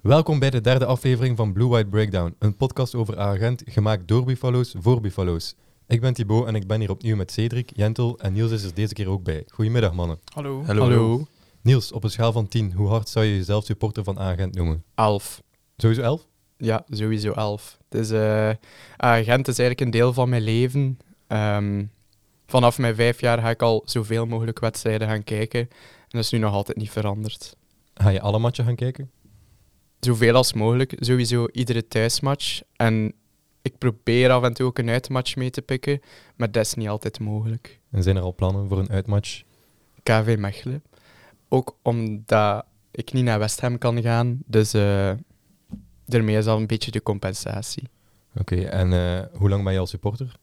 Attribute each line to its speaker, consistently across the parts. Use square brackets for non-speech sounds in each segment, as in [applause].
Speaker 1: Welkom bij de derde aflevering van Blue White Breakdown, een podcast over agent gemaakt door Buffalo's voor Buffalo's. Ik ben Thibaut en ik ben hier opnieuw met Cedric, Jentel en Niels is er deze keer ook bij. Goedemiddag mannen.
Speaker 2: Hallo.
Speaker 3: Hallo.
Speaker 1: Niels, op een schaal van 10, hoe hard zou je jezelf supporter van agent noemen?
Speaker 2: Elf.
Speaker 1: Sowieso 11?
Speaker 2: Ja, sowieso elf. Het is, eh, ah, Gent is eigenlijk een deel van mijn leven. Ehm, vanaf mijn vijf jaar ga ik al zoveel mogelijk wedstrijden gaan kijken. En dat is nu nog altijd niet veranderd.
Speaker 1: Ga je alle matchen gaan kijken?
Speaker 2: Zoveel als mogelijk. Sowieso iedere thuismatch. En ik probeer af en toe ook een uitmatch mee te pikken. Maar dat is niet altijd mogelijk.
Speaker 1: En zijn er al plannen voor een uitmatch?
Speaker 2: KV Mechelen. Ook omdat ik niet naar West Ham kan gaan. Dus eh daarmee is al een beetje de compensatie.
Speaker 1: Oké, en eh, hoe lang ben je al supporter?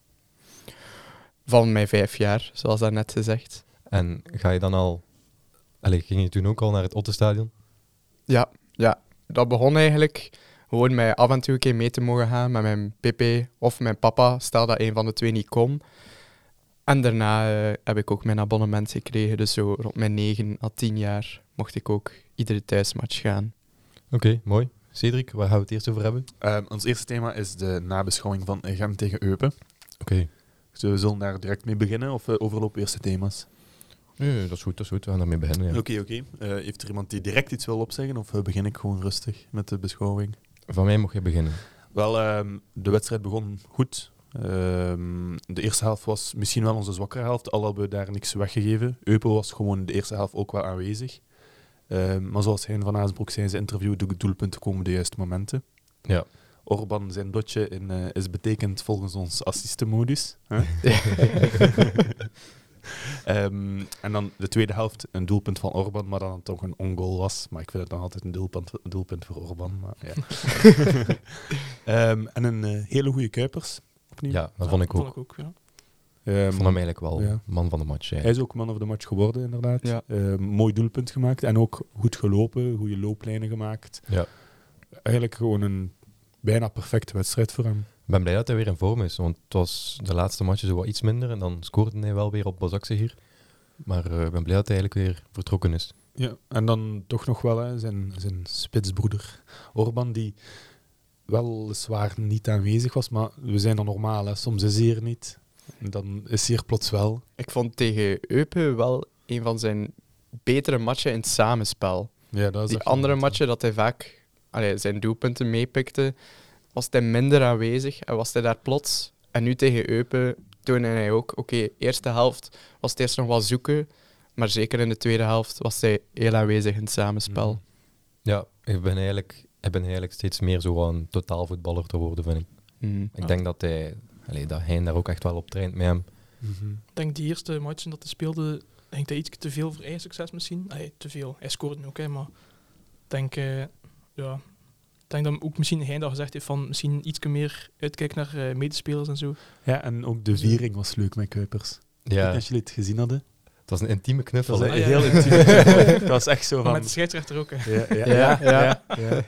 Speaker 2: van mijn vijf jaar, zoals daarnet gezegd.
Speaker 1: En ga je dan al... Allee, ging je toen ook al naar het Ottenstadion?
Speaker 2: Ja, ja, dat begon eigenlijk gewoon mij af en toe een keer mee te mogen gaan met mijn pp of mijn papa, stel dat een van de twee niet kon. En daarna eh, heb ik ook mijn abonnement gekregen, dus zo rond mijn 9 à 10 jaar mocht ik ook iedere thuismatch gaan.
Speaker 1: Oké, mooi. Cedric, waar gaan we het eerst over hebben?
Speaker 3: Ehm, ons eerste thema is de nabeschouwing van Gent tegen Eupen.
Speaker 1: Oké.
Speaker 3: Dus we zullen daar direct mee beginnen of eh, overlopen we eerst de thema's?
Speaker 1: dat is goed, dat is goed. We gaan daarmee beginnen,
Speaker 3: Oké, oké. Eh, heeft er iemand die direct iets wil opzeggen of eh, begin ik gewoon rustig met de beschouwing?
Speaker 1: Van mij mag je beginnen.
Speaker 3: Wel, ehm, de wedstrijd begon goed. Ehm, de eerste helft was misschien wel onze zwakkere helft, al hebben we daar niks weggegeven. Eupen was gewoon de eerste helft ook wel aanwezig. Ehm, maar zoals Hein van Aasbroek zei in zijn interview, de doelpunten komen de juiste momenten.
Speaker 1: Ja.
Speaker 3: Orban, zijn dotje in, eh, is betekend volgens ons assistenmodus. Hè? [laughs] Ehm, en dan de tweede helft, een doelpunt van Orban, maar dan toch een ongoal was. Maar ik vind het nog altijd een doelpunt, doelpunt voor Orban. Maar
Speaker 1: [laughs]
Speaker 3: ja. Ehm, en een eh, hele goede Kuipers. Opnieuw.
Speaker 1: Ja, dat vond ik ook.
Speaker 3: ja.
Speaker 1: Ik
Speaker 3: Ehm,
Speaker 1: vond hem eigenlijk wel
Speaker 3: Ja.
Speaker 1: man van de match.
Speaker 3: hij
Speaker 1: eigenlijk.
Speaker 3: is ook man of the match geworden, inderdaad.
Speaker 2: Ja.
Speaker 3: Ehm, mooi doelpunt gemaakt en ook goed gelopen, goede looplijnen gemaakt.
Speaker 1: Ja.
Speaker 3: Eigenlijk gewoon een bijna perfecte wedstrijd voor hem.
Speaker 1: Ik ben blij dat hij weer in vorm is, want het was de laatste match zo wat iets minder. En dan scoorde hij wel weer op Bazakse hier. Maar eh, ik ben blij dat hij eigenlijk weer vertrokken is.
Speaker 3: Ja, en dan toch nog wel hè, zijn, zijn spitsbroeder Orban, die weliswaar niet aanwezig was, maar we zijn dan normaal. Hè. Soms is hij er niet, en dan is hij er plots wel.
Speaker 2: Ik vond tegen Eupen wel een van zijn betere matchen in het samenspel.
Speaker 3: Ja, dat is
Speaker 2: Die
Speaker 3: echt
Speaker 2: andere
Speaker 3: een-
Speaker 2: matchen dat hij vaak allee, zijn doelpunten meepikte, was hij minder aanwezig en was hij daar plots. En nu tegen Eupen toonde hij ook, oké, eerste helft was het eerst nog wel zoeken, maar zeker in de tweede helft was hij heel aanwezig in het samenspel.
Speaker 3: Mhm.
Speaker 1: Ja, ik ben eigenlijk, ik ben eigenlijk steeds meer zo aan totaalvoetballer te worden, vind ik.
Speaker 2: Mhm.
Speaker 1: Ik denk dat hij, allee, dat hij daar ook echt wel op traint met hem.
Speaker 3: Mhm.
Speaker 4: Ik denk die eerste matchen dat hij speelde, denk hij iets te veel voor eigen succes misschien. Allee, te veel. Hij scoort nu ook, hè, maar ik denk, eh, ja, ik denk dat ook misschien hij dat gezegd heeft van misschien iets meer uitkijken naar eh, medespelers en zo.
Speaker 3: Ja, en ook de viering was leuk met Kuipers. Ik weet
Speaker 1: Ja,
Speaker 3: niet Als jullie het gezien hadden.
Speaker 1: het was een intieme
Speaker 3: Dat
Speaker 1: knuffel.
Speaker 3: was
Speaker 1: hè.
Speaker 4: Ah,
Speaker 3: een
Speaker 4: ja,
Speaker 3: heel
Speaker 4: ja.
Speaker 3: intiem. Dat was echt zo
Speaker 4: Maar
Speaker 3: van...
Speaker 4: met de scheidsrechter ook. Hè.
Speaker 3: Ja, ja,
Speaker 2: Ja,
Speaker 3: ja.
Speaker 2: ja.
Speaker 3: ja, ja.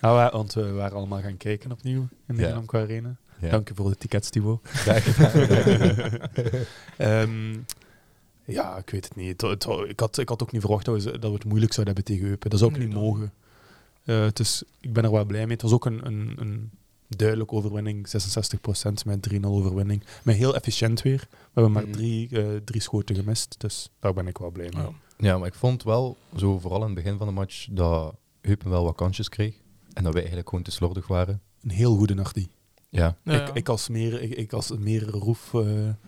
Speaker 3: Nou, wa- want we waren allemaal gaan kijken opnieuw in de
Speaker 1: Ja.
Speaker 3: Genamco Arena.
Speaker 1: Ja.
Speaker 3: Dank je voor de tickets,
Speaker 4: [laughs]
Speaker 3: Thibaut. [laughs]
Speaker 1: Graag gedaan.
Speaker 3: Ehm, ja, ik weet het niet. Het- het- ik, had, ik had ook niet verwacht dat we, dat we het moeilijk zouden hebben tegen Eupen. Dat zou ook
Speaker 4: Nee,
Speaker 3: niet
Speaker 4: dat-
Speaker 3: mogen. Eh, het is, ik ben er wel blij mee. Het was ook een, een, een duidelijke overwinning. 66% met 3-0 overwinning. Maar heel efficiënt weer. We hebben maar
Speaker 2: Mhm.
Speaker 3: drie, eh, drie schoten gemist. Dus daar ben ik wel blij mee.
Speaker 4: Ja.
Speaker 1: Ja, maar ik vond wel, zo vooral in het begin van de match, dat Heupen wel wat kansjes kreeg. En dat wij eigenlijk gewoon te slordig waren.
Speaker 3: Een heel goede Nardi.
Speaker 1: Ja,
Speaker 4: Ja, ja.
Speaker 3: Ik, ik als meer, ik, ik als meer roef eh,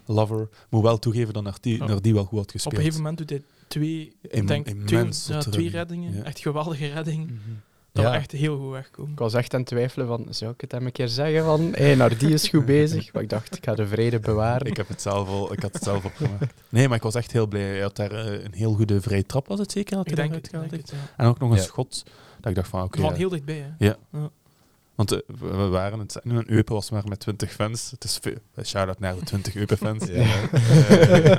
Speaker 3: lover moet wel toegeven dat Nardi,
Speaker 4: Ja.
Speaker 3: Nardi wel goed had
Speaker 4: Op
Speaker 3: gespeeld.
Speaker 4: een gegeven moment doet hij twee,
Speaker 3: Im-
Speaker 4: ik denk, twee,
Speaker 3: immens
Speaker 4: ja,
Speaker 3: tot
Speaker 4: twee
Speaker 3: redding.
Speaker 4: reddingen.
Speaker 3: Ja.
Speaker 4: Echt geweldige redding.
Speaker 3: Mhm.
Speaker 4: Dat
Speaker 1: Ja.
Speaker 4: we echt heel goed wegkomen.
Speaker 2: Ik was echt aan het twijfelen van, zou ik het hem een keer zeggen van, [laughs] hé, hey, Nardi is goed bezig. Maar ik dacht, ik ga de vrede bewaren.
Speaker 3: Ik, heb het zelf al, ik had het zelf opgemaakt. [laughs] Nee, maar ik was echt heel blij. Hij had daar eh, een heel goede vrije trap, was het zeker? Dat
Speaker 4: Ik
Speaker 3: hij
Speaker 4: denk,
Speaker 3: daaruit
Speaker 4: het, ik denk
Speaker 3: gehaald
Speaker 4: het, ja.
Speaker 3: heeft? En ook nog een
Speaker 1: Ja.
Speaker 3: schot. Dat ik dacht van, oké.
Speaker 4: Van
Speaker 3: ja.
Speaker 4: heel dichtbij, hè.
Speaker 3: Want eh, we we waren het en een Eupen was maar met 20 fans. Het is veel. eh, Shout-out naar de 20 [laughs] Eupen-fans.
Speaker 1: Ja.
Speaker 3: Eh,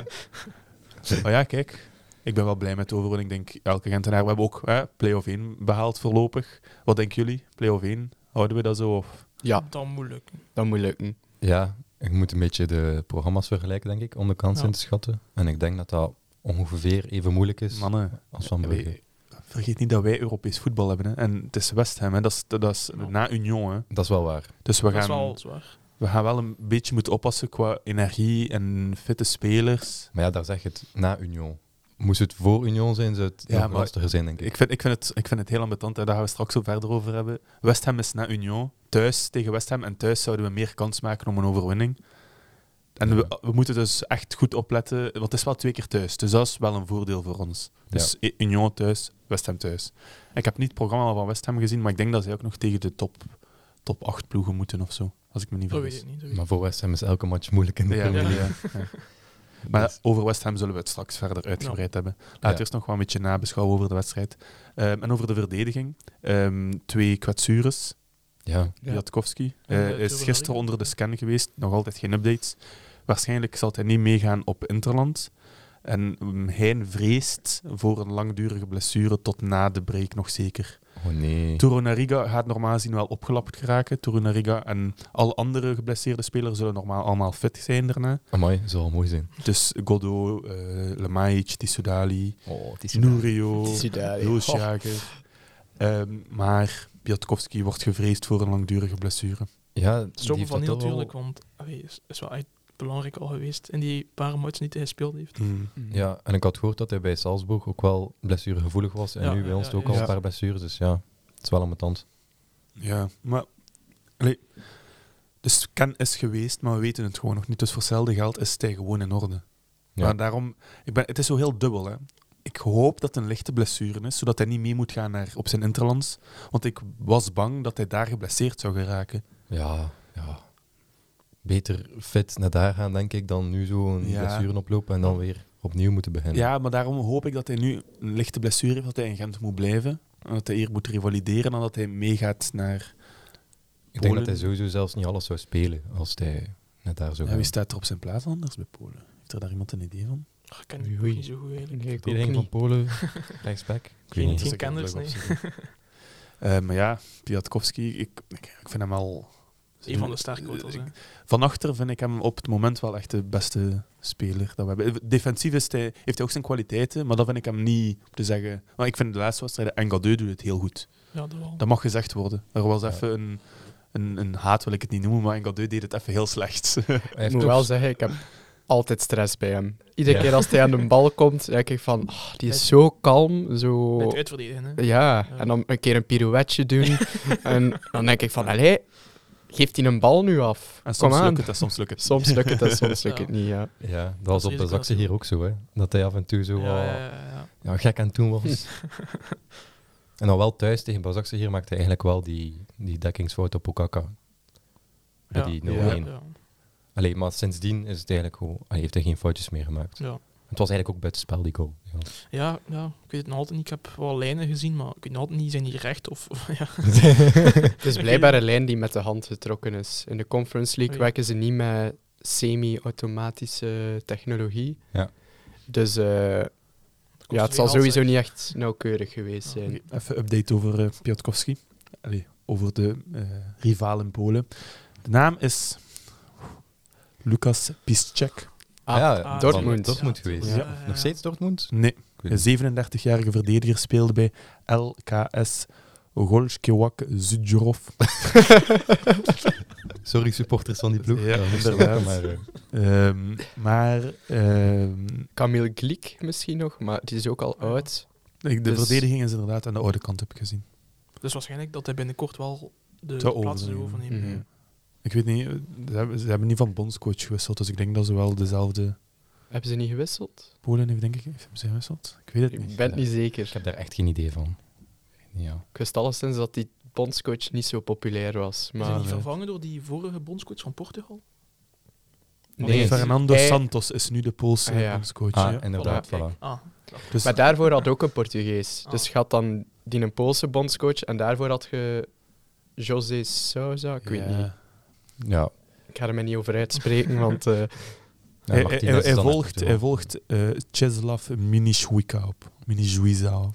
Speaker 3: maar ja, kijk. Ik ben wel blij met de overwinning. Ik denk, elke Gentenaar... We hebben ook hè, play-off 1 behaald voorlopig. Wat denken jullie? Play-off 1? Houden we dat zo? Of?
Speaker 2: Ja,
Speaker 4: Dan moeilijk.
Speaker 2: dat moet lukken.
Speaker 1: ja, ik moet een beetje de programma's vergelijken, denk ik, om de kansen
Speaker 4: Ja.
Speaker 1: in te schatten. En ik denk dat dat ongeveer even moeilijk is
Speaker 3: Mannen,
Speaker 1: als Van
Speaker 3: eh,
Speaker 1: Brugge.
Speaker 3: vergeet niet dat wij Europees voetbal hebben. Hè. En het is West Ham, hè. Dat, is, dat is na Union. Hè.
Speaker 1: Dat is wel waar.
Speaker 3: Dus we
Speaker 4: Dat is
Speaker 3: gaan,
Speaker 4: wel zwaar.
Speaker 3: we gaan wel een beetje moeten oppassen qua energie en fitte spelers.
Speaker 1: Maar ja, daar zeg je het na Union. Moest het voor Union zijn, zou het
Speaker 3: Ja,
Speaker 1: nog
Speaker 3: maar
Speaker 1: lastiger zijn, denk ik.
Speaker 3: Ik vind, ik, vind het, ik vind het heel ambetant, hè. daar gaan we straks ook verder over hebben. West Ham is na Union, thuis tegen West Ham. En thuis zouden we meer kans maken om een overwinning. En
Speaker 1: Ja.
Speaker 3: we, we moeten dus echt goed opletten, want het is wel twee keer thuis. Dus dat is wel een voordeel voor ons. Dus I- Union thuis, West Ham thuis. Ik heb niet het programma van West Ham gezien, maar ik denk dat zij ook nog tegen de top, top 8 ploegen moeten of zo. Als ik me niet
Speaker 4: Dat weet ik
Speaker 3: vergis.
Speaker 4: niet. dat weet ik
Speaker 1: Maar voor West Ham is elke match moeilijk in de
Speaker 3: Ja,
Speaker 1: Premier
Speaker 3: ja,
Speaker 1: League.
Speaker 3: ja. ja. Maar
Speaker 1: Dus-
Speaker 3: over West Ham zullen we het straks verder uitgebreid hebben. Laten we
Speaker 1: Ja.
Speaker 3: eerst nog wel een beetje nabeschouwen over de wedstrijd. Ehm, en over de verdediging. Ehm, twee kwetsures.
Speaker 1: ja.
Speaker 2: Ja.
Speaker 3: Jatkowski
Speaker 4: En,
Speaker 3: eh,
Speaker 4: eh,
Speaker 3: is
Speaker 4: Turan
Speaker 3: gisteren
Speaker 4: Lee.
Speaker 3: onder de scan geweest. Nog altijd geen updates. Waarschijnlijk zal hij niet meegaan op Interland. En mm, hij vreest voor een langdurige blessure tot na de break nog zeker.
Speaker 1: Oh nee.
Speaker 3: Torunariga gaat normaal gezien wel opgelapt geraken. Torunariga en alle andere geblesseerde spelers zullen normaal allemaal fit zijn daarna.
Speaker 1: Amai, zou al mooi zijn.
Speaker 3: Dus Godot, eh Lemaic, Tissoudali,
Speaker 5: Oh, het is
Speaker 3: Nourio,
Speaker 5: Tissoudali.
Speaker 3: Hulsjager. Ehm, maar Piatkowski wordt gevreesd voor een langdurige blessure.
Speaker 1: Ja, die
Speaker 4: niet. Stoppen
Speaker 1: heeft
Speaker 4: van
Speaker 1: dat
Speaker 4: heel
Speaker 1: toch wel-
Speaker 4: natuurlijk, want allee, is, is wel echt belangrijk al geweest in die paar matches niet hij gespeeld heeft.
Speaker 2: Hmm. Mhm.
Speaker 1: Ja, en ik had gehoord dat hij bij Salzburg ook wel blessuregevoelig was. En
Speaker 4: Ja,
Speaker 1: nu bij
Speaker 4: ja,
Speaker 1: ons
Speaker 4: ja,
Speaker 1: ook
Speaker 4: ja.
Speaker 1: al een
Speaker 2: Ja.
Speaker 1: paar blessures. Dus ja, het is wel aan mijn tand.
Speaker 3: Ja, maar... allee, de scan is geweest, maar we weten het gewoon nog niet. Dus voor hetzelfde geld is hij gewoon in orde.
Speaker 1: Ja.
Speaker 3: Maar daarom... Ik ben, het is zo heel dubbel, hè. Ik hoop dat het een lichte blessure is, zodat hij niet mee moet gaan naar, op zijn interlands. Want ik was bang dat hij daar geblesseerd zou geraken.
Speaker 1: Ja, ja. Beter fit naar daar gaan, denk ik, dan nu zo een
Speaker 3: Ja.
Speaker 1: blessure oplopen en dan weer opnieuw moeten beginnen.
Speaker 3: Ja, maar daarom hoop ik dat hij nu een lichte blessure heeft, dat hij in Gent moet blijven. En dat hij hier moet revalideren en dat hij meegaat naar...
Speaker 1: ik denk dat
Speaker 3: Polen.
Speaker 1: hij sowieso zelfs niet alles zou spelen als hij naar daar zou
Speaker 3: Ja,
Speaker 1: gaan.
Speaker 3: wie staat er op zijn plaats anders bij Polen? Heeft er daar iemand een idee van?
Speaker 4: Ah, ik ken
Speaker 1: Oei,
Speaker 4: die
Speaker 1: oei.
Speaker 4: niet zo goed eigenlijk.
Speaker 2: Nee, ik ook
Speaker 1: Verdediging van
Speaker 2: niet.
Speaker 1: [laughs] Polen, rechtsback. Ik weet
Speaker 4: Geen
Speaker 1: niet.
Speaker 4: idee.
Speaker 3: Dus ik heb het
Speaker 4: kenners,
Speaker 3: leuk
Speaker 4: nee.
Speaker 3: opzoeken. Eh, maar ja, Piatkowski, ik, ik, ik vind hem al...
Speaker 4: Een van de sterke hè.
Speaker 3: Van achter vind ik hem op het moment wel echt de beste speler dat we hebben. Defensief is hij, heeft hij ook zijn kwaliteiten, maar dat vind ik hem niet om te zeggen. Maar ik vind de laatste wedstrijden, Engadeu doet het heel goed.
Speaker 4: Ja, dat wel.
Speaker 3: Dat mag gezegd worden. Er was
Speaker 1: Ja.
Speaker 3: even een, een, een haat, wil ik het niet noemen, maar Engadeu deed het even heel slecht. [laughs]
Speaker 1: Hij
Speaker 2: Ik
Speaker 1: heeft
Speaker 2: moet
Speaker 1: ook-
Speaker 2: wel zeggen, ik heb altijd stress bij hem. Iedere
Speaker 1: Ja.
Speaker 2: keer als hij aan de bal komt, denk ik van, ah, die is zo kalm, zo...
Speaker 4: Met het uitverdedigen, hè.
Speaker 2: Ja,
Speaker 4: Ja.
Speaker 2: en dan een keer een pirouetje doen. en dan denk ik van, allee, geeft hij een bal nu af?
Speaker 3: en
Speaker 2: Kom
Speaker 3: soms
Speaker 2: aan.
Speaker 3: lukt het en soms lukt het.
Speaker 2: Soms lukt het en soms lukt het
Speaker 4: Ja.
Speaker 2: niet, ja.
Speaker 1: Ja, dat was
Speaker 4: Dat
Speaker 1: op
Speaker 4: is
Speaker 1: de
Speaker 4: risico
Speaker 1: zakse hier ook zo, hè. Dat hij af en toe zo
Speaker 4: Ja,
Speaker 1: wat-
Speaker 4: ja, ja, ja.
Speaker 1: ja, gek aan toen was.
Speaker 4: [laughs]
Speaker 1: en dan wel thuis tegen Bazakse hier maakte hij eigenlijk wel die, die dekkingsfout op Okaka. Bij
Speaker 4: Ja.
Speaker 1: die 0-1.
Speaker 4: Ja,
Speaker 1: Allee, maar sindsdien is het eigenlijk gewoon, allee, heeft hij geen foutjes meer gemaakt.
Speaker 4: ja.
Speaker 1: Het was eigenlijk ook buitenspel, die goal. Ja.
Speaker 4: Ja, ja, ik weet het nog altijd niet. Ik heb wel lijnen gezien, maar ik weet nog altijd niet, zijn die recht of... of- [laughs] ja.
Speaker 2: Het is blijkbaar een lijn die met de hand getrokken is. In de Conference League
Speaker 4: Oei.
Speaker 2: werken ze niet met semi-automatische technologie.
Speaker 1: Ja.
Speaker 2: Dus eh, ja, het zal sowieso niet echt nauwkeurig geweest
Speaker 4: Ja.
Speaker 2: zijn.
Speaker 3: [laughs] Even update over eh, Piotkowski. Allee, over de eh rivaal in Polen. De naam is Lukas Piszczek.
Speaker 2: Ah,
Speaker 1: ja,
Speaker 4: ah,
Speaker 2: Dortmund.
Speaker 1: Dortmund, Dortmund geweest.
Speaker 3: Ja.
Speaker 4: Ja.
Speaker 1: Nog steeds Dortmund?
Speaker 3: Nee,
Speaker 1: Ik weet
Speaker 3: een
Speaker 1: niet.
Speaker 3: 37-jarige verdediger speelde bij LKS Golskiewak Zudjorov.
Speaker 1: [laughs]
Speaker 2: [laughs]
Speaker 1: Sorry, supporters van die ploeg.
Speaker 3: Ja,
Speaker 1: moest
Speaker 3: inderdaad.
Speaker 1: ook, Maar, eh,
Speaker 3: Ehm, maar ehm,
Speaker 2: Camille Glick misschien nog, maar die is ook
Speaker 3: Ah,
Speaker 2: al oud.
Speaker 3: ik- de
Speaker 2: Dus-
Speaker 3: verdediging is inderdaad aan de oude kant heb ik gezien.
Speaker 4: Dus waarschijnlijk dat hij binnenkort wel
Speaker 3: Te
Speaker 4: de plaats zou
Speaker 3: overnemen.
Speaker 4: overnemen.
Speaker 2: Mhm.
Speaker 3: Ik weet niet, eh, ze hebben, ze hebben niet van bondscoach gewisseld, dus ik denk dat ze wel dezelfde
Speaker 2: Hebben ze niet gewisseld?
Speaker 3: Polen heeft, denk ik, heeft ze gewisseld. Ik weet het
Speaker 2: Ik
Speaker 3: niet.
Speaker 2: ben het niet
Speaker 1: ik
Speaker 2: zeker.
Speaker 1: heb daar echt geen idee van. Ja.
Speaker 2: Ik wist alleszins dat die bondscoach niet zo populair was.
Speaker 4: Is hij
Speaker 2: Maar
Speaker 4: niet
Speaker 3: eh,
Speaker 4: vervangen door die vorige bondscoach van Portugal?
Speaker 2: nee,
Speaker 3: Fernando
Speaker 2: hij-
Speaker 3: Santos is nu de Poolse
Speaker 2: Ah, ja.
Speaker 3: bondscoach. ja.
Speaker 1: Ah, inderdaad, voilà.
Speaker 4: Voilà, kijk. Ah,
Speaker 3: Dus
Speaker 2: Maar daarvoor had ook een Portugees.
Speaker 4: Ah.
Speaker 2: Dus je had dan die een Poolse bondscoach en daarvoor had je José Souza. Ik weet
Speaker 3: Ja.
Speaker 2: niet.
Speaker 1: Ja.
Speaker 2: Ik ga er mij niet over
Speaker 3: [laughs]
Speaker 2: uitspreken, want eh,
Speaker 1: Ja,
Speaker 3: hij, hij-
Speaker 1: Martinez
Speaker 3: hij
Speaker 1: is dan
Speaker 3: volgt,
Speaker 1: echt
Speaker 3: hij
Speaker 1: [laughs]
Speaker 3: volgt eh Czeslaw Miniszwika op. Miniszwiza op.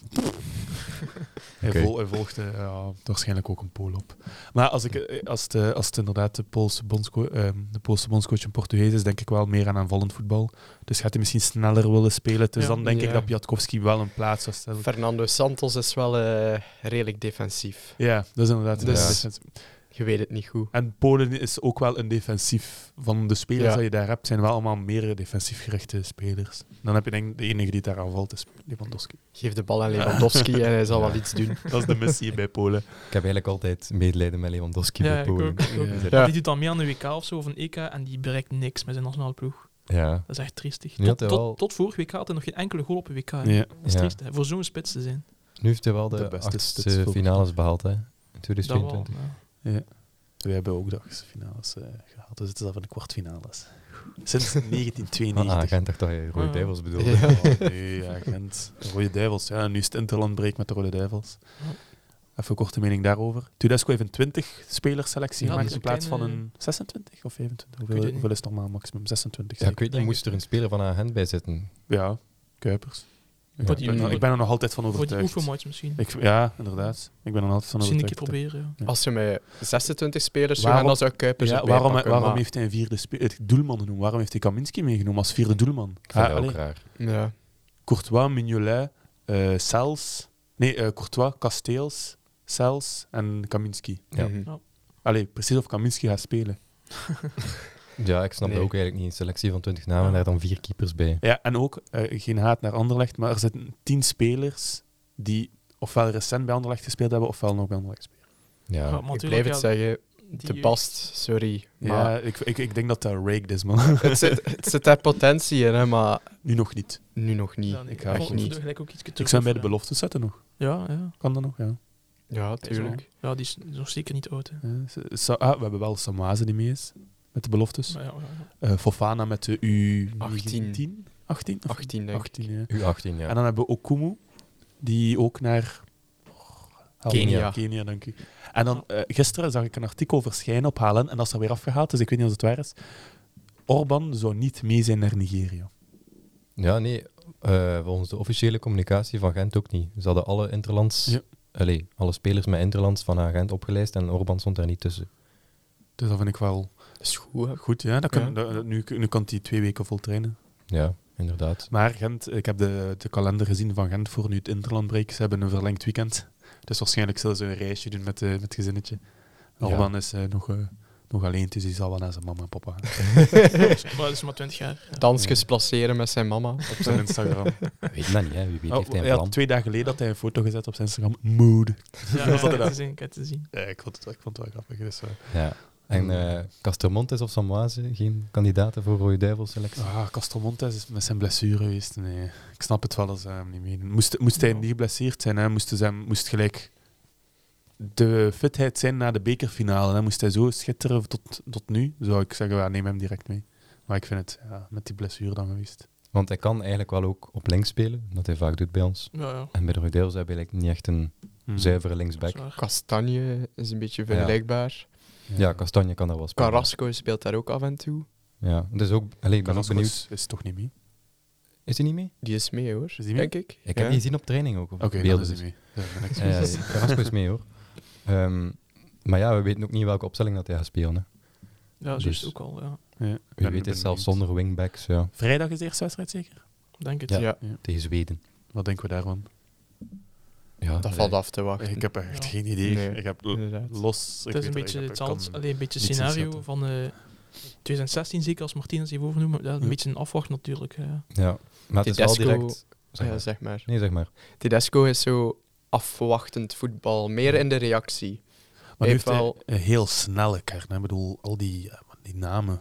Speaker 3: Hij,
Speaker 1: Oké.
Speaker 3: vol- hij volgt eh, ja, waarschijnlijk ook een Pool op. Maar als, ik, eh, als, het, eh, als het inderdaad de Poolse, bondsco- ehm, de Poolse bondscoach een Portugees is, denk ik wel meer aan aanvallend voetbal. Dus gaat hij misschien sneller willen spelen. Dus
Speaker 4: Ja.
Speaker 3: dan denk ik
Speaker 2: Ja.
Speaker 3: dat Piatkowski wel een plaats zou stellen.
Speaker 2: Fernando Santos is wel eh, redelijk defensief.
Speaker 3: Ja, dat is inderdaad.
Speaker 2: Dus-
Speaker 3: een defensief.
Speaker 2: Je weet het niet goed.
Speaker 3: En Polen is ook wel een defensief. Van de spelers
Speaker 2: Ja.
Speaker 3: die je daar hebt, zijn wel allemaal meer defensief gerichte spespelers. Dan heb je denk ik de enige die daar aanvalt, is Lewandowski.
Speaker 2: Geef de bal aan Lewandowski en
Speaker 3: [laughs]
Speaker 2: hij zal
Speaker 1: Ja.
Speaker 2: wel iets doen.
Speaker 3: Dat is de missie bij Polen.
Speaker 1: Ik heb eigenlijk altijd medelijden met Lewandowski
Speaker 4: Ja,
Speaker 1: bij
Speaker 4: ik
Speaker 1: Polen.
Speaker 4: ook, ik ook.
Speaker 3: Ja.
Speaker 2: Ja.
Speaker 4: Die doet dan mee aan de WK of zo, of een EK, en die bereikt niks met zijn nationale ploeg.
Speaker 1: Ja.
Speaker 4: Dat is echt triestig.
Speaker 1: Nu
Speaker 4: Tot,
Speaker 1: had hij wel-
Speaker 4: tot, tot vorig WK had hij nog geen enkele goal op een WK. hè.
Speaker 3: Ja.
Speaker 4: Dat is
Speaker 1: Ja.
Speaker 4: triest, hè, voor zo'n spits te zijn.
Speaker 1: Nu heeft hij wel
Speaker 3: De
Speaker 1: de,
Speaker 3: beste spits
Speaker 1: achtste
Speaker 3: volgens
Speaker 1: finales behaald, hè? In
Speaker 4: Dat wel,
Speaker 1: 2022.
Speaker 4: ja.
Speaker 3: We hebben ook de achtste finales eh, gehad. We zitten al van de kwartfinales. Sinds 1992.
Speaker 1: Van Agent dacht dat je Roy
Speaker 4: Ah.
Speaker 1: Duivels bedoelde.
Speaker 2: Ja.
Speaker 3: Oh, nee, ja, Gent. Rode Duivels. Ja, nu is het Interland breekt met de Rode Duivels. Even een korte mening daarover. Tudesco heeft een 20 spelerselectie
Speaker 4: Ja,
Speaker 3: gemaakt
Speaker 4: dat
Speaker 3: in
Speaker 4: is
Speaker 3: plaats
Speaker 4: een
Speaker 3: van
Speaker 4: kleine-
Speaker 3: een 26 of 25.
Speaker 4: weet
Speaker 3: Hoeveel,
Speaker 4: het
Speaker 3: hoeveel is normaal maximum? 26
Speaker 1: Ja, ik
Speaker 3: zeker?
Speaker 1: weet niet, moest er een speler van Agent bij zitten?
Speaker 3: Ja, Kuipers. Ik,
Speaker 1: Voor
Speaker 4: die-
Speaker 3: ben, er- ik ben er nog altijd van
Speaker 4: Voor die
Speaker 3: overtuigd.
Speaker 4: oefenmatch misschien.
Speaker 3: Ik, ja, inderdaad. Ik ben er nog altijd van
Speaker 4: Misschien een
Speaker 3: overtuigd.
Speaker 4: keer proberen. ja.
Speaker 1: Hm.
Speaker 2: Als je met 26 spelers zou
Speaker 3: Waarom-
Speaker 2: gaan, dan zou Kuipers
Speaker 3: Ja,
Speaker 2: erbij
Speaker 3: waarom
Speaker 2: pakken,
Speaker 3: waarom
Speaker 2: maar-
Speaker 3: heeft hij een vierde spe- het doelman genoemd? Waarom heeft hij Kaminski meegenomen als vierde doelman?
Speaker 1: Ik vind
Speaker 3: Ah,
Speaker 1: dat ook
Speaker 3: allee.
Speaker 1: raar.
Speaker 2: Ja.
Speaker 3: Courtois, Mignolet, eh Sels. Nee, eh, Courtois, Kasteels, Sels en Kaminski.
Speaker 1: Ja.
Speaker 2: Mhm.
Speaker 3: Allee, precies of Kaminski gaat spelen.
Speaker 1: Ja, ik snap
Speaker 2: Nee.
Speaker 1: dat ook eigenlijk niet. Een selectie van 20 namen en daar dan vier keepers bij.
Speaker 3: Ja, en ook, eh, geen haat naar Anderlecht, maar er zitten tien spelers die ofwel recent bij Anderlecht gespeeld hebben, ofwel nog bij Anderlecht spelen.
Speaker 1: Ja.
Speaker 4: Ja, maar
Speaker 2: Ik
Speaker 4: natuurlijk,
Speaker 2: blijf het
Speaker 4: ja,
Speaker 2: zeggen,
Speaker 4: die-
Speaker 2: de Bast, sorry. Maar
Speaker 3: Ja, ik, ik, ik denk dat dat rigged is, man. [laughs]
Speaker 2: het, zit, het zit daar potentie in, hè, maar
Speaker 3: nu nog niet.
Speaker 2: nu nog niet.
Speaker 4: Ja, nee,
Speaker 3: Ik ga
Speaker 4: vond-
Speaker 3: ook niet.
Speaker 4: vond gelijk ook iets te
Speaker 3: Ik zou bij de
Speaker 4: goed,
Speaker 3: belofte zetten nog.
Speaker 4: hè. Ja, ja.
Speaker 3: Kan dat nog, ja.
Speaker 2: Ja, tuurlijk.
Speaker 4: Ja, die is nog zeker niet oud. Hè.
Speaker 3: Ja, Sa- Sa- ah, we hebben wel Samaze die mee is, met de beloftes.
Speaker 4: Maar ja, ja,
Speaker 3: [laughs]
Speaker 4: ja.
Speaker 3: Eh, Fofana met de U19? 18?
Speaker 2: 18.
Speaker 3: 18,
Speaker 2: 18, denk ik.
Speaker 3: ja.
Speaker 1: U18, ja.
Speaker 3: En dan hebben we Okumu, die ook naar oh,
Speaker 1: Kenia.
Speaker 3: Kenia, dank u. En dan eh, gisteren zag ik een artikel verschijnen op HLN en dat is er weer afgehaald, dus ik weet niet of het waar is. Orban zou niet mee zijn naar Nigeria.
Speaker 1: Ja, nee. eh, volgens de officiële communicatie van Gent ook niet. Ze hadden alle interlands...
Speaker 3: Ja.
Speaker 1: Allee, alle spelers met interlands van Agent opgelijst en Orban stond daar niet tussen.
Speaker 3: Dus dat vind ik wel
Speaker 2: Dat is goed, hè.
Speaker 3: goed. Ja? Dat kan,
Speaker 2: Ja.
Speaker 3: dat- dat- nu, nu kan hij twee weken vol trainen.
Speaker 1: Ja,
Speaker 3: [laughs]
Speaker 1: inderdaad.
Speaker 3: Maar Gent, ik heb de, de kalender gezien van Gent voor nu het interlandbreak. Ze hebben een verlengd weekend. Dus waarschijnlijk zullen ze een reisje doen met, eh, met het gezinnetje.
Speaker 1: Ja.
Speaker 3: Orban is eh, nog, eh, nog alleen, dus hij zal wel naar zijn mama en papa gaan.
Speaker 4: Maar dat is maar 20 jaar. Ja.
Speaker 2: Dansjes placeren met zijn mama.
Speaker 3: Op
Speaker 2: [laughs]
Speaker 3: zijn Instagram.
Speaker 1: We weten dat niet, hè. Wie weet
Speaker 3: Oh,
Speaker 1: heeft hij
Speaker 3: hij
Speaker 1: een
Speaker 3: had
Speaker 1: plan.
Speaker 3: twee dagen geleden had hij een foto gezet op zijn Instagram. Mood. [laughs]
Speaker 4: Ja,
Speaker 3: Dat
Speaker 4: ja,
Speaker 3: is altijd
Speaker 4: ik heb
Speaker 3: dat.
Speaker 4: te zien, ik heb te zien.
Speaker 3: Ja, ik, vond het, wel- ik vond het wel grappig. Dus, eh,
Speaker 1: Ja. En eh Castelmontes of Samoise, geen kandidaten voor Rode Duivels selectie?
Speaker 3: Ah, Castelmontes is met zijn blessure geweest. Nee, ik snap het wel als hij hem niet meedoet. Moest, moest hij niet geblesseerd zijn, hè? Moest, ze hem, moest gelijk de fitheid zijn na de bekerfinale. Hè? Moest hij zo schitteren tot, tot nu, zou ik zeggen, ja, neem hem direct mee. Maar ik vind het ja, met die blessure dan geweest.
Speaker 1: Want hij kan eigenlijk wel ook op links spelen, wat hij vaak doet bij ons.
Speaker 4: Ja, ja.
Speaker 1: En bij de Rode Duivels hebben we eigenlijk niet echt een
Speaker 3: Hm.
Speaker 1: zuivere
Speaker 4: dat is
Speaker 1: linksback.
Speaker 4: waar.
Speaker 2: Kastanje is een beetje vergelijkbaar.
Speaker 1: Ja, Castanje kan dat wel spelen.
Speaker 2: Carrasco speelt daar ook af en toe.
Speaker 1: Ja, dus ook... Allee, ik ben ook
Speaker 3: Carrasco
Speaker 1: benieuwd.
Speaker 3: Is, is toch niet mee?
Speaker 1: Is hij niet mee?
Speaker 2: Die is mee, hoor.
Speaker 3: Is die mee?
Speaker 2: Denk ik.
Speaker 1: Ik
Speaker 2: Ja.
Speaker 1: heb die gezien op training ook. Op
Speaker 3: Oké, dan
Speaker 1: beelden
Speaker 3: is
Speaker 1: dus.
Speaker 3: hij mee. Ja, dan ben ik-
Speaker 1: Ja, ja, Carrasco is mee hoor. Ehm, maar ja, we weten ook niet welke opstelling dat hij gaat spelen. Hè.
Speaker 4: Ja, zo
Speaker 1: Dus-
Speaker 4: is het ook al. Ja.
Speaker 3: Ja, ik
Speaker 1: [laughs] Wie weet
Speaker 3: ben- ben
Speaker 1: het zelfs
Speaker 3: benieuwd.
Speaker 1: zonder wingbacks ja,
Speaker 3: Vrijdag is de eerste wedstrijd zeker?
Speaker 4: Denk het.
Speaker 1: Ja.
Speaker 2: Ja,
Speaker 1: tegen Zweden.
Speaker 3: Wat denken we daarvan?
Speaker 1: Ja,
Speaker 2: dat valt af te wachten.
Speaker 3: Ik heb echt
Speaker 4: Ja.
Speaker 3: geen idee.
Speaker 2: Nee,
Speaker 3: Ik heb
Speaker 2: Inderdaad.
Speaker 3: los... ik
Speaker 4: Het is een
Speaker 3: weet- ik
Speaker 4: beetje
Speaker 3: heb- ik
Speaker 4: hetzelfde,
Speaker 3: kan-
Speaker 4: alleen een beetje
Speaker 3: niets
Speaker 4: scenario
Speaker 3: inschatten.
Speaker 4: van eh, 2016, zeker als Martinez heeft overgenomen. Dat is een
Speaker 3: Ja.
Speaker 4: beetje een afwacht natuurlijk. hè, Ja.
Speaker 1: Ja. Maar het is wel
Speaker 2: Tedesco-
Speaker 1: direct... Zeg
Speaker 2: Ja,
Speaker 1: maar.
Speaker 2: zeg maar.
Speaker 1: Nee, zeg maar.
Speaker 2: Tedesco is zo afwachtend voetbal. Meer in de reactie.
Speaker 3: Maar nu heeft
Speaker 2: Heeft
Speaker 3: wel
Speaker 2: wel-
Speaker 3: een heel snelle kern. Hè. Ik bedoel, al die, eh, die namen.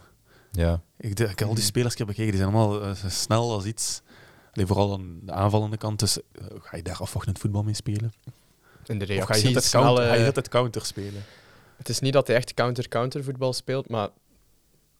Speaker 1: Ja.
Speaker 3: Ik, de- ik heb al die
Speaker 2: Mhm.
Speaker 3: spelers die ik heb bekeken, die zijn allemaal eh, zo snel als iets. Allee, vooral aan de aanvallende kant. Dus eh, ga je daar afwachtend voetbal mee spelen?
Speaker 2: In de
Speaker 3: of ga je
Speaker 2: reactie.
Speaker 3: het
Speaker 2: snelle-
Speaker 3: counter, ga je altijd counter spelen?
Speaker 2: Het is niet dat hij echt counter-counter voetbal speelt, maar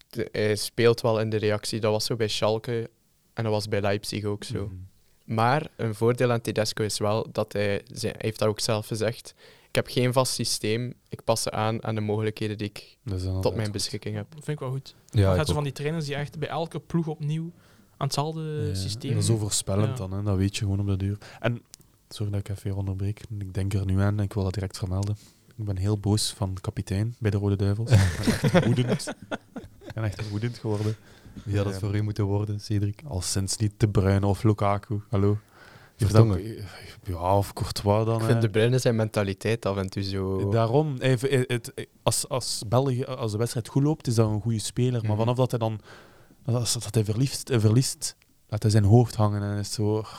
Speaker 2: de- hij speelt wel in de reactie. Dat was zo bij Schalke en dat was bij Leipzig ook zo.
Speaker 3: Mhm.
Speaker 2: Maar een voordeel aan Tedesco is wel dat hij, zijn, hij heeft dat ook zelf gezegd, ik heb geen vast systeem, ik pas ze aan aan de mogelijkheden die ik
Speaker 3: Oh, Dat is dan
Speaker 2: tot
Speaker 3: altijd
Speaker 2: mijn
Speaker 3: goed.
Speaker 2: beschikking heb.
Speaker 4: Dat vind ik wel goed.
Speaker 1: Ja,
Speaker 4: dan
Speaker 1: ik
Speaker 4: gaat zo van
Speaker 1: ook.
Speaker 4: die trainers die echt bij elke ploeg opnieuw aan hetzelfde
Speaker 3: Ja,
Speaker 4: systeem.
Speaker 3: Dat is overspellend
Speaker 4: Ja.
Speaker 3: dan, hè. dat weet je gewoon op de duur. En Sorry dat ik even weer onderbreek. Ik denk er nu aan en ik wil dat direct vermelden. Ik ben heel boos van kapitein bij de Rode Duivels. Ik ben echt woedend. Ik ben echt woedend geworden.
Speaker 1: Wie had dat voor u moeten worden, Cedric?
Speaker 3: Al sinds niet De Bruyne of Lukaku. Hallo.
Speaker 1: Vertongen.
Speaker 3: Ja, of Courtois dan.
Speaker 2: Ik
Speaker 3: hè.
Speaker 2: vind de Bruyne zijn mentaliteit af en toe zo...
Speaker 3: Eh, Daarom, hij- hij- het- eh, als, als, België, eh, als de wedstrijd goed loopt, is dat een goede speler. Maar
Speaker 2: Mhm.
Speaker 3: vanaf dat hij dan als, dat hij verliest, eh, verliest, laat hij zijn hoofd hangen en is zo. Eh,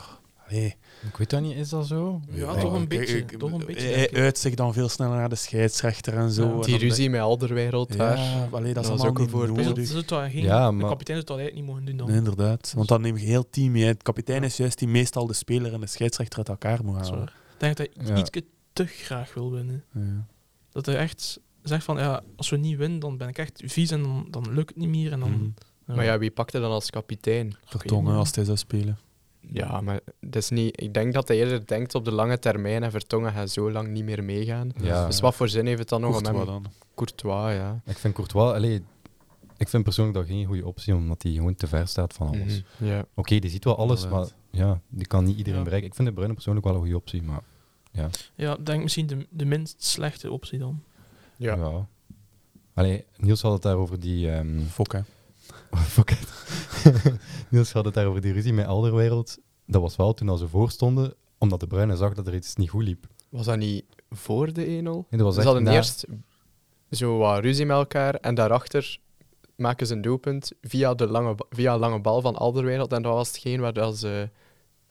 Speaker 3: Nee.
Speaker 1: Ik weet dat niet, is dat zo?
Speaker 4: Ja, toch een beetje, toch een beetje, denk
Speaker 3: Hij
Speaker 4: ik.
Speaker 3: uit zich dan veel sneller naar de scheidsrechter en zo.
Speaker 4: Ja.
Speaker 3: En dan
Speaker 2: Die
Speaker 3: denk-
Speaker 2: ruzie met Alderweireld daar.
Speaker 3: Ja, allee, dat is
Speaker 2: Dat was
Speaker 3: allemaal
Speaker 2: ook een
Speaker 3: niet
Speaker 2: voorbeeld.
Speaker 4: Dus dat
Speaker 3: nodig.
Speaker 4: is het wel geen,
Speaker 1: Ja,
Speaker 4: De
Speaker 1: maar-
Speaker 4: kapitein zou het eigenlijk niet mogen doen dan.
Speaker 3: Nee, inderdaad. Want dan neem je heel team mee. Het kapitein is juist die meestal de speler en de scheidsrechter uit elkaar moet
Speaker 4: Dat is
Speaker 3: halen.
Speaker 4: waar. Ik denk dat hij
Speaker 1: Ja.
Speaker 4: ietsje te graag wil winnen.
Speaker 3: Ja.
Speaker 4: Dat hij echt zegt van, ja, als we niet winnen, dan ben ik echt vies en dan, dan lukt het niet meer. En dan,
Speaker 3: Mhm.
Speaker 2: Maar ja, wie pakte dan als kapitein?
Speaker 3: Vertongen
Speaker 4: maar-
Speaker 3: als hij zou spelen.
Speaker 2: Ja, maar dat is niet... Ik denk dat hij eerder denkt op de lange termijn en Vertongen gaat zo lang niet meer meegaan.
Speaker 1: Ja.
Speaker 2: Dus wat voor zin heeft het dan nog om
Speaker 3: Courtois
Speaker 2: hem...
Speaker 3: dan.
Speaker 2: Courtois, ja.
Speaker 1: Ik vind Courtois... Allee, ik vind persoonlijk dat geen goede optie, omdat hij gewoon te ver staat van alles.
Speaker 2: Mhm, Ja.
Speaker 1: Oké, die ziet wel alles, maar
Speaker 3: Inderdaad.
Speaker 1: ja, die kan niet iedereen
Speaker 4: Ja.
Speaker 1: bereiken. Ik vind de Bruyne persoonlijk wel een goede optie, maar
Speaker 4: Ja, ik denk misschien de, de minst slechte optie dan.
Speaker 1: ja.
Speaker 2: Ja.
Speaker 1: Allee, Niels had het daar over die... ehm, [laughs]
Speaker 3: Fok, hè.
Speaker 1: fuck it. [laughs] Niels had het daar over die ruzie met Alderwereld. Dat was wel toen al ze voorstonden, omdat de Bruyne zag dat er iets niet goed liep.
Speaker 2: Was dat niet voor de 1-0?
Speaker 1: En dat was
Speaker 2: Ze
Speaker 1: echt
Speaker 2: hadden
Speaker 1: na-
Speaker 2: eerst zo wat ruzie met elkaar en daarachter maken ze een doelpunt via de lange, ba- via lange bal van Alderweireld. En dat was hetgeen waar dat ze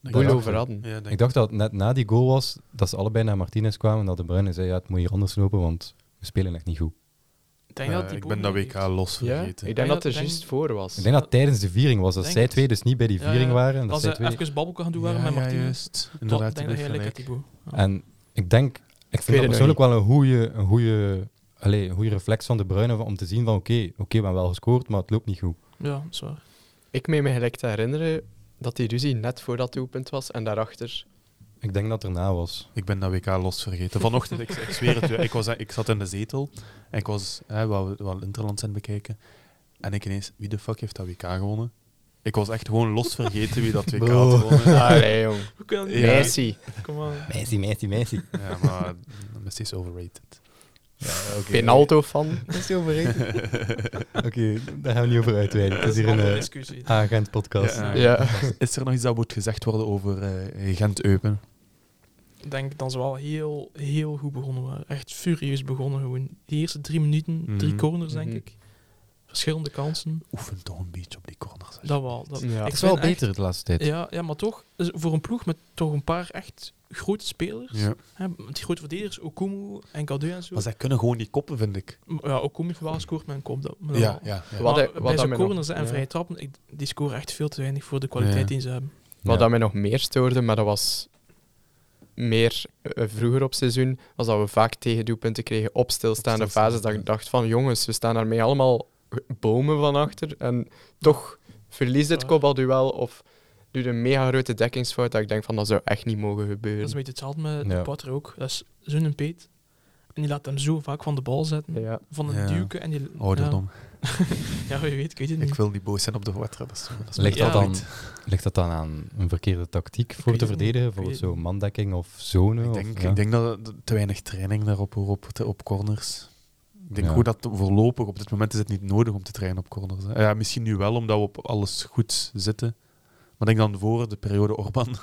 Speaker 2: boel
Speaker 1: dacht
Speaker 2: over
Speaker 1: ik.
Speaker 2: hadden.
Speaker 3: Ja,
Speaker 1: Ik dacht dat het net na die goal was, dat ze allebei naar Martinez kwamen en dat de Bruyne zei, ja, het moet hier anders lopen, want we spelen echt niet goed.
Speaker 4: Ik, denk dat die
Speaker 3: Eh, ik ben dat
Speaker 4: Boer
Speaker 3: WK
Speaker 4: heeft.
Speaker 3: los
Speaker 2: Ja? Ik
Speaker 3: vergeten.
Speaker 2: denk
Speaker 4: Ah, Ja,
Speaker 2: dat er
Speaker 4: denk-
Speaker 2: juist voor was.
Speaker 1: Ik denk dat tijdens de viering was, dat
Speaker 4: Denk
Speaker 1: zij
Speaker 4: het.
Speaker 1: twee dus niet bij die
Speaker 4: Ja, ja.
Speaker 1: viering waren. En dat
Speaker 4: Als
Speaker 1: zij
Speaker 4: ze
Speaker 1: twee...
Speaker 4: even babbelken gaan doen waren met Martinez.
Speaker 3: juist.
Speaker 4: Inderdaad,
Speaker 3: Inderdaad,
Speaker 4: ik denk dat
Speaker 3: je
Speaker 4: hij
Speaker 3: bent
Speaker 4: lekker
Speaker 3: gelijk.
Speaker 4: die Boer. Ja.
Speaker 1: En ik denk, ik vind dat
Speaker 2: het nog
Speaker 1: persoonlijk wel een goede, een goede, allez, een goede reflex van de Bruyne om te zien van oké, oké, we hebben wel gescoord, maar het loopt niet goed.
Speaker 4: Ja, dat is waar.
Speaker 2: Ik meen me gelijk te herinneren dat die ruzie net voor dat doelpunt was
Speaker 1: [laughs]
Speaker 2: en daarachter.
Speaker 1: Ik denk dat het erna was.
Speaker 3: Ik ben dat WK los vergeten. Vanochtend, ik, ik zweer het je, ik, was, ik zat in de zetel en ik was hè, wel, wel Interland zijn bekijken. En ik ineens, wie de fuck heeft dat WK gewonnen? Ik was echt gewoon los vergeten wie dat WK had
Speaker 1: Bro.
Speaker 3: gewonnen.
Speaker 2: Allee, jong.
Speaker 4: We kunnen dat
Speaker 3: Ja.
Speaker 4: niet.
Speaker 2: Messi,
Speaker 4: Kom maar.
Speaker 1: Messi, Messi, [laughs] Messi.
Speaker 3: Ja, maar Messi is overrated.
Speaker 2: Penaldo-fan.
Speaker 1: Dat is overreden. [laughs]
Speaker 3: [laughs]
Speaker 1: oké, daar gaan we niet over uitweiden. Het
Speaker 4: Dat
Speaker 1: is
Speaker 4: is een
Speaker 1: hier
Speaker 4: andere
Speaker 1: een eh,
Speaker 4: discussie.
Speaker 1: agent-podcast.
Speaker 3: Ja,
Speaker 2: Ja.
Speaker 3: Is er nog iets dat moet gezegd worden over eh Gent-Eupen?
Speaker 4: Ik denk dat ze wel heel, heel goed begonnen waren. Echt furieus begonnen gewoon. Die eerste drie minuten, drie
Speaker 3: Mhm.
Speaker 4: corners denk
Speaker 2: Mhm.
Speaker 4: ik. Verschillende kansen.
Speaker 3: Oefen toch een beetje op die corners.
Speaker 4: Dat wel. Dat...
Speaker 2: Ja.
Speaker 1: Het
Speaker 4: Ik
Speaker 1: is wel
Speaker 4: vind echt-
Speaker 1: beter de laatste tijd.
Speaker 4: Ja, ja, maar toch, dus voor een ploeg met toch een paar echt grote spelers.
Speaker 3: Ja.
Speaker 4: Hè, met die grote verdedigers, Okumu en Cadu en zo.
Speaker 3: Maar zij kunnen gewoon die koppen, vind ik.
Speaker 4: M- Ja, Okumu heeft wel gescoord met een kop. Dat, maar
Speaker 3: Ja,
Speaker 4: dat-
Speaker 3: ja.
Speaker 2: Wat
Speaker 3: ja.
Speaker 4: maar
Speaker 2: hij- wat
Speaker 4: bij
Speaker 2: dat
Speaker 4: zijn
Speaker 2: mij nog-
Speaker 4: corners en
Speaker 2: ja.
Speaker 4: vrije trappen, ik- die scoren echt veel te weinig voor de kwaliteit
Speaker 3: Ja.
Speaker 4: die ze hebben.
Speaker 2: Wat
Speaker 1: Ja.
Speaker 2: dat mij nog meer stoorde, maar dat was meer eh, vroeger op het seizoen, was dat we vaak tegendoelpunten kregen op stilstaande
Speaker 3: Op stilstaande,
Speaker 2: fases. Dat
Speaker 3: ja.
Speaker 2: ik dacht van, jongens, we staan daarmee allemaal bomen van achter en toch verlies dit
Speaker 4: Ja.
Speaker 2: kopbalduel of doet een mega grote dekkingsfout dat ik denk van, dat zou echt niet mogen
Speaker 4: Dat is een
Speaker 2: gebeuren.
Speaker 4: beetje hetzelfde met
Speaker 1: Ja.
Speaker 4: de Potter ook. Dat is zo'n peet. En die laat hem zo vaak van de bal zetten.
Speaker 2: Ja.
Speaker 4: Van een
Speaker 3: Ja.
Speaker 4: duwke. En die,
Speaker 3: Ouderdom.
Speaker 4: Ja, ja, wie weet, ik weet het niet.
Speaker 3: Ik wil niet boos zijn op de wedstrijd. dat is- dat is
Speaker 1: Ligt,
Speaker 4: Ja.
Speaker 1: dat dan,
Speaker 3: niet.
Speaker 1: ligt dat dan aan een verkeerde tactiek voor
Speaker 4: weet
Speaker 1: te
Speaker 4: het niet.
Speaker 1: verdedigen?
Speaker 4: Ik
Speaker 1: Voor
Speaker 4: weet het
Speaker 1: zo'n mandekking of zone?
Speaker 3: Ik
Speaker 1: of-
Speaker 3: denk,
Speaker 1: ja.
Speaker 3: ik denk dat er te weinig training daarop hoor, op, op corners. Ik denk
Speaker 1: Ja.
Speaker 3: gewoon dat voorlopig op dit moment is het niet nodig om te trainen op corners. hè. Ja, misschien nu wel, omdat we op alles goed zitten. Maar ik denk dan voor de periode Orban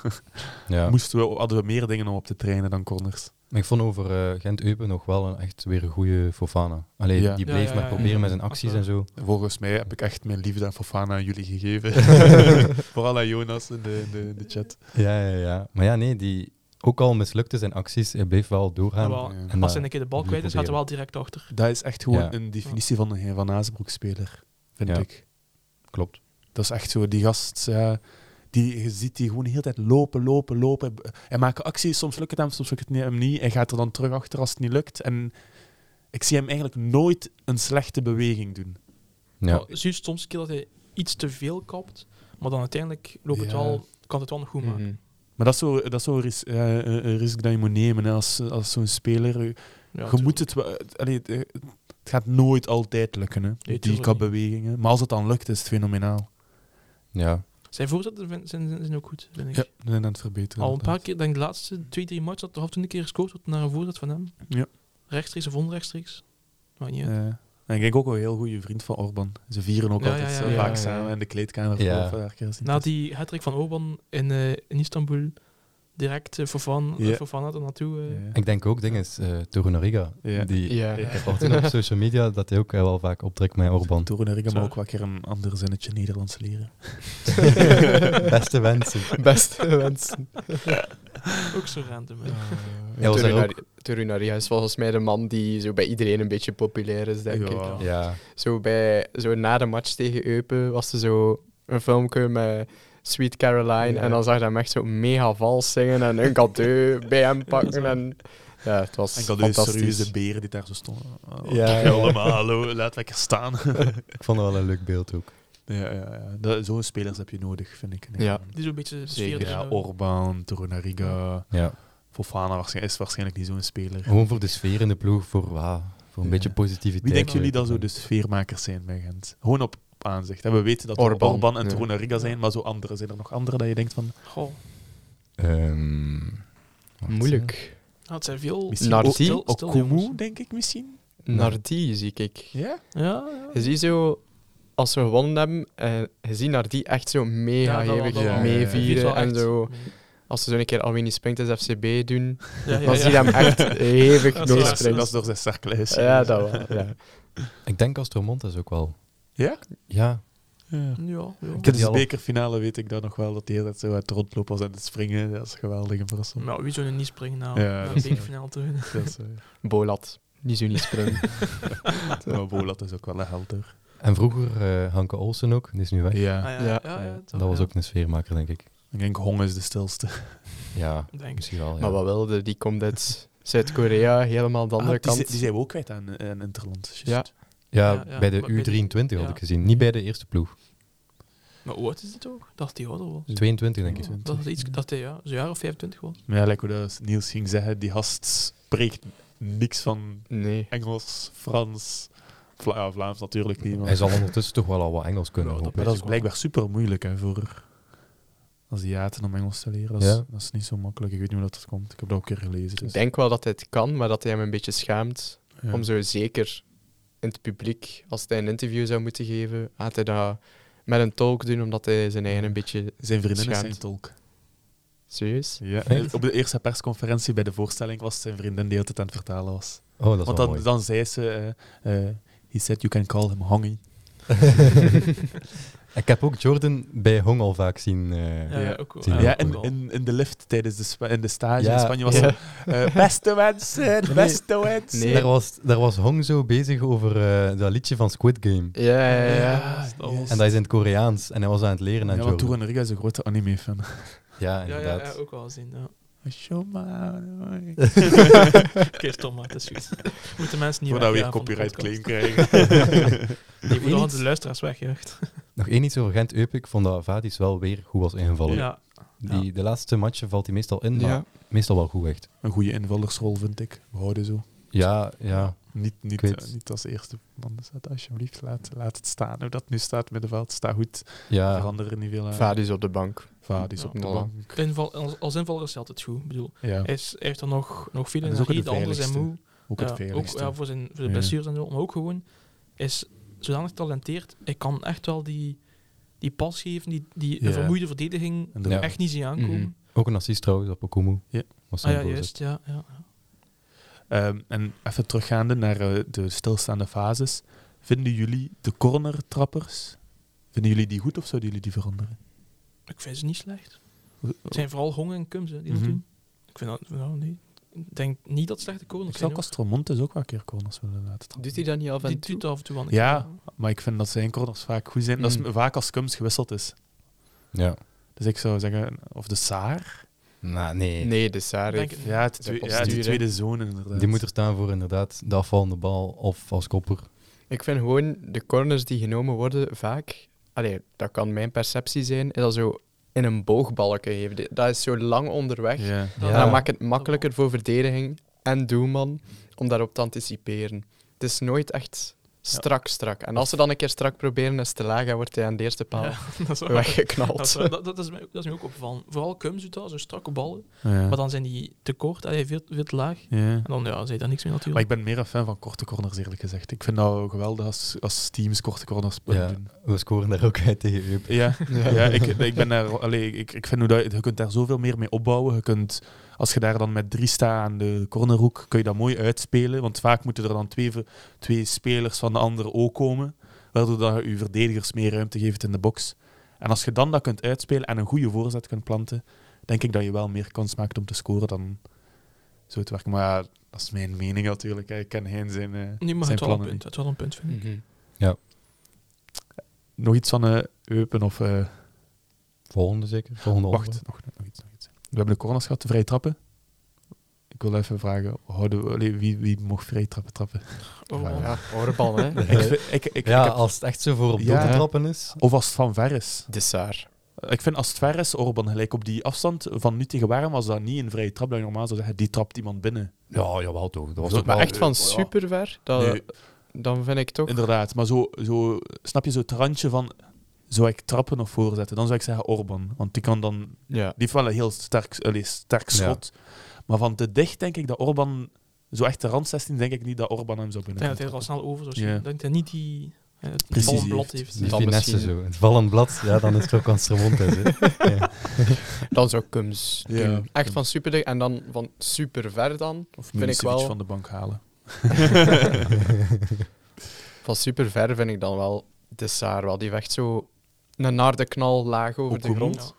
Speaker 1: Ja.
Speaker 3: [laughs] moesten we, hadden we meer dingen om op te trainen dan corners.
Speaker 1: Maar ik vond over eh, Gent-Eupen nog wel een, echt weer een goede Fofana. Allee,
Speaker 3: Ja.
Speaker 1: die
Speaker 4: Ja,
Speaker 1: bleef
Speaker 4: ja,
Speaker 1: maar
Speaker 4: ja, ja.
Speaker 1: proberen met zijn acties en zo.
Speaker 3: Volgens mij heb ik echt mijn liefde aan Fofana aan jullie
Speaker 1: [laughs]
Speaker 3: gegeven. [laughs] Vooral aan Jonas in de, in de, in de chat.
Speaker 1: Ja, ja, ja. Maar ja, nee, die ook al mislukte zijn acties, hij bleef wel doorgaan.
Speaker 4: Maar wel,
Speaker 3: ja.
Speaker 1: En
Speaker 4: als
Speaker 1: dat-
Speaker 4: hij een keer de bal
Speaker 1: Moet
Speaker 4: kwijt is, gaat hij
Speaker 1: proberen.
Speaker 4: wel direct achter.
Speaker 3: Dat is echt gewoon
Speaker 1: Ja.
Speaker 3: een definitie van een Van Azenbroek-speler, vind
Speaker 1: Ja.
Speaker 3: ik.
Speaker 1: Klopt.
Speaker 3: Dat is echt zo, die gast, ja, die, je ziet die gewoon de hele tijd lopen, lopen, lopen. Hij maakt acties, soms lukt het hem, soms lukt het niet- hem niet. Hij gaat er dan terug achter als het niet lukt. En ik zie hem eigenlijk nooit een slechte beweging doen.
Speaker 1: Ja.
Speaker 4: Maar Zie je soms een keer dat hij iets te veel kapt. Maar dan uiteindelijk loopt het
Speaker 3: Ja.
Speaker 4: wel, kan het wel nog goed maken.
Speaker 2: Mhm.
Speaker 3: Maar dat is zo'n dat is zo ris eh, een- een risico dat je moet nemen hè, als, als zo'n speler.
Speaker 4: Ja,
Speaker 3: je moet
Speaker 4: tuurlijk.
Speaker 3: het, wel- het- allee, het, eh, het gaat nooit altijd lukken, hè, die
Speaker 4: tuurlijk
Speaker 3: kapbewegingen. Maar als het dan lukt, is het fenomenaal.
Speaker 1: ja.
Speaker 4: Zijn voorzetten vind- zijn, zijn, zijn ook goed, vind ik.
Speaker 3: Ja, we zijn aan het verbeteren.
Speaker 4: Al een paar
Speaker 3: inderdaad.
Speaker 4: keer, denk ik, de laatste twee, drie matches dat de half toen een keer gescoord wordt naar een voorzet van hem.
Speaker 3: Ja.
Speaker 4: Rechtstreeks of onrechtstreeks. Maar niet. uit.
Speaker 3: Ja. Eh, En ik denk ook wel een heel goede vriend van Orban. Ze vieren ook
Speaker 4: Ja,
Speaker 3: altijd
Speaker 4: ja,
Speaker 3: zo
Speaker 4: ja, ja.
Speaker 3: vaak
Speaker 2: Ja, ja.
Speaker 3: samen in de kleedkamer.
Speaker 1: Ja.
Speaker 3: Of, eh, ergens in
Speaker 4: Na
Speaker 3: het-
Speaker 4: die hattrick van Orban in, eh, in Istanbul, direct eh, voor Fofana
Speaker 3: Ja.
Speaker 4: yeah. er naartoe. eh.
Speaker 3: Ja.
Speaker 1: Ik denk ook, ding is, eh Torunariga.
Speaker 3: Ja.
Speaker 1: Die,
Speaker 2: Ja.
Speaker 1: Ik heb al gezien op social media dat hij ook eh, wel vaak optrekt met Orban.
Speaker 3: Toen herinner ik me
Speaker 4: Zo.
Speaker 3: ook wel een keer een ander zinnetje Nederlands leren.
Speaker 1: [laughs]
Speaker 2: [laughs]
Speaker 1: Beste wensen.
Speaker 2: Oh. Beste wensen.
Speaker 4: Ook zo random. hè.
Speaker 2: Eh,
Speaker 1: Hij was daar ook.
Speaker 2: Torunaria is volgens mij de man die zo bij iedereen een beetje populair is, denk
Speaker 3: Ja.
Speaker 2: ik.
Speaker 1: Ja.
Speaker 2: Zo, bij, zo na de match tegen Eupen was er zo een filmpje met Sweet Caroline.
Speaker 3: Ja.
Speaker 2: En dan zag je hem echt zo mega vals zingen en een
Speaker 4: [laughs]
Speaker 2: cadeau bij hem pakken. En, ja, het was
Speaker 3: En dat is
Speaker 2: fantastisch.
Speaker 3: serieus de beren die daar zo stonden. Oh,
Speaker 1: Ja,
Speaker 3: ja,
Speaker 1: ja.
Speaker 3: allemaal, hallo, laat lekker staan.
Speaker 1: Ik vond dat wel een leuk beeld ook.
Speaker 3: ja, ja, ja. Dat- Zo'n spelers heb je nodig, vind ik.
Speaker 2: Ja.
Speaker 4: Die zo'n beetje sfeer
Speaker 3: Zeker.
Speaker 4: erin
Speaker 3: Ja, oh.
Speaker 4: houden.
Speaker 3: Orban, Torunariga,
Speaker 1: Ja.
Speaker 3: Fofana waarschijn- is waarschijnlijk niet zo'n speler.
Speaker 1: Gewoon voor de sfeer in de ploeg, voor, wauw, voor een
Speaker 3: Ja.
Speaker 1: beetje positiviteit.
Speaker 3: Wie denken jullie
Speaker 1: weet
Speaker 3: dat zo
Speaker 1: ik
Speaker 3: de
Speaker 1: niet.
Speaker 3: sfeermakers zijn bij Gent? Gewoon op aanzicht. hè. We weten dat Orban,
Speaker 2: Orban,
Speaker 3: en
Speaker 2: ja.
Speaker 3: Torunariga zijn, maar zo anderen. Zijn er nog anderen dat je denkt van...
Speaker 4: Goh.
Speaker 1: Ehm, wacht,
Speaker 2: Moeilijk.
Speaker 4: Ja, het zijn veel...
Speaker 3: Misschien
Speaker 2: Nardi,
Speaker 4: stil- stil jongens.
Speaker 3: Okumu, denk ik misschien?
Speaker 2: Nardi zie ik.
Speaker 3: Ja?
Speaker 4: Ja, ja.
Speaker 2: Je ziet zo, als we gewonnen hebben, eh, je ziet Nardi echt zo mega
Speaker 4: Ja, dat wel,
Speaker 2: hevig
Speaker 4: dat wel.
Speaker 2: meevieren.
Speaker 4: Viert wel
Speaker 2: En
Speaker 4: echt
Speaker 2: zo,
Speaker 4: mee.
Speaker 2: als ze zo een keer Alwini Springt als FCB doen, [laughs]
Speaker 4: Ja, ja,
Speaker 2: dan
Speaker 4: ja.
Speaker 2: zie je hem echt hevig
Speaker 4: [laughs] Dat is waar,
Speaker 3: Dat is,
Speaker 4: springt.
Speaker 3: dat
Speaker 2: meespringen.
Speaker 3: is door zijn cerklijs.
Speaker 2: Ja, dat wel. Ja.
Speaker 1: Ik denk Astromontes ook wel.
Speaker 3: Ja?
Speaker 1: Ja.
Speaker 3: Ja.
Speaker 4: Ja, ja.
Speaker 3: Ik heb dus
Speaker 1: Die
Speaker 3: de
Speaker 1: al-
Speaker 3: bekerfinale, weet ik dat nog wel, dat de hele tijd zo uit de rondloop was aan het springen. Dat is geweldig in Brussel.
Speaker 4: Maar wie zou er niet springen nou?
Speaker 3: Ja,
Speaker 4: Ja,
Speaker 3: dat
Speaker 4: een
Speaker 3: is-
Speaker 4: bekerfinale te winnen.
Speaker 3: Dat is, eh,
Speaker 2: [laughs] Bolat, die zo niet
Speaker 4: [laughs]
Speaker 2: springen.
Speaker 3: maar Bolat is ook wel een helder.
Speaker 1: En vroeger eh Hanke Olsen ook, die is nu weg.
Speaker 3: Ja.
Speaker 4: Ah, ja,
Speaker 2: Ja.
Speaker 4: ja, ja,
Speaker 3: Ja.
Speaker 4: toch,
Speaker 1: Dat was
Speaker 4: ja.
Speaker 1: ook een sfeermaker, denk ik.
Speaker 3: Ik denk Hong is de stilste.
Speaker 1: Ja,
Speaker 4: Denk ik.
Speaker 1: misschien wel. Ja.
Speaker 2: Maar wat wilde, die komt uit Zuid-Korea, helemaal de andere
Speaker 3: Ah, die,
Speaker 2: kant.
Speaker 3: zijn- die zijn we ook kwijt aan, eh, aan Interland. Just.
Speaker 2: Ja.
Speaker 1: ja,
Speaker 4: Ja, ja,
Speaker 1: bij de
Speaker 4: maar bij de-
Speaker 1: U23 had
Speaker 4: ja.
Speaker 1: ik gezien. Niet bij de eerste ploeg.
Speaker 4: Maar hoe oud is het ook? Dat die ouder was.
Speaker 1: 22, denk ik.
Speaker 4: Ja, dat is iets dat hij ja, zo'n jaar of 25 was.
Speaker 3: Maar ja, lijkt me dat Niels ging zeggen, die gast spreekt niks van
Speaker 2: Nee.
Speaker 3: Engels, Frans, Vla ja, Vlaams natuurlijk niet. Maar,
Speaker 1: Hij zal ondertussen toch wel al wat Engels kunnen,
Speaker 4: Ja,
Speaker 1: hoop
Speaker 4: dat
Speaker 1: ik.
Speaker 3: maar dat is blijkbaar super moeilijk hè, voor Aziaten om Engels te leren. Dat is,
Speaker 1: Ja.
Speaker 3: dat is niet zo makkelijk. Ik weet niet hoe dat komt. Ik heb dat ook een keer gelezen. Dus.
Speaker 2: Ik denk wel dat hij het kan, maar dat hij hem een beetje schaamt.
Speaker 3: Ja.
Speaker 2: Om zo zeker in het publiek, als hij een interview zou moeten geven, gaat hij dat met een tolk doen, omdat hij zijn eigen een beetje...
Speaker 3: Zijn vriendin is
Speaker 2: Schaamt.
Speaker 3: zijn tolk.
Speaker 2: Serieus?
Speaker 3: Ja.
Speaker 1: Echt?
Speaker 3: Op de eerste persconferentie bij de voorstelling was zijn vriendin die altijd aan het vertalen was.
Speaker 1: Oh, dat is
Speaker 3: Want
Speaker 1: wel
Speaker 3: dan,
Speaker 1: mooi.
Speaker 3: dan zei ze... eh, eh, He said you can call him Hongy.
Speaker 1: Ik heb ook Jordan bij Hong al vaak zien. eh,
Speaker 4: Ja,
Speaker 3: Ja.
Speaker 4: ja, ook wel.
Speaker 1: Ja,
Speaker 3: Ja,
Speaker 1: ook
Speaker 3: in,
Speaker 4: wel.
Speaker 3: in, in de lift tijdens de, spa- in de stage
Speaker 1: Ja.
Speaker 3: in Spanje was
Speaker 2: Ja.
Speaker 3: ze... eh, beste mensen, beste mensen.
Speaker 2: Nee.
Speaker 1: Daar, was, daar was Hong zo bezig over eh, dat liedje van Squid Game.
Speaker 2: Ja, ja, ja.
Speaker 3: Ja,
Speaker 4: dat was-
Speaker 1: En dat is in het Koreaans. En hij was aan het leren aan
Speaker 3: Ja, want
Speaker 1: Jordan.
Speaker 3: Toeren Riga is een grote anime-fan. [laughs]
Speaker 1: Ja,
Speaker 4: Ja,
Speaker 1: inderdaad.
Speaker 4: ja, ja, ook wel gezien. Ja.
Speaker 3: Shoma.
Speaker 1: [laughs]
Speaker 4: Kees Tom, maar het is goed. Moeten mensen niet
Speaker 3: Voordat we weer
Speaker 4: wegjagen van de
Speaker 3: copyright claim
Speaker 4: podcast.
Speaker 3: krijgen.
Speaker 4: Nee, voordat de luisteraars wegjaagt.
Speaker 1: Nog één iets over gent Eupen. Ik vond dat Vadis wel weer goed was ingevallen.
Speaker 4: Ja,
Speaker 1: Die,
Speaker 4: Ja.
Speaker 1: De laatste matchen valt hij meestal in, maar
Speaker 2: Ja.
Speaker 1: meestal wel goed echt.
Speaker 3: Een goede invallersrol, vind ik. We houden zo.
Speaker 1: Ja, ja.
Speaker 3: Niet, niet,
Speaker 1: Ik weet-
Speaker 3: eh, niet als eerste man zet, alsjeblieft. Laat, laat het staan. Hoe dat nu staat met de veld, sta goed.
Speaker 1: ja.
Speaker 3: Verander er niet veel aan.
Speaker 2: Vadis dus op de bank.
Speaker 3: Vaad is
Speaker 4: Ja.
Speaker 3: op de
Speaker 2: Ja.
Speaker 3: bank.
Speaker 4: inval, als, als invaller is hij altijd goed. Ik bedoel,
Speaker 3: Ja,
Speaker 4: hij, is, hij heeft er nog, nog veel
Speaker 3: En dat is ook
Speaker 4: energie, de
Speaker 3: het
Speaker 4: anderen zijn moe.
Speaker 3: veiligste. ook
Speaker 4: ja,
Speaker 3: het veiligste.
Speaker 4: Ook ja, voor, zijn, voor de
Speaker 3: Ja.
Speaker 4: blessures en zo. Maar ook gewoon, is zodanig getalenteerd. Hij kan echt wel die, die pas geven, die, die
Speaker 3: Ja.
Speaker 4: vermoeide verdediging
Speaker 3: En de-
Speaker 1: Ja.
Speaker 4: echt niet zien aankomen.
Speaker 2: Mhm.
Speaker 1: Ook een assist trouwens op Okumu.
Speaker 3: Ja.
Speaker 1: Was
Speaker 4: Ah
Speaker 1: zijn
Speaker 4: ja,
Speaker 1: voorzet.
Speaker 4: juist. Ja, ja.
Speaker 3: Ehm, en even teruggaande naar eh, de stilstaande fases. Vinden jullie de cornertrappers, vinden jullie die goed of zouden jullie die veranderen?
Speaker 4: Ik vind ze niet slecht. Het zijn vooral honger en Kums hè, die
Speaker 3: Mhm.
Speaker 4: dat doen. Ik vind dat, nou, nee. Ik denk niet dat het slechte corners
Speaker 3: Ik zou
Speaker 4: zijn. hoor.
Speaker 3: Castromontes ook wel een keer corners willen laten trappen.
Speaker 2: Doet hij dat niet af
Speaker 4: Die
Speaker 2: en toe?
Speaker 4: doet dat af en toe wel een
Speaker 3: Ja.
Speaker 4: keer,
Speaker 3: Maar ik vind dat zijn corners vaak goed zijn. Dat is
Speaker 2: Mm.
Speaker 3: vaak als Kums gewisseld is.
Speaker 1: Ja.
Speaker 3: Dus ik zou zeggen, of de Saar.
Speaker 1: Nou, nee.
Speaker 2: Nee, de Saar
Speaker 4: Denk
Speaker 2: heeft-
Speaker 4: het
Speaker 3: Ja, het
Speaker 2: De
Speaker 3: twee- ja,
Speaker 2: postuur,
Speaker 3: die
Speaker 2: hè.
Speaker 3: tweede zone inderdaad.
Speaker 1: Die moet er staan voor inderdaad de afvallende bal of als kopper.
Speaker 2: Ik vind gewoon de corners die genomen worden vaak, allee, dat kan mijn perceptie zijn, is dat zo in een boogbalken geven. Die- Dat is zo lang onderweg.
Speaker 3: Ja.
Speaker 4: Ja.
Speaker 2: En
Speaker 1: Ja.
Speaker 2: dat maakt het makkelijker voor verdediging en doelman om daarop te anticiperen. Het is nooit echt Strak, strak. En als ze dan een keer strak proberen, is het te laag en wordt hij aan de eerste paal
Speaker 4: Ja, [laughs] dat is
Speaker 2: [laughs]
Speaker 4: waar.
Speaker 2: weggeknald.
Speaker 4: Dat is, waar. dat, dat is mij, dat is mij ook opgevallen. Vooral Cums doet dat, zo strakke ballen.
Speaker 3: Ja.
Speaker 4: Maar dan zijn die te kort, allee, veel, veel te laag.
Speaker 3: Ja.
Speaker 4: En dan ja, zei dat niks meer
Speaker 3: Maar
Speaker 4: natuurlijk.
Speaker 3: ik ben meer een fan van korte corners, eerlijk gezegd. Ik vind dat geweldig als, als teams korte corners
Speaker 1: Ja.
Speaker 3: doen.
Speaker 1: We scoren daar ook uit tegen Eupen.
Speaker 3: Ja, ja ik, ik ben daar. Allee, ik, ik vind hoe dat, je kunt daar zoveel meer mee opbouwen. Je kunt, als je daar dan met drie staat aan de cornerhoek, kun je dat mooi uitspelen. Want vaak moeten er dan twee, ver- twee spelers van de ander ook komen. Waardoor dat je je verdedigers meer ruimte geeft in de box. En als je dan dat kunt uitspelen en een goede voorzet kunt planten, denk ik dat je wel meer kans maakt om te scoren dan zo te werken. Maar ja, dat is mijn mening natuurlijk. hè. Ik ken geen zijn, eh,
Speaker 4: Nee, maar
Speaker 3: zijn
Speaker 4: het wel, een
Speaker 3: plannen.
Speaker 4: punt, het wel een punt, vind ik.
Speaker 2: Mhm.
Speaker 3: niet. Nog iets van eh Eupen of... eh,
Speaker 1: Volgende zeker? Volgende
Speaker 3: Wacht,
Speaker 1: onderwerp.
Speaker 3: nog, nog iets, nog iets. We hebben de corners gehad, de vrije trappen. Ik wil even vragen, houden we- allee, wie, wie mocht vrije trappen trappen?
Speaker 4: Oh,
Speaker 1: Ja,
Speaker 4: man.
Speaker 2: Ja, Orban, hè.
Speaker 3: [laughs] ik, vind- ik, ik, ik
Speaker 1: Ja,
Speaker 3: heb-
Speaker 1: als het echt zo voor op
Speaker 3: Ja.
Speaker 1: doel te trappen is.
Speaker 3: Of als het van ver is.
Speaker 2: Dessaar.
Speaker 3: Ik vind als het ver is, Orban gelijk op die afstand van nu tegen Warm was dat niet een vrije trap. Dat je normaal zou zeggen, die trapt iemand binnen.
Speaker 1: Ja, jawel toch. Dat was
Speaker 3: Zo,
Speaker 1: ook
Speaker 2: Maar
Speaker 1: wel-
Speaker 2: echt van superver, dat,
Speaker 3: Nee.
Speaker 2: dan vind ik toch...
Speaker 3: Inderdaad, maar zo, zo snap je zo het randje van, zou ik trappen of voorzetten? Dan zou ik zeggen Orban, want die kan dan
Speaker 2: Ja.
Speaker 3: Die heeft wel een heel sterk, allee, sterk
Speaker 1: Ja.
Speaker 3: schot. Maar van te dicht denk ik dat Orban... Zo echt de rand 16 denk ik niet dat Orban hem zou
Speaker 4: Ik
Speaker 3: kunnen.
Speaker 4: denk dat hij er al snel over zou zien.
Speaker 3: Ja.
Speaker 4: Ik denk dat hij niet die... eh, het
Speaker 3: Precisie
Speaker 4: bal een blad
Speaker 3: heeft.
Speaker 4: heeft.
Speaker 1: Dus Die
Speaker 2: Dan
Speaker 1: finesse
Speaker 2: misschien.
Speaker 1: zo. Het vallend blad, ja, dan is het ook aan Stremond uit. hè.
Speaker 2: Dan zou Kums doen.
Speaker 3: Ja.
Speaker 2: Echt van super en dan van super ver
Speaker 3: [laughs]
Speaker 2: dan.
Speaker 3: Of
Speaker 2: vind ik
Speaker 3: Milicevic
Speaker 2: wel.
Speaker 3: van de bank halen.
Speaker 2: Van super ver vind ik dan wel Dessaar wel. Die vecht zo een naarde knal laag over de
Speaker 3: Okumu?
Speaker 2: grond.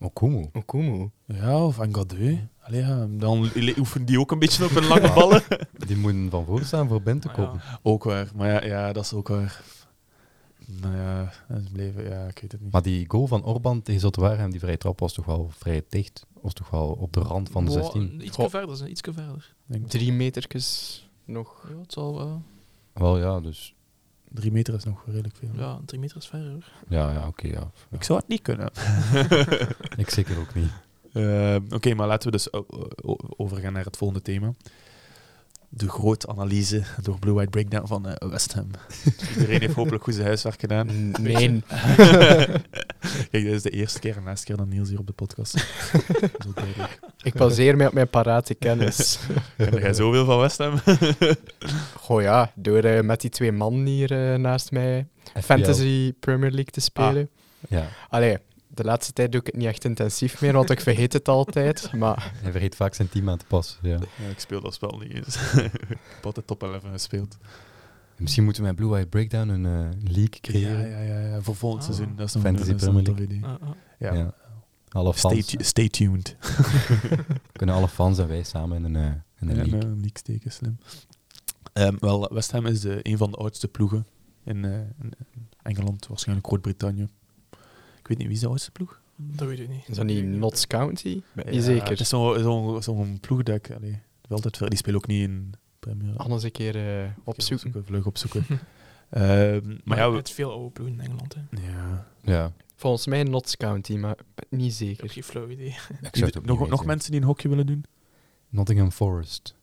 Speaker 1: Okumu.
Speaker 2: Okumu.
Speaker 3: Ja, of Angadeu. Allee, ja, dan le- oefenen die ook een beetje op hun lange ballen.
Speaker 1: Die moeten van voor staan voor Ben te
Speaker 4: Maar Ah, ja.
Speaker 1: kopen.
Speaker 3: [laughs] ook waar. Maar ja, ja, dat is ook waar. Nou ja, dat is bleven... Ja, ik weet het niet.
Speaker 1: Maar die goal van Orban tegen Zotwaarhem, die vrije trap, was toch wel vrij dicht. Was toch wel op de rand van de
Speaker 4: Boah,
Speaker 1: 16.
Speaker 4: Iets
Speaker 2: Goh.
Speaker 4: verder, zijn, iets verder.
Speaker 3: Ik denk
Speaker 2: Drie metertjes nog.
Speaker 4: Ja, het zal wel...
Speaker 1: Wel ja, dus.
Speaker 3: drie meter is nog redelijk veel.
Speaker 4: Ja, drie meter is verder hoor.
Speaker 1: Ja, ja oké. ja.
Speaker 3: Ik zou het niet kunnen.
Speaker 1: Ik zeker ook niet.
Speaker 3: Eh, Oké, maar laten we dus o- o- overgaan naar het volgende thema. De grote analyse door Blue White Breakdown van eh, West Ham. [laughs] Iedereen heeft hopelijk goed zijn huiswerk gedaan.
Speaker 2: Nee.
Speaker 3: [laughs] Kijk, dit is de eerste keer en laatste keer dat Niels hier op de podcast zit. Dat is ook [laughs] duidelijk.
Speaker 2: Ik baseer mij op mijn parate kennis.
Speaker 3: [laughs] Ken jij zoveel van West Ham?
Speaker 2: Goh ja, door eh, met die twee mannen hier eh, naast mij Fantasy Premier League te spelen.
Speaker 3: Ah.
Speaker 1: Ja,
Speaker 2: Allee, de laatste tijd doe ik het niet echt intensief meer, want ik vergeet het altijd. Maar
Speaker 1: hij vergeet vaak zijn team aan te passen. Ja.
Speaker 3: [laughs] Ja, ik speel dat spel niet eens. [laughs] ik heb altijd top 11 gespeeld.
Speaker 1: Misschien moeten we met Blue Eye Breakdown een eh, league creëren.
Speaker 3: Ja, ja, ja, ja, voor volgend
Speaker 4: Ah.
Speaker 3: seizoen. Dat is nog
Speaker 1: Fantasy
Speaker 3: dat is nog een
Speaker 1: Premier
Speaker 3: tof idee.
Speaker 4: Ah, ah.
Speaker 3: Ja.
Speaker 1: Ja. Alle
Speaker 3: Stay,
Speaker 1: fans.
Speaker 3: tu- stay tuned.
Speaker 1: Kunnen alle fans en wij samen in een, eh, in een
Speaker 3: Ja,
Speaker 1: league.
Speaker 3: nou, een leak steken, slim. Ehm, wel, West Ham is eh, een van de oudste ploegen in, eh, in Engeland, waarschijnlijk Groot-Brittannië. Ik weet niet, wie is de oudste ploeg?
Speaker 4: Dat weet ik niet.
Speaker 2: is dat niet Notts County?
Speaker 3: Ja,
Speaker 2: zeker.
Speaker 3: Het is zo'n zo zo'n ploeg dat ik... Allee, wel altijd ver- die spelen ook niet in Premier League.
Speaker 2: Anders een keer eh, opzoeken.
Speaker 1: [laughs]
Speaker 3: Vlug opzoeken. Ehm, maar ja, we-
Speaker 4: het is veel oude ploegen in Engeland. Hè.
Speaker 3: ja.
Speaker 1: Ja,
Speaker 2: Volgens mij Notts County, maar ik ben het niet
Speaker 4: Ik heb
Speaker 2: zeker.
Speaker 4: geen flauw idee.
Speaker 1: ik zou het ook niet
Speaker 3: nog,
Speaker 1: weten.
Speaker 3: nog mensen die een hokje willen doen?
Speaker 1: Nottingham Forest.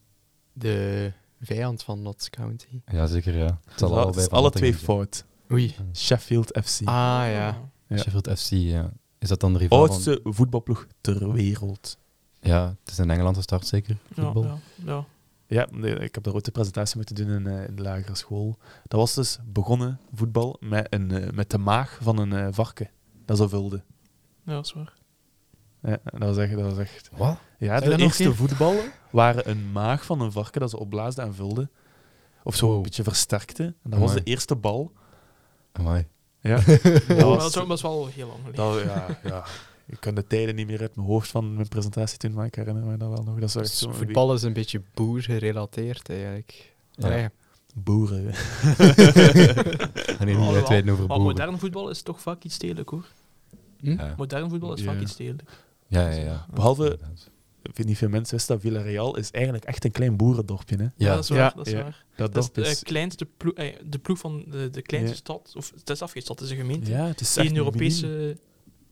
Speaker 2: De vijand van Notts County.
Speaker 1: Ja, zeker ja. Het zal
Speaker 3: Al-
Speaker 1: allebei
Speaker 3: het is
Speaker 1: van
Speaker 3: alle twee
Speaker 1: Nottingham
Speaker 3: fout.
Speaker 2: Oei.
Speaker 1: zijn.
Speaker 3: Sheffield FC.
Speaker 2: Ah ja.
Speaker 3: Ja. Oh,
Speaker 1: Sheffield FC, ja. Is dat dan de rivaal van-
Speaker 3: oudste voetbalploeg ter wereld. eh-
Speaker 1: Ja, het is in Engeland gestart zeker,
Speaker 4: Ja,
Speaker 1: voetbal.
Speaker 4: ja, ja.
Speaker 3: Ja, nee, ik heb daar ook de presentatie moeten doen in, eh, in de lagere school. Dat was dus begonnen, voetbal, met, een, eh, met de maag van een eh, varken. Dat ze vulde.
Speaker 4: Ja, dat is waar.
Speaker 3: Ja, dat was echt... Dat was echt.
Speaker 1: Wat?
Speaker 3: Ja,
Speaker 1: dat nog
Speaker 3: de eerste
Speaker 1: keer?
Speaker 3: voetballen waren een maag van een varken dat ze opblaasden en vulden. Of zo een
Speaker 1: Wow.
Speaker 3: beetje versterkte. En dat was
Speaker 1: Amai.
Speaker 3: de eerste bal.
Speaker 1: Amai.
Speaker 3: Ja,
Speaker 4: Ja, maar
Speaker 3: was-
Speaker 4: dat was wel heel lang
Speaker 3: [laughs]
Speaker 4: geleden.
Speaker 3: dat, ja, ja. Ik kan de tijden niet meer uit mijn hoofd van mijn presentatie toen, maar ik herinner me dat wel nog. Dat is echt
Speaker 2: Dus
Speaker 3: zo'n
Speaker 2: voetbal is een beetje boer gerelateerd eigenlijk.
Speaker 1: Ja.
Speaker 2: Allee,
Speaker 3: Boeren.
Speaker 1: En niet
Speaker 4: Alhoewel,
Speaker 1: uitweiden over
Speaker 4: Maar
Speaker 1: boeren.
Speaker 4: modern voetbal is toch vaak iets stedelijk hoor.
Speaker 2: Hm?
Speaker 1: Ja,
Speaker 4: Modern voetbal is
Speaker 3: Ja.
Speaker 4: vaak iets stedelijk.
Speaker 1: ja, ja. ja.
Speaker 3: Behalve,
Speaker 1: Inderdaad.
Speaker 3: ik weet niet veel mensen wisten dat Villarreal is eigenlijk echt een klein boerendorpje. Hè?
Speaker 4: Ja,
Speaker 1: Ja.
Speaker 4: dat is waar.
Speaker 2: Ja.
Speaker 4: dat is
Speaker 3: Ja.
Speaker 4: waar.
Speaker 3: Dat,
Speaker 4: Dat is
Speaker 3: dorp
Speaker 4: de
Speaker 3: is...
Speaker 4: eh, kleinste ploeg, eh, de ploeg van de, de kleinste
Speaker 3: Ja.
Speaker 4: stad. Of het is afgestad, het is een gemeente.
Speaker 3: ja, het is
Speaker 4: die
Speaker 3: echt
Speaker 4: een Europese,
Speaker 3: miniem.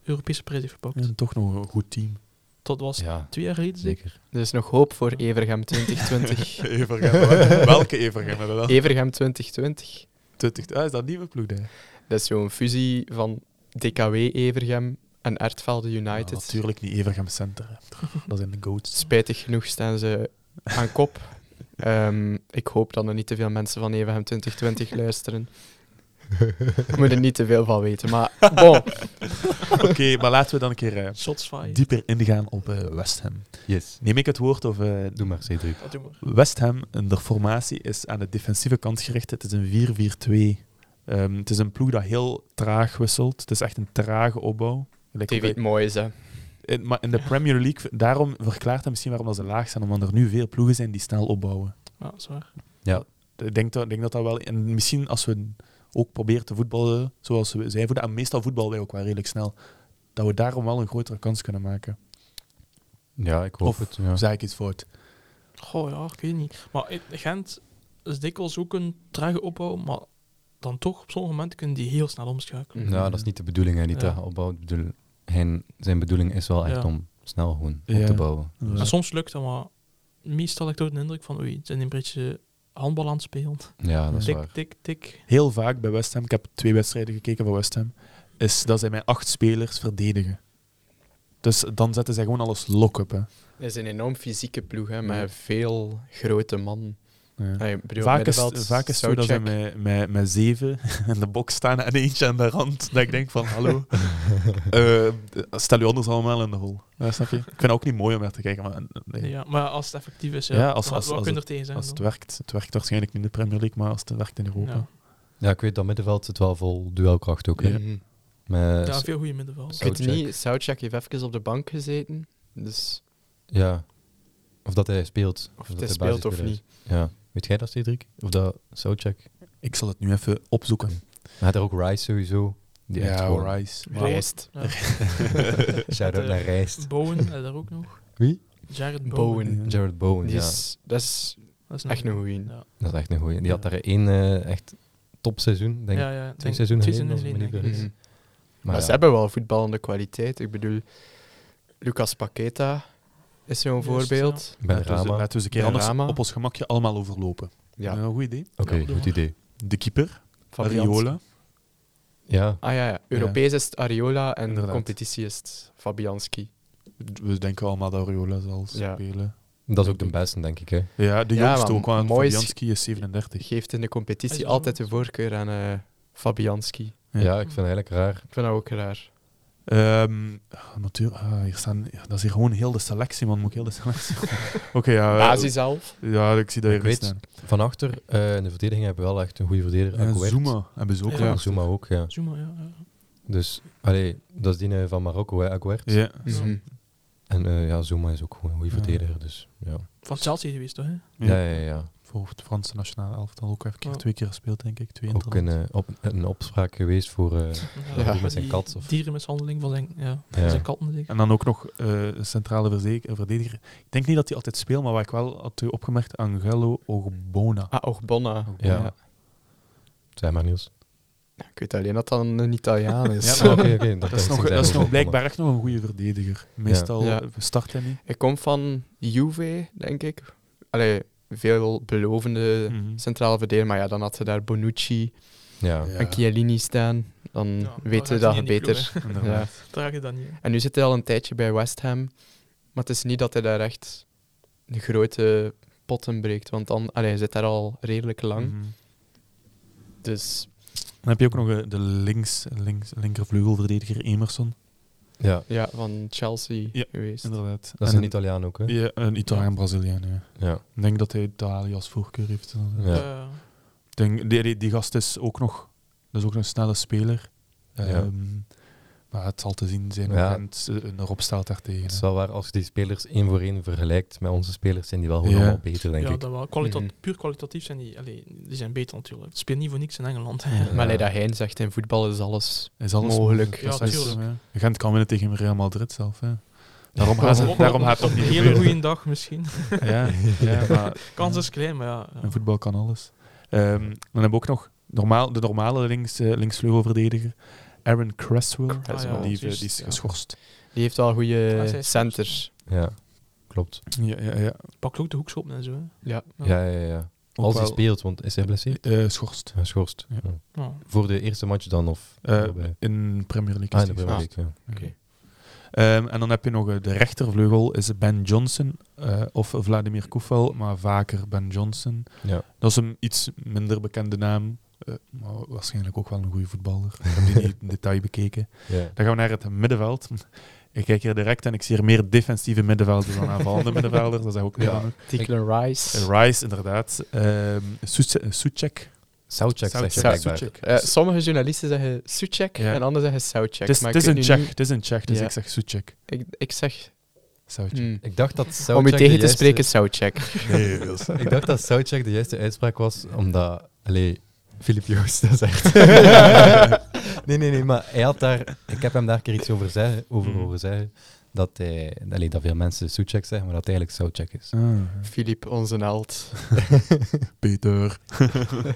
Speaker 4: Europese prijs heeft gepakt.
Speaker 3: Ja, toch nog een goed team.
Speaker 4: Dat was
Speaker 1: Ja,
Speaker 4: twee jaar geleden. zeker?
Speaker 1: zeker.
Speaker 2: Er is nog hoop voor Evergem 2020. [laughs]
Speaker 3: Evergem, wel- welke Evergem hebben [laughs] we dan?
Speaker 2: Evergem 2020.
Speaker 3: 20, ah, is dat een nieuwe ploeg daar?
Speaker 2: Dat is zo'n fusie van DKW Evergem en Ertvelde
Speaker 3: Ah,
Speaker 2: United.
Speaker 3: natuurlijk niet Evergem Center. [laughs] Dat zijn de goats.
Speaker 2: Spijtig genoeg staan ze aan kop.
Speaker 3: [laughs]
Speaker 2: Ehm, ik hoop dat er niet te veel mensen van Evergem 2020 luisteren. Ik moet er niet te veel van weten,
Speaker 3: [laughs]
Speaker 2: maar bon.
Speaker 3: Oké, [laughs] maar laten we dan een keer eh,
Speaker 4: Shots fired.
Speaker 3: dieper ingaan op eh, West Ham.
Speaker 1: Yes.
Speaker 3: Neem ik het woord of eh,
Speaker 1: Doe maar, Cedric.
Speaker 4: Wat doen we?
Speaker 3: West Ham, en de formatie is aan de defensieve kant gericht. Het is een 4-4-2. Ehm, het is een ploeg dat heel traag wisselt. Het is echt een trage opbouw. Gelijk
Speaker 2: TV
Speaker 3: op
Speaker 2: het moois, hè.
Speaker 3: de- in, Eh, maar in de Premier League, daarom verklaart dat misschien waarom dat ze laag zijn, omdat er nu veel ploegen zijn die snel opbouwen.
Speaker 4: Ja, dat is waar.
Speaker 3: Ik denk dat, ik denk dat dat wel... En misschien als we ook proberen te voetballen zoals we- zij voetballen, en meestal voetballen wij ook wel redelijk snel, dat we daarom wel een grotere kans kunnen maken.
Speaker 1: Ja, ik hoop
Speaker 3: Of
Speaker 1: het. Ja.
Speaker 3: Zeg ik iets fout?
Speaker 4: Goh, ja, ik weet niet. Maar eh, Gent is dikwijls ook een trage opbouw, maar dan toch, op sommige momenten kunnen die heel snel omschakelen.
Speaker 1: Nou, dat is niet de bedoeling, hè, die
Speaker 4: Ja.
Speaker 1: traag opbouwt. Ik bedoel, hij- zijn bedoeling is wel echt
Speaker 4: Ja.
Speaker 1: om snel gewoon op
Speaker 3: Ja.
Speaker 1: te bouwen.
Speaker 3: Ja.
Speaker 4: En soms lukt dat, maar meestal heb ik toch de indruk van, oei, het zijn een beetje handbal aan het spelen.
Speaker 1: Ja, dat is
Speaker 4: tik,
Speaker 1: waar.
Speaker 4: tik, tik.
Speaker 3: heel vaak bij West Ham, ik heb twee wedstrijden gekeken van West Ham, is dat zij met acht spelers verdedigen. Dus dan zetten zij gewoon alles lock-up. hè.
Speaker 2: Het is een enorm fysieke ploeg, hè, met veel grote mannen.
Speaker 3: Ja.
Speaker 2: Allee, ik bedoel,
Speaker 3: Vaak is,
Speaker 2: middenveld,
Speaker 3: vaak is het zo dat zij
Speaker 2: Soucek.
Speaker 3: met, met, met zeven [laughs] in de box staan en eentje aan de rand. Dat ik denk van, hallo, eh, stel u anders allemaal in de hol. Ja, snap je? Ik vind het ook niet mooi om naar te kijken, maar eh, nee.
Speaker 4: Ja, maar als het effectief is, ja,
Speaker 3: Ja, als-
Speaker 4: wat-
Speaker 3: als-
Speaker 4: wat
Speaker 3: als
Speaker 4: kun je er tegen zijn?
Speaker 3: als het
Speaker 4: dan?
Speaker 3: werkt. Het werkt waarschijnlijk niet in de Premier League, maar als het werkt in Europa.
Speaker 4: Ja.
Speaker 1: Ja, ik weet dat middenveld zit wel vol duelkracht ook. hè.
Speaker 2: Mhm.
Speaker 1: Maar,
Speaker 4: Ja, veel goede middenveld.
Speaker 1: Zo-
Speaker 2: Ik weet het
Speaker 1: Soucek.
Speaker 2: niet, Soucek heeft even op de bank gezeten. Dus
Speaker 1: ja. Of dat hij speelt.
Speaker 2: of
Speaker 1: dat
Speaker 2: het speelt of
Speaker 1: basisspeler is.
Speaker 2: niet.
Speaker 1: Ja. Weet jij dat, Cedric? Of dat Soucek?
Speaker 3: Ik zal het nu even opzoeken.
Speaker 1: Hij had er ook Rice sowieso. Die echt gewoon-
Speaker 3: Rice. Maar-
Speaker 2: Rijst.
Speaker 4: Ja.
Speaker 1: [laughs] Shout-out naar Rijst.
Speaker 4: Bowen, eh, daar ook nog.
Speaker 1: Wie?
Speaker 4: Jared Bowen.
Speaker 2: Bowen.
Speaker 3: Ja. Dus-
Speaker 1: Jared Bowen,
Speaker 2: Die
Speaker 1: ja.
Speaker 2: is, dat is
Speaker 4: Dat is
Speaker 2: echt een goeie.
Speaker 4: Ja.
Speaker 1: Dat is echt een goeie. Die had daar één eh, echt topseizoen, denk ik.
Speaker 4: ja, ja,
Speaker 1: Twee
Speaker 4: denk-
Speaker 1: seizoenen
Speaker 4: twee
Speaker 1: geleden,
Speaker 4: seizoenen
Speaker 1: als ik me
Speaker 4: geleden,
Speaker 1: niet
Speaker 2: Mhm.
Speaker 4: denk ik.
Speaker 2: Maar
Speaker 1: ja.
Speaker 2: ze hebben wel voetballende kwaliteit. Ik bedoel, Lucas Paqueta is zo'n
Speaker 4: Juist,
Speaker 2: voorbeeld.
Speaker 1: Ben
Speaker 3: Laten we ze-
Speaker 1: Rama. Oké,
Speaker 3: Laten we ze een keer
Speaker 2: Ben
Speaker 3: anders
Speaker 2: Rama.
Speaker 3: op ons gemakje allemaal overlopen.
Speaker 2: Ja,
Speaker 3: Een goed idee.
Speaker 4: Ja, doe
Speaker 1: goed
Speaker 4: maar.
Speaker 1: idee.
Speaker 3: De keeper,
Speaker 2: Fabians.
Speaker 3: Riola.
Speaker 1: Ja,
Speaker 2: Ah ja, ja. Europees is het Ariola en
Speaker 3: Inderdaad.
Speaker 2: competitie is het Fabianski.
Speaker 3: We denken allemaal dat Riola zal
Speaker 2: Ja.
Speaker 3: spelen.
Speaker 1: dat is ook de beste, denk ik. Hè.
Speaker 3: Ja, de
Speaker 2: Ja,
Speaker 3: jongste
Speaker 2: maar
Speaker 3: ook, want
Speaker 2: mooi is-
Speaker 3: Fabianski is 37.
Speaker 2: Geeft in de
Speaker 4: Hij
Speaker 2: competitie
Speaker 4: is
Speaker 2: altijd de
Speaker 4: wel-
Speaker 2: voorkeur aan eh, Fabianski.
Speaker 3: Ja.
Speaker 1: Ja. ik vind het eigenlijk raar.
Speaker 2: Ik vind dat ook raar.
Speaker 3: Ehm, ah, natuurlijk, ah, hier staan, ja, dat is hier gewoon heel de selectie, man. Moet ik heel de [laughs] selectie... Oké, ja. eh,
Speaker 2: Basis zelf.
Speaker 3: Ja, ik zie dat
Speaker 1: Ik
Speaker 3: hier
Speaker 1: weet-
Speaker 3: staan.
Speaker 1: Van achter, eh, in de verdediging hebben we wel echt een goede verdediger.
Speaker 3: En
Speaker 1: Aguert.
Speaker 3: Zuma hebben ze ook.
Speaker 4: Ja.
Speaker 1: Ja,
Speaker 3: wel.
Speaker 1: Zuma ook, ja.
Speaker 4: Zuma, ja. ja.
Speaker 1: Dus, allee, dat is die eh, van Marokko, hè, Aguert.
Speaker 3: Ja.
Speaker 2: Mhm.
Speaker 1: En eh, ja, Zuma is ook gewoon een goede
Speaker 3: Ja.
Speaker 1: verdediger, dus ja.
Speaker 4: Van Chelsea geweest, toch? Hè?
Speaker 1: Ja,
Speaker 3: Ja.
Speaker 1: ja, ja. ja.
Speaker 3: Voor het Franse nationale elftal ook even keer,
Speaker 4: Ja.
Speaker 3: twee keer gespeeld, denk ik. Twee
Speaker 1: Ook een,
Speaker 3: interlands.
Speaker 1: eh, op, een opspraak geweest voor... eh,
Speaker 4: Ja,
Speaker 1: die met zijn
Speaker 4: die
Speaker 1: kat, of-
Speaker 4: Dierenmishandeling van zijn, ja, van
Speaker 1: Ja.
Speaker 4: zijn katten, zeker.
Speaker 3: En dan ook nog eh, een centrale verze- eh, verdediger. Ik denk niet dat hij altijd speelt, maar wat ik wel had eh, opgemerkt, Angelo Ogbona.
Speaker 2: Ah, Ogbonna.
Speaker 1: ja. Zeg maar, Niels.
Speaker 2: Ik weet alleen dat dat een
Speaker 3: [laughs]
Speaker 2: Italiaan is.
Speaker 3: Ja, maar-
Speaker 1: [laughs] Oké, oké,
Speaker 3: Dat is, nog,
Speaker 1: ik
Speaker 3: dat is
Speaker 1: ook
Speaker 3: nog
Speaker 1: wel
Speaker 3: blijkbaar echt nog een goede verdediger. Meestal
Speaker 2: Ja.
Speaker 3: eh, start hij niet.
Speaker 2: Hij komt van Juve, denk ik. Allee, veel
Speaker 1: Eh,
Speaker 2: belovende
Speaker 3: Mhm.
Speaker 2: centrale verdediger. Maar ja, dan had ze daar Bonucci
Speaker 1: Ja.
Speaker 3: Ja.
Speaker 2: en Chiellini staan. Dan
Speaker 4: Ja,
Speaker 2: Mm, weten we
Speaker 4: daar
Speaker 2: dat
Speaker 4: gaat
Speaker 2: je
Speaker 4: hij niet in die
Speaker 2: beter.
Speaker 4: ploeg,
Speaker 3: Inderdaad.
Speaker 2: Ja.
Speaker 4: hè. Draag je dat niet. hè.
Speaker 2: En nu zit hij al een tijdje bij West Ham. Maar het is niet dat hij daar echt de grote potten breekt. Want dan, allee, hij zit daar al redelijk lang.
Speaker 3: Mhm.
Speaker 2: Dus
Speaker 3: Dan heb je ook nog eh, de links, links, linkervleugelverdediger Emerson.
Speaker 1: ja,
Speaker 2: ja, van Chelsea
Speaker 3: Ja,
Speaker 2: geweest.
Speaker 3: Inderdaad.
Speaker 1: dat is
Speaker 3: En
Speaker 1: een Italiaan ook, hè? Ja.
Speaker 3: Ja, een Italiaan-Braziliaan. Ja.
Speaker 1: Ja.
Speaker 3: Ik denk dat hij Italië als voorkeur heeft. inderdaad.
Speaker 1: Ja.
Speaker 4: Eh,
Speaker 3: Ik denk, die, die, die gast is ook nog, dat is ook nog een snelle speler.
Speaker 1: Ja.
Speaker 3: Ehm, maar het zal te zien zijn hoe
Speaker 1: Ja.
Speaker 3: Gent eh, erop staat daartegen.
Speaker 1: Het
Speaker 3: hè.
Speaker 1: is wel waar, als je die spelers één voor één vergelijkt met onze spelers, zijn die wel gewoon
Speaker 3: Ja.
Speaker 1: allemaal beter, denk
Speaker 4: ja,
Speaker 1: ik.
Speaker 4: dat wel. Kwalita-
Speaker 2: Mhm.
Speaker 4: Puur kwalitatief zijn die, allee, die zijn beter natuurlijk. Het speelt niet voor niks in Engeland.
Speaker 3: Ja.
Speaker 2: Maar allee, dat hij zegt, in voetbal is alles...
Speaker 3: Is alles
Speaker 2: Mogelijk. Dus
Speaker 3: mogelijk.
Speaker 4: Ja,
Speaker 3: Dat is-
Speaker 4: tuurlijk.
Speaker 3: ja. Gent kan winnen tegen Real Madrid zelf. Hè. Daarom gaat
Speaker 4: Op-
Speaker 3: het,
Speaker 4: op-
Speaker 3: daarom gaat
Speaker 4: op
Speaker 3: het ook
Speaker 4: een
Speaker 3: niet
Speaker 4: hele
Speaker 3: gebeuren.
Speaker 4: goede dag misschien. [laughs]
Speaker 3: Ja, ja, maar
Speaker 4: Kans
Speaker 3: Ja.
Speaker 4: is klein, maar ja. ja.
Speaker 3: In voetbal kan alles. Ehm, dan hebben we ook nog normaal, de normale links, eh, linksvleugelverdediger. Aaron Cresswell.
Speaker 2: Cresswell,
Speaker 3: die, eh,
Speaker 4: juist,
Speaker 3: die is
Speaker 4: Ah, ja.
Speaker 3: geschorst.
Speaker 2: Die heeft wel
Speaker 4: Ah,
Speaker 2: goede
Speaker 4: zij is-
Speaker 2: centers.
Speaker 1: Ja, klopt.
Speaker 3: Ja, ja, ja.
Speaker 4: Pak ook de hoekschoppen en zo. hè.
Speaker 2: Ja.
Speaker 4: Ja.
Speaker 1: Ja, ja, ja.
Speaker 3: Ook
Speaker 1: Als hij
Speaker 3: wel,
Speaker 1: speelt, want is hij blesseerd?
Speaker 3: eh, schorst.
Speaker 1: Geschorst.
Speaker 3: Ja.
Speaker 1: Ja.
Speaker 4: Ja.
Speaker 1: Voor de eerste match dan, of?
Speaker 3: Eh,
Speaker 1: erbij?
Speaker 3: in Premier League.
Speaker 1: ah,
Speaker 3: is
Speaker 1: in de
Speaker 3: die
Speaker 1: Premier
Speaker 2: Ah.
Speaker 1: League, ja.
Speaker 3: Oké. Ehm, en dan heb je nog eh, de rechtervleugel, is Ben Johnson eh, of Vladimir Koefel, maar vaker Ben Johnson.
Speaker 1: Ja.
Speaker 3: Dat is een iets minder bekende naam, eh, maar waarschijnlijk ook wel een goede voetballer. Ik
Speaker 1: [laughs]
Speaker 3: heb die niet in detail bekeken.
Speaker 1: Ja.
Speaker 3: Dan gaan we naar het middenveld. [laughs] Ik kijk hier direct en ik zie hier meer defensieve middenvelders dan aanvallende middenvelders. Dat is ook
Speaker 1: Ja.
Speaker 3: ja.
Speaker 2: Declan Rice.
Speaker 3: Rice, inderdaad. Ehm Suce- Suchek.
Speaker 1: Soundcheck
Speaker 3: Sound-
Speaker 1: zeg je
Speaker 3: Sound-
Speaker 1: blijkbaar.
Speaker 3: Suchek.
Speaker 2: Eh, sommige journalisten zeggen Suchek
Speaker 3: Ja.
Speaker 2: en anderen zeggen Souchek.
Speaker 3: Het is-
Speaker 2: maar
Speaker 3: Het is
Speaker 2: ik
Speaker 3: een
Speaker 2: weet nu
Speaker 3: Tsjech,
Speaker 2: niet-
Speaker 3: het is een Tsjech, dus
Speaker 2: Ja.
Speaker 3: ik zeg Suchek.
Speaker 2: Ik, ik zeg,
Speaker 3: Souchek.
Speaker 2: hmm,
Speaker 1: Ik dacht dat Soundcheck
Speaker 2: om
Speaker 1: de
Speaker 2: u tegen te
Speaker 1: juiste-
Speaker 2: spreken, Souchek.
Speaker 3: Nee, dat is-
Speaker 1: [laughs] Ik dacht dat Soundcheck de juiste uitspraak was, omdat... Allee, Filip Joost, dat is [laughs] echt... nee, nee, nee, maar hij had daar... Ik heb hem daar een keer iets over, zeggen, over
Speaker 3: Mhm.
Speaker 1: horen zeggen. Dat, hij, allee, dat veel mensen Soundcheck zeggen, maar dat het eigenlijk Soundcheck [laughs] is.
Speaker 3: Ah,
Speaker 2: Filip, onze held.
Speaker 3: Peter.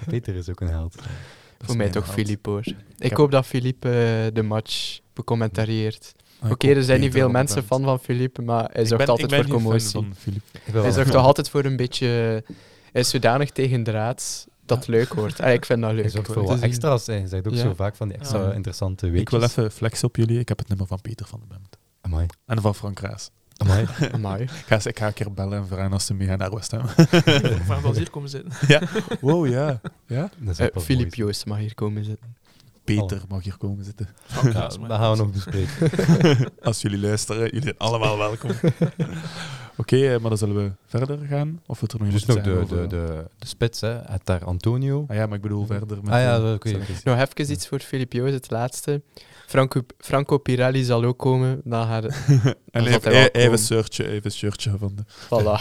Speaker 1: Peter is ook een held.
Speaker 2: Voor mij
Speaker 3: mijn
Speaker 2: toch
Speaker 3: held.
Speaker 2: Filip hoor. Ik,
Speaker 3: heb-
Speaker 2: hoop dat Filip eh, de match becommentarieert.
Speaker 3: Ah, ik
Speaker 2: Oké,
Speaker 3: hoop
Speaker 2: er zijn niet veel
Speaker 3: Peter op het
Speaker 2: mensen
Speaker 3: band.
Speaker 2: fan van Philippe, maar hij
Speaker 3: Ik
Speaker 2: zorgt
Speaker 3: ben-
Speaker 2: altijd
Speaker 3: ik ben
Speaker 2: voor
Speaker 3: geen fan
Speaker 2: commotie.
Speaker 3: van Philippe.
Speaker 1: Ik ben wel
Speaker 2: Hij
Speaker 1: een
Speaker 2: zorgt
Speaker 1: fan.
Speaker 2: toch altijd voor een beetje... eh, Hij is zodanig tegen draad dat het leuk wordt. Ah, ik vind dat
Speaker 1: Hij
Speaker 2: leuk.
Speaker 1: zorgt
Speaker 2: hoor.
Speaker 1: voor
Speaker 2: Het
Speaker 1: wat
Speaker 2: is een- [laughs]
Speaker 1: extra's. Hij zegt ook
Speaker 2: Ja.
Speaker 1: zo vaak van die extra
Speaker 4: Ja.
Speaker 1: interessante
Speaker 3: Ik
Speaker 1: weekjes.
Speaker 3: wil even flexen op jullie. Ik heb het nummer van Peter van den Bemt.
Speaker 1: Amai.
Speaker 3: En van Frank Raas.
Speaker 1: Amai.
Speaker 2: Amai.
Speaker 3: Ik ga, ik ga een keer bellen en vragen als ze mee gaan naar West Ham.
Speaker 4: Ik vraag wel eens hier komen zitten.
Speaker 3: [laughs] wow, ja. ja?
Speaker 1: Dat is
Speaker 2: Eh,
Speaker 1: ook wel
Speaker 2: Filip
Speaker 1: mooi.
Speaker 2: Joost mag hier komen zitten.
Speaker 3: Peter mag hier komen zitten. [laughs]
Speaker 1: Ja, dat gaan we nog [laughs] bespreken.
Speaker 3: Als jullie luisteren, jullie zijn allemaal [laughs] welkom. Oké, eh, maar dan zullen we verder gaan. Of we er nog
Speaker 1: Dus
Speaker 3: iets
Speaker 1: nog
Speaker 3: zeggen
Speaker 1: de,
Speaker 3: over-
Speaker 1: de, de, de spits, hè. Het daar Antonio.
Speaker 3: Ah ja, maar ik bedoel verder. Met
Speaker 1: Ah ja,
Speaker 3: eh,
Speaker 1: dat- oké.
Speaker 3: sorry.
Speaker 2: Nog even iets voor Filip Joost, het laatste. Franco, Franco Pirelli zal ook komen. Dan gaat het...
Speaker 3: En
Speaker 2: Dan
Speaker 3: even, e-
Speaker 2: zat hij wel
Speaker 3: even,
Speaker 2: gewoon-
Speaker 3: een shirtje, even een shirtje
Speaker 2: [laughs]
Speaker 3: gevonden. [laughs]
Speaker 2: Voilà.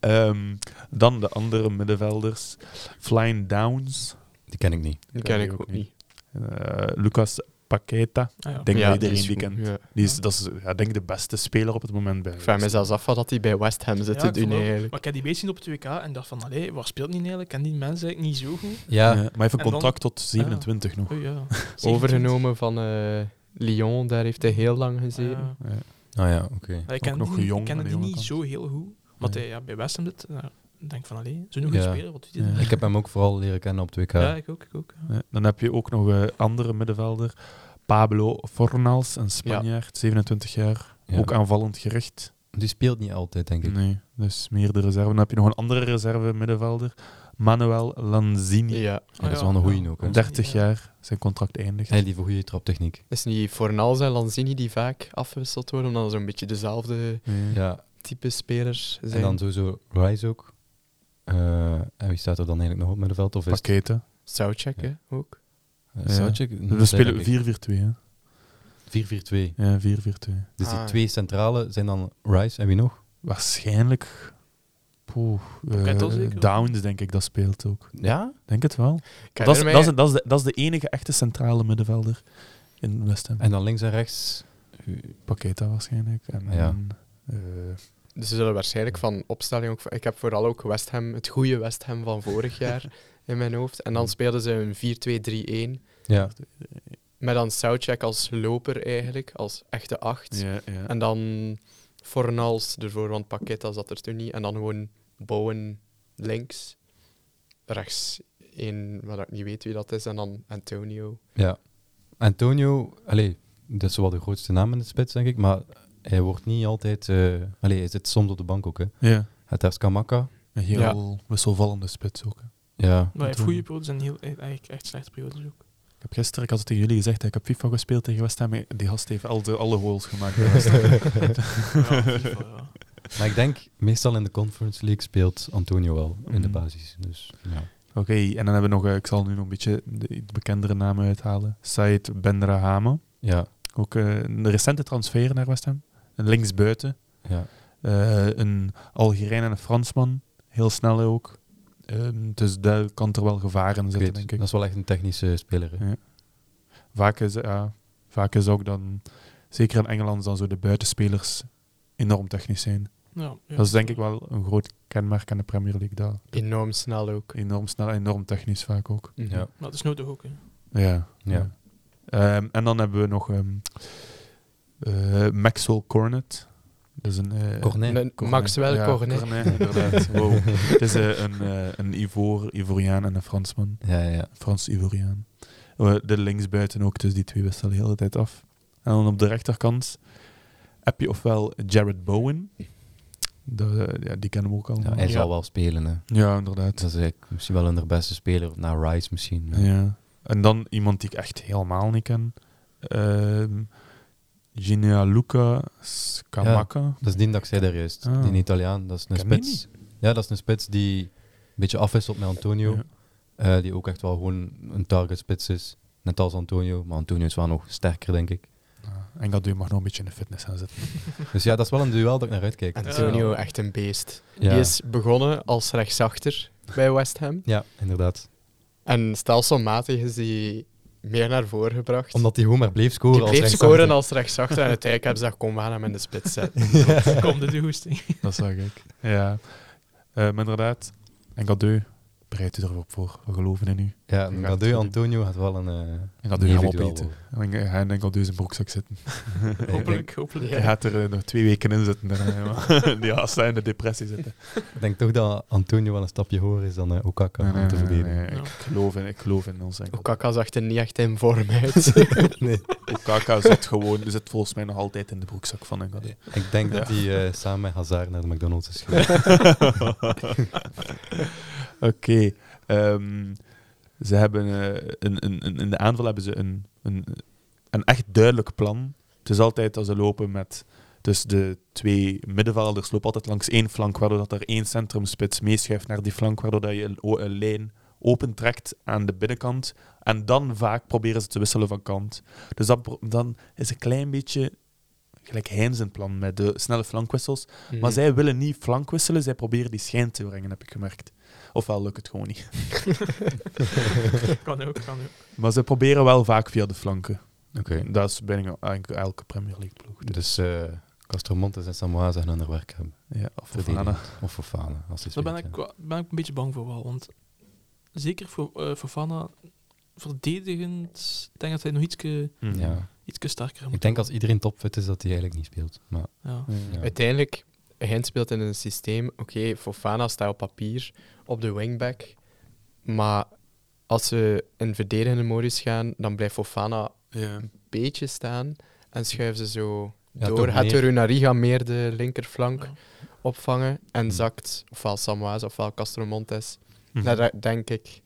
Speaker 3: Ehm, dan de andere middenvelders. Flying Downs.
Speaker 1: Die ken ik niet.
Speaker 2: Die ken ik ook niet.
Speaker 3: Eh, Lucas Paqueta.
Speaker 4: Ah, ja.
Speaker 3: Denk
Speaker 2: Ja,
Speaker 3: dat iedereen
Speaker 2: is
Speaker 3: die
Speaker 2: goed,
Speaker 3: kent.
Speaker 2: ja.
Speaker 3: Die is, dat is ja, denk ik de beste speler op het moment bij.
Speaker 2: Ik vraag me zelfs af wat dat hij bij West Ham zit
Speaker 4: Ja,
Speaker 2: te
Speaker 4: ik
Speaker 2: doen
Speaker 4: vond ook-
Speaker 2: eigenlijk.
Speaker 4: Maar ik heb die beest zien op het WK en dacht van, allee, waar speelt niet eigenlijk? Ken die mensen eigenlijk niet zo goed?
Speaker 1: Ja,
Speaker 3: Ja, maar hij heeft een
Speaker 4: En dan- Ah.
Speaker 3: contract tot 27 nog.
Speaker 4: Oh, ja.
Speaker 2: Overgenomen van eh, Lyon, daar heeft hij heel lang gezeten.
Speaker 4: Ja.
Speaker 1: ah ja, oké.
Speaker 4: Ja, ik ken
Speaker 3: nog
Speaker 4: die, niet-
Speaker 3: jong
Speaker 4: ik ken
Speaker 3: aan de
Speaker 4: die
Speaker 3: jonge
Speaker 4: niet
Speaker 3: kant.
Speaker 4: zo heel goed. Maar
Speaker 3: Nee.
Speaker 4: hij, ja, bij West Ham zit, nou, ik denk van, allee, zo'n goede
Speaker 1: Ja.
Speaker 4: speler, wat doet hij dan?
Speaker 1: Ik heb hem ook vooral leren kennen op 2K.
Speaker 4: Ja. ik ook, ik ook. ja.
Speaker 3: Ja, Dan heb je ook nog een andere middenvelder. Pablo Fornals, een Spanjaard, 27 jaar.
Speaker 1: Ja.
Speaker 3: Ook aanvallend gericht.
Speaker 1: Die speelt niet altijd,
Speaker 2: Hm.
Speaker 1: denk ik.
Speaker 3: Nee, dus meer de reserve. Dan heb je nog een andere reserve middenvelder. Manuel Lanzini,
Speaker 2: Ja.
Speaker 1: Ja, dat is wel een goeie ook, hè.
Speaker 3: 30 jaar. Zijn contract eindigt.
Speaker 1: Hij die voor goede traptechniek.
Speaker 2: Is niet Fornals en Lanzini die vaak afgewisseld worden, omdat ze een beetje dezelfde
Speaker 3: Nee.
Speaker 1: Ja,
Speaker 2: type spelers zijn?
Speaker 1: en dan sowieso Rice ook. Eh, en wie staat er dan eigenlijk nog op middenveld? Of is het
Speaker 3: Paqueta.
Speaker 2: Souchek, hè, ook.
Speaker 1: eh,
Speaker 3: Ja.
Speaker 1: Soucek?
Speaker 3: We spelen 4-4-2,
Speaker 1: Denk ik.
Speaker 3: hè?
Speaker 1: 4-4-2.
Speaker 3: Ja, 4-4-2.
Speaker 1: Dus die
Speaker 2: Ah.
Speaker 1: twee centrale zijn dan Rice en wie nog?
Speaker 3: Waarschijnlijk. Poeh,
Speaker 4: Paqueta
Speaker 3: eh,
Speaker 4: zeker?
Speaker 3: Downs, denk ik, dat speelt ook.
Speaker 1: Ja?
Speaker 3: Denk het wel.
Speaker 2: Ik
Speaker 3: Dat is,
Speaker 2: herinner mij-
Speaker 3: dat, is, dat, is de, dat is de enige echte centrale middenvelder in West Ham.
Speaker 1: En dan links en rechts.
Speaker 3: Paqueta waarschijnlijk. En,
Speaker 1: Ja.
Speaker 3: en, eh,
Speaker 2: Dus ze zullen waarschijnlijk van opstelling ook... Ik heb vooral ook West Ham, het goede West Ham van vorig [laughs] jaar in mijn hoofd. En dan speelden ze een 4-2-3-1.
Speaker 1: Ja.
Speaker 2: Met dan Souchek als loper eigenlijk, als echte acht. En dan Fornals ervoor, want Paqueta zat er toen niet. En dan gewoon Bowen links. Rechts één, waar ik niet weet wie dat is. En dan Antonio.
Speaker 1: ja. Antonio, allee, dat is wel de grootste naam in de spits, denk ik. Maar hij wordt niet altijd... eh allee, hij zit soms op de bank ook, hè.
Speaker 3: ja.
Speaker 1: Het is Kamaka.
Speaker 3: Een heel wisselvallende spits ook. hè.
Speaker 1: Ja.
Speaker 4: Maar hij heeft
Speaker 3: Toen-
Speaker 4: goede periodes en heel, eigenlijk echt slechte periodes ook.
Speaker 3: Ik heb gisteren, ik had het tegen jullie gezegd, ik heb FIFA gespeeld tegen West Ham. Die gast heeft al de, alle goals
Speaker 1: [laughs]
Speaker 3: gemaakt. bij West Ham.
Speaker 4: Ja, FIFA, ja.
Speaker 1: Maar ik denk, meestal in de Conference League speelt Antonio wel in de
Speaker 3: Mhm.
Speaker 1: basis. Dus, ja.
Speaker 3: Oké, en dan hebben we nog, eh, ik zal nu nog een beetje de iets bekendere namen uithalen. Said Benrahama,
Speaker 1: Ja.
Speaker 3: ook eh, een recente transfer naar West Ham. Een linksbuiten.
Speaker 1: ja.
Speaker 3: Eh, een Algerijn en een Fransman. Heel snel ook. Ehm, dus daar kan er wel gevaar in
Speaker 1: Ik
Speaker 3: zitten,
Speaker 1: weet,
Speaker 3: denk
Speaker 1: dat
Speaker 3: ik.
Speaker 1: is wel echt een technische speler. hè.
Speaker 3: Ja. Vaak is, ja, vaak is ook dan, zeker in Engeland, dan zo de buitenspelers enorm technisch zijn.
Speaker 4: Ja, ja.
Speaker 3: Dat is denk ik wel een groot kenmerk aan de Premier League. Dat
Speaker 2: Enorm snel ook.
Speaker 3: enorm snel, enorm technisch vaak ook.
Speaker 1: Ja.
Speaker 4: Maar dat is nodig ook. Hè.
Speaker 3: Eh, Ja.
Speaker 1: Ja.
Speaker 3: Ehm, en dan hebben we nog ehm, eh, Maxwell Cornet. Dat is een... eh,
Speaker 1: Cornet.
Speaker 2: Een
Speaker 1: Cornet.
Speaker 2: Maxwell
Speaker 3: ja,
Speaker 2: Cornet.
Speaker 3: inderdaad. Wow. Het is eh, een, eh, een Ivoor, Ivoriaan en een Fransman.
Speaker 1: Ja, ja, ja.
Speaker 3: Frans-Ivoriaan. Eh, De linksbuiten ook, dus die twee wisselen de hele tijd af. En dan op de rechterkant heb je ofwel Jared Bowen. Dat, eh, ja, die kennen we ook
Speaker 1: Ja,
Speaker 3: allemaal.
Speaker 1: hij
Speaker 3: Ja,
Speaker 1: zal wel spelen, hè.
Speaker 3: inderdaad.
Speaker 1: Dat is eigenlijk misschien wel een beste speler, na Rice misschien.
Speaker 3: Ja. En dan iemand die ik echt helemaal niet ken. Ehm Gianluca Scamacca.
Speaker 1: Dat is die dat ik zei daar juist.
Speaker 3: Ah.
Speaker 1: Die Italiaan, dat is een
Speaker 3: Ken die
Speaker 1: spits. Ja, dat is een spits die een beetje afwisselt met Antonio.
Speaker 3: Ja.
Speaker 1: Eh, die ook echt wel gewoon een target spits is. Net als Antonio, maar Antonio is wel nog sterker, denk ik.
Speaker 3: Ja, En dat doe je Ah, mag nog een beetje in de fitness gaan zitten.
Speaker 1: Dus ja, dat is wel een duel dat ik naar uitkijk.
Speaker 2: Antonio, echt een beest.
Speaker 1: Ja,
Speaker 2: Die is begonnen als rechtsachter bij West Ham.
Speaker 1: ja inderdaad.
Speaker 2: En stelselmatig is die meer naar voren gebracht.
Speaker 1: Omdat hij gewoon maar bleef scoren.
Speaker 2: die bleef
Speaker 1: als
Speaker 2: scoren
Speaker 1: [laughs] al.
Speaker 2: als rechtsachter. En uiteindelijk hebben ze gezegd, kom, we gaan hem in de
Speaker 1: [laughs]
Speaker 2: spits zetten.
Speaker 4: Kom, dit is de goesting.
Speaker 3: [laughs] Dat zag ik. Ja. Eh, maar inderdaad, en Gadeu, bereid u erop voor. We geloven in u.
Speaker 1: Ja,
Speaker 3: Ja,
Speaker 1: Gadeu
Speaker 3: natuurlijk.
Speaker 1: Antonio had wel een... eh,
Speaker 3: En Gadeu gaan we
Speaker 1: individueel
Speaker 3: opeten. En ik- hij en Gadeu in zijn broekzak zitten.
Speaker 4: Hopelijk, hopelijk.
Speaker 3: Hij gaat er eh, nog twee weken in zitten. daarna, jongen. [laughs] Die gaat in de depressie zitten.
Speaker 1: Ik denk toch dat Antonio wel een stapje hoger is dan eh, Okaka
Speaker 3: Nee, nee,
Speaker 1: om te
Speaker 3: nee,
Speaker 1: verdedigen.
Speaker 3: nee, Ik, geloof in, ik geloof in ons. [laughs] enkel.
Speaker 2: Okaka zag er niet echt in vorm [laughs] uit.
Speaker 1: Nee.
Speaker 3: Okaka zit gewoon, zit volgens mij nog altijd in de broekzak van een Gadeu.
Speaker 1: Ik denk dat hij eh, samen met Hazard naar de McDonald's is
Speaker 3: [laughs]
Speaker 1: gegaan.
Speaker 3: Oké. ehm, ze hebben eh, een, een, een- in de aanval hebben ze een, een, een echt duidelijk plan. Het is altijd als ze lopen met. Dus de twee middenvelders lopen altijd langs één flank, waardoor dat er één centrumspits meeschuift naar die flank, waardoor dat je een, o- een lijn opentrekt aan de binnenkant. En dan vaak proberen ze te wisselen van kant. Dus dat, pro- dan is een klein beetje gelijk Heinz in plan met de snelle flankwissels. Maar zij willen niet flank wisselen, zij proberen die schijn te brengen, heb ik gemerkt. Ofwel lukt het gewoon [laughs] niet.
Speaker 4: Kan ook, kan ook.
Speaker 3: Maar ze proberen wel vaak via de flanken.
Speaker 1: Oké.
Speaker 3: Dat is bijna eigenlijk elke Premier League ploeg.
Speaker 1: Dus eh Castromontes en Samoa zijn aan hun werk hebben.
Speaker 3: Ja, of Fofana.
Speaker 1: Verdedigend. Of Fofana, als hij
Speaker 4: Daar ben
Speaker 1: speelt,
Speaker 4: ik,
Speaker 1: ja.
Speaker 4: kwa- ben ik een beetje bang voor wel. Want zeker voor eh Fofana, verdedigend, ik denk dat hij nog ietske,
Speaker 3: Mhm.
Speaker 1: Ja.
Speaker 4: ietske sterker
Speaker 1: Ik
Speaker 4: moet
Speaker 1: denk als iedereen topfit is, dat hij eigenlijk niet speelt. Maar,
Speaker 4: Ja.
Speaker 1: ja.
Speaker 2: Uiteindelijk, Gent speelt in een systeem. Oké, Fofana staat op papier op de wingback. Maar als ze in verdedigende modus gaan, dan blijft Fofana
Speaker 3: Ja.
Speaker 2: een beetje staan. En schuiven ze zo
Speaker 1: Ja,
Speaker 2: door.
Speaker 1: toch
Speaker 2: Het
Speaker 1: meer.
Speaker 2: Runari gaat meer de linkerflank
Speaker 4: Ja.
Speaker 2: opvangen. En
Speaker 1: Hmm.
Speaker 2: zakt ofwel Samuaz ofwel Castromontes.
Speaker 3: Mhm.
Speaker 2: Naar de- denk ik.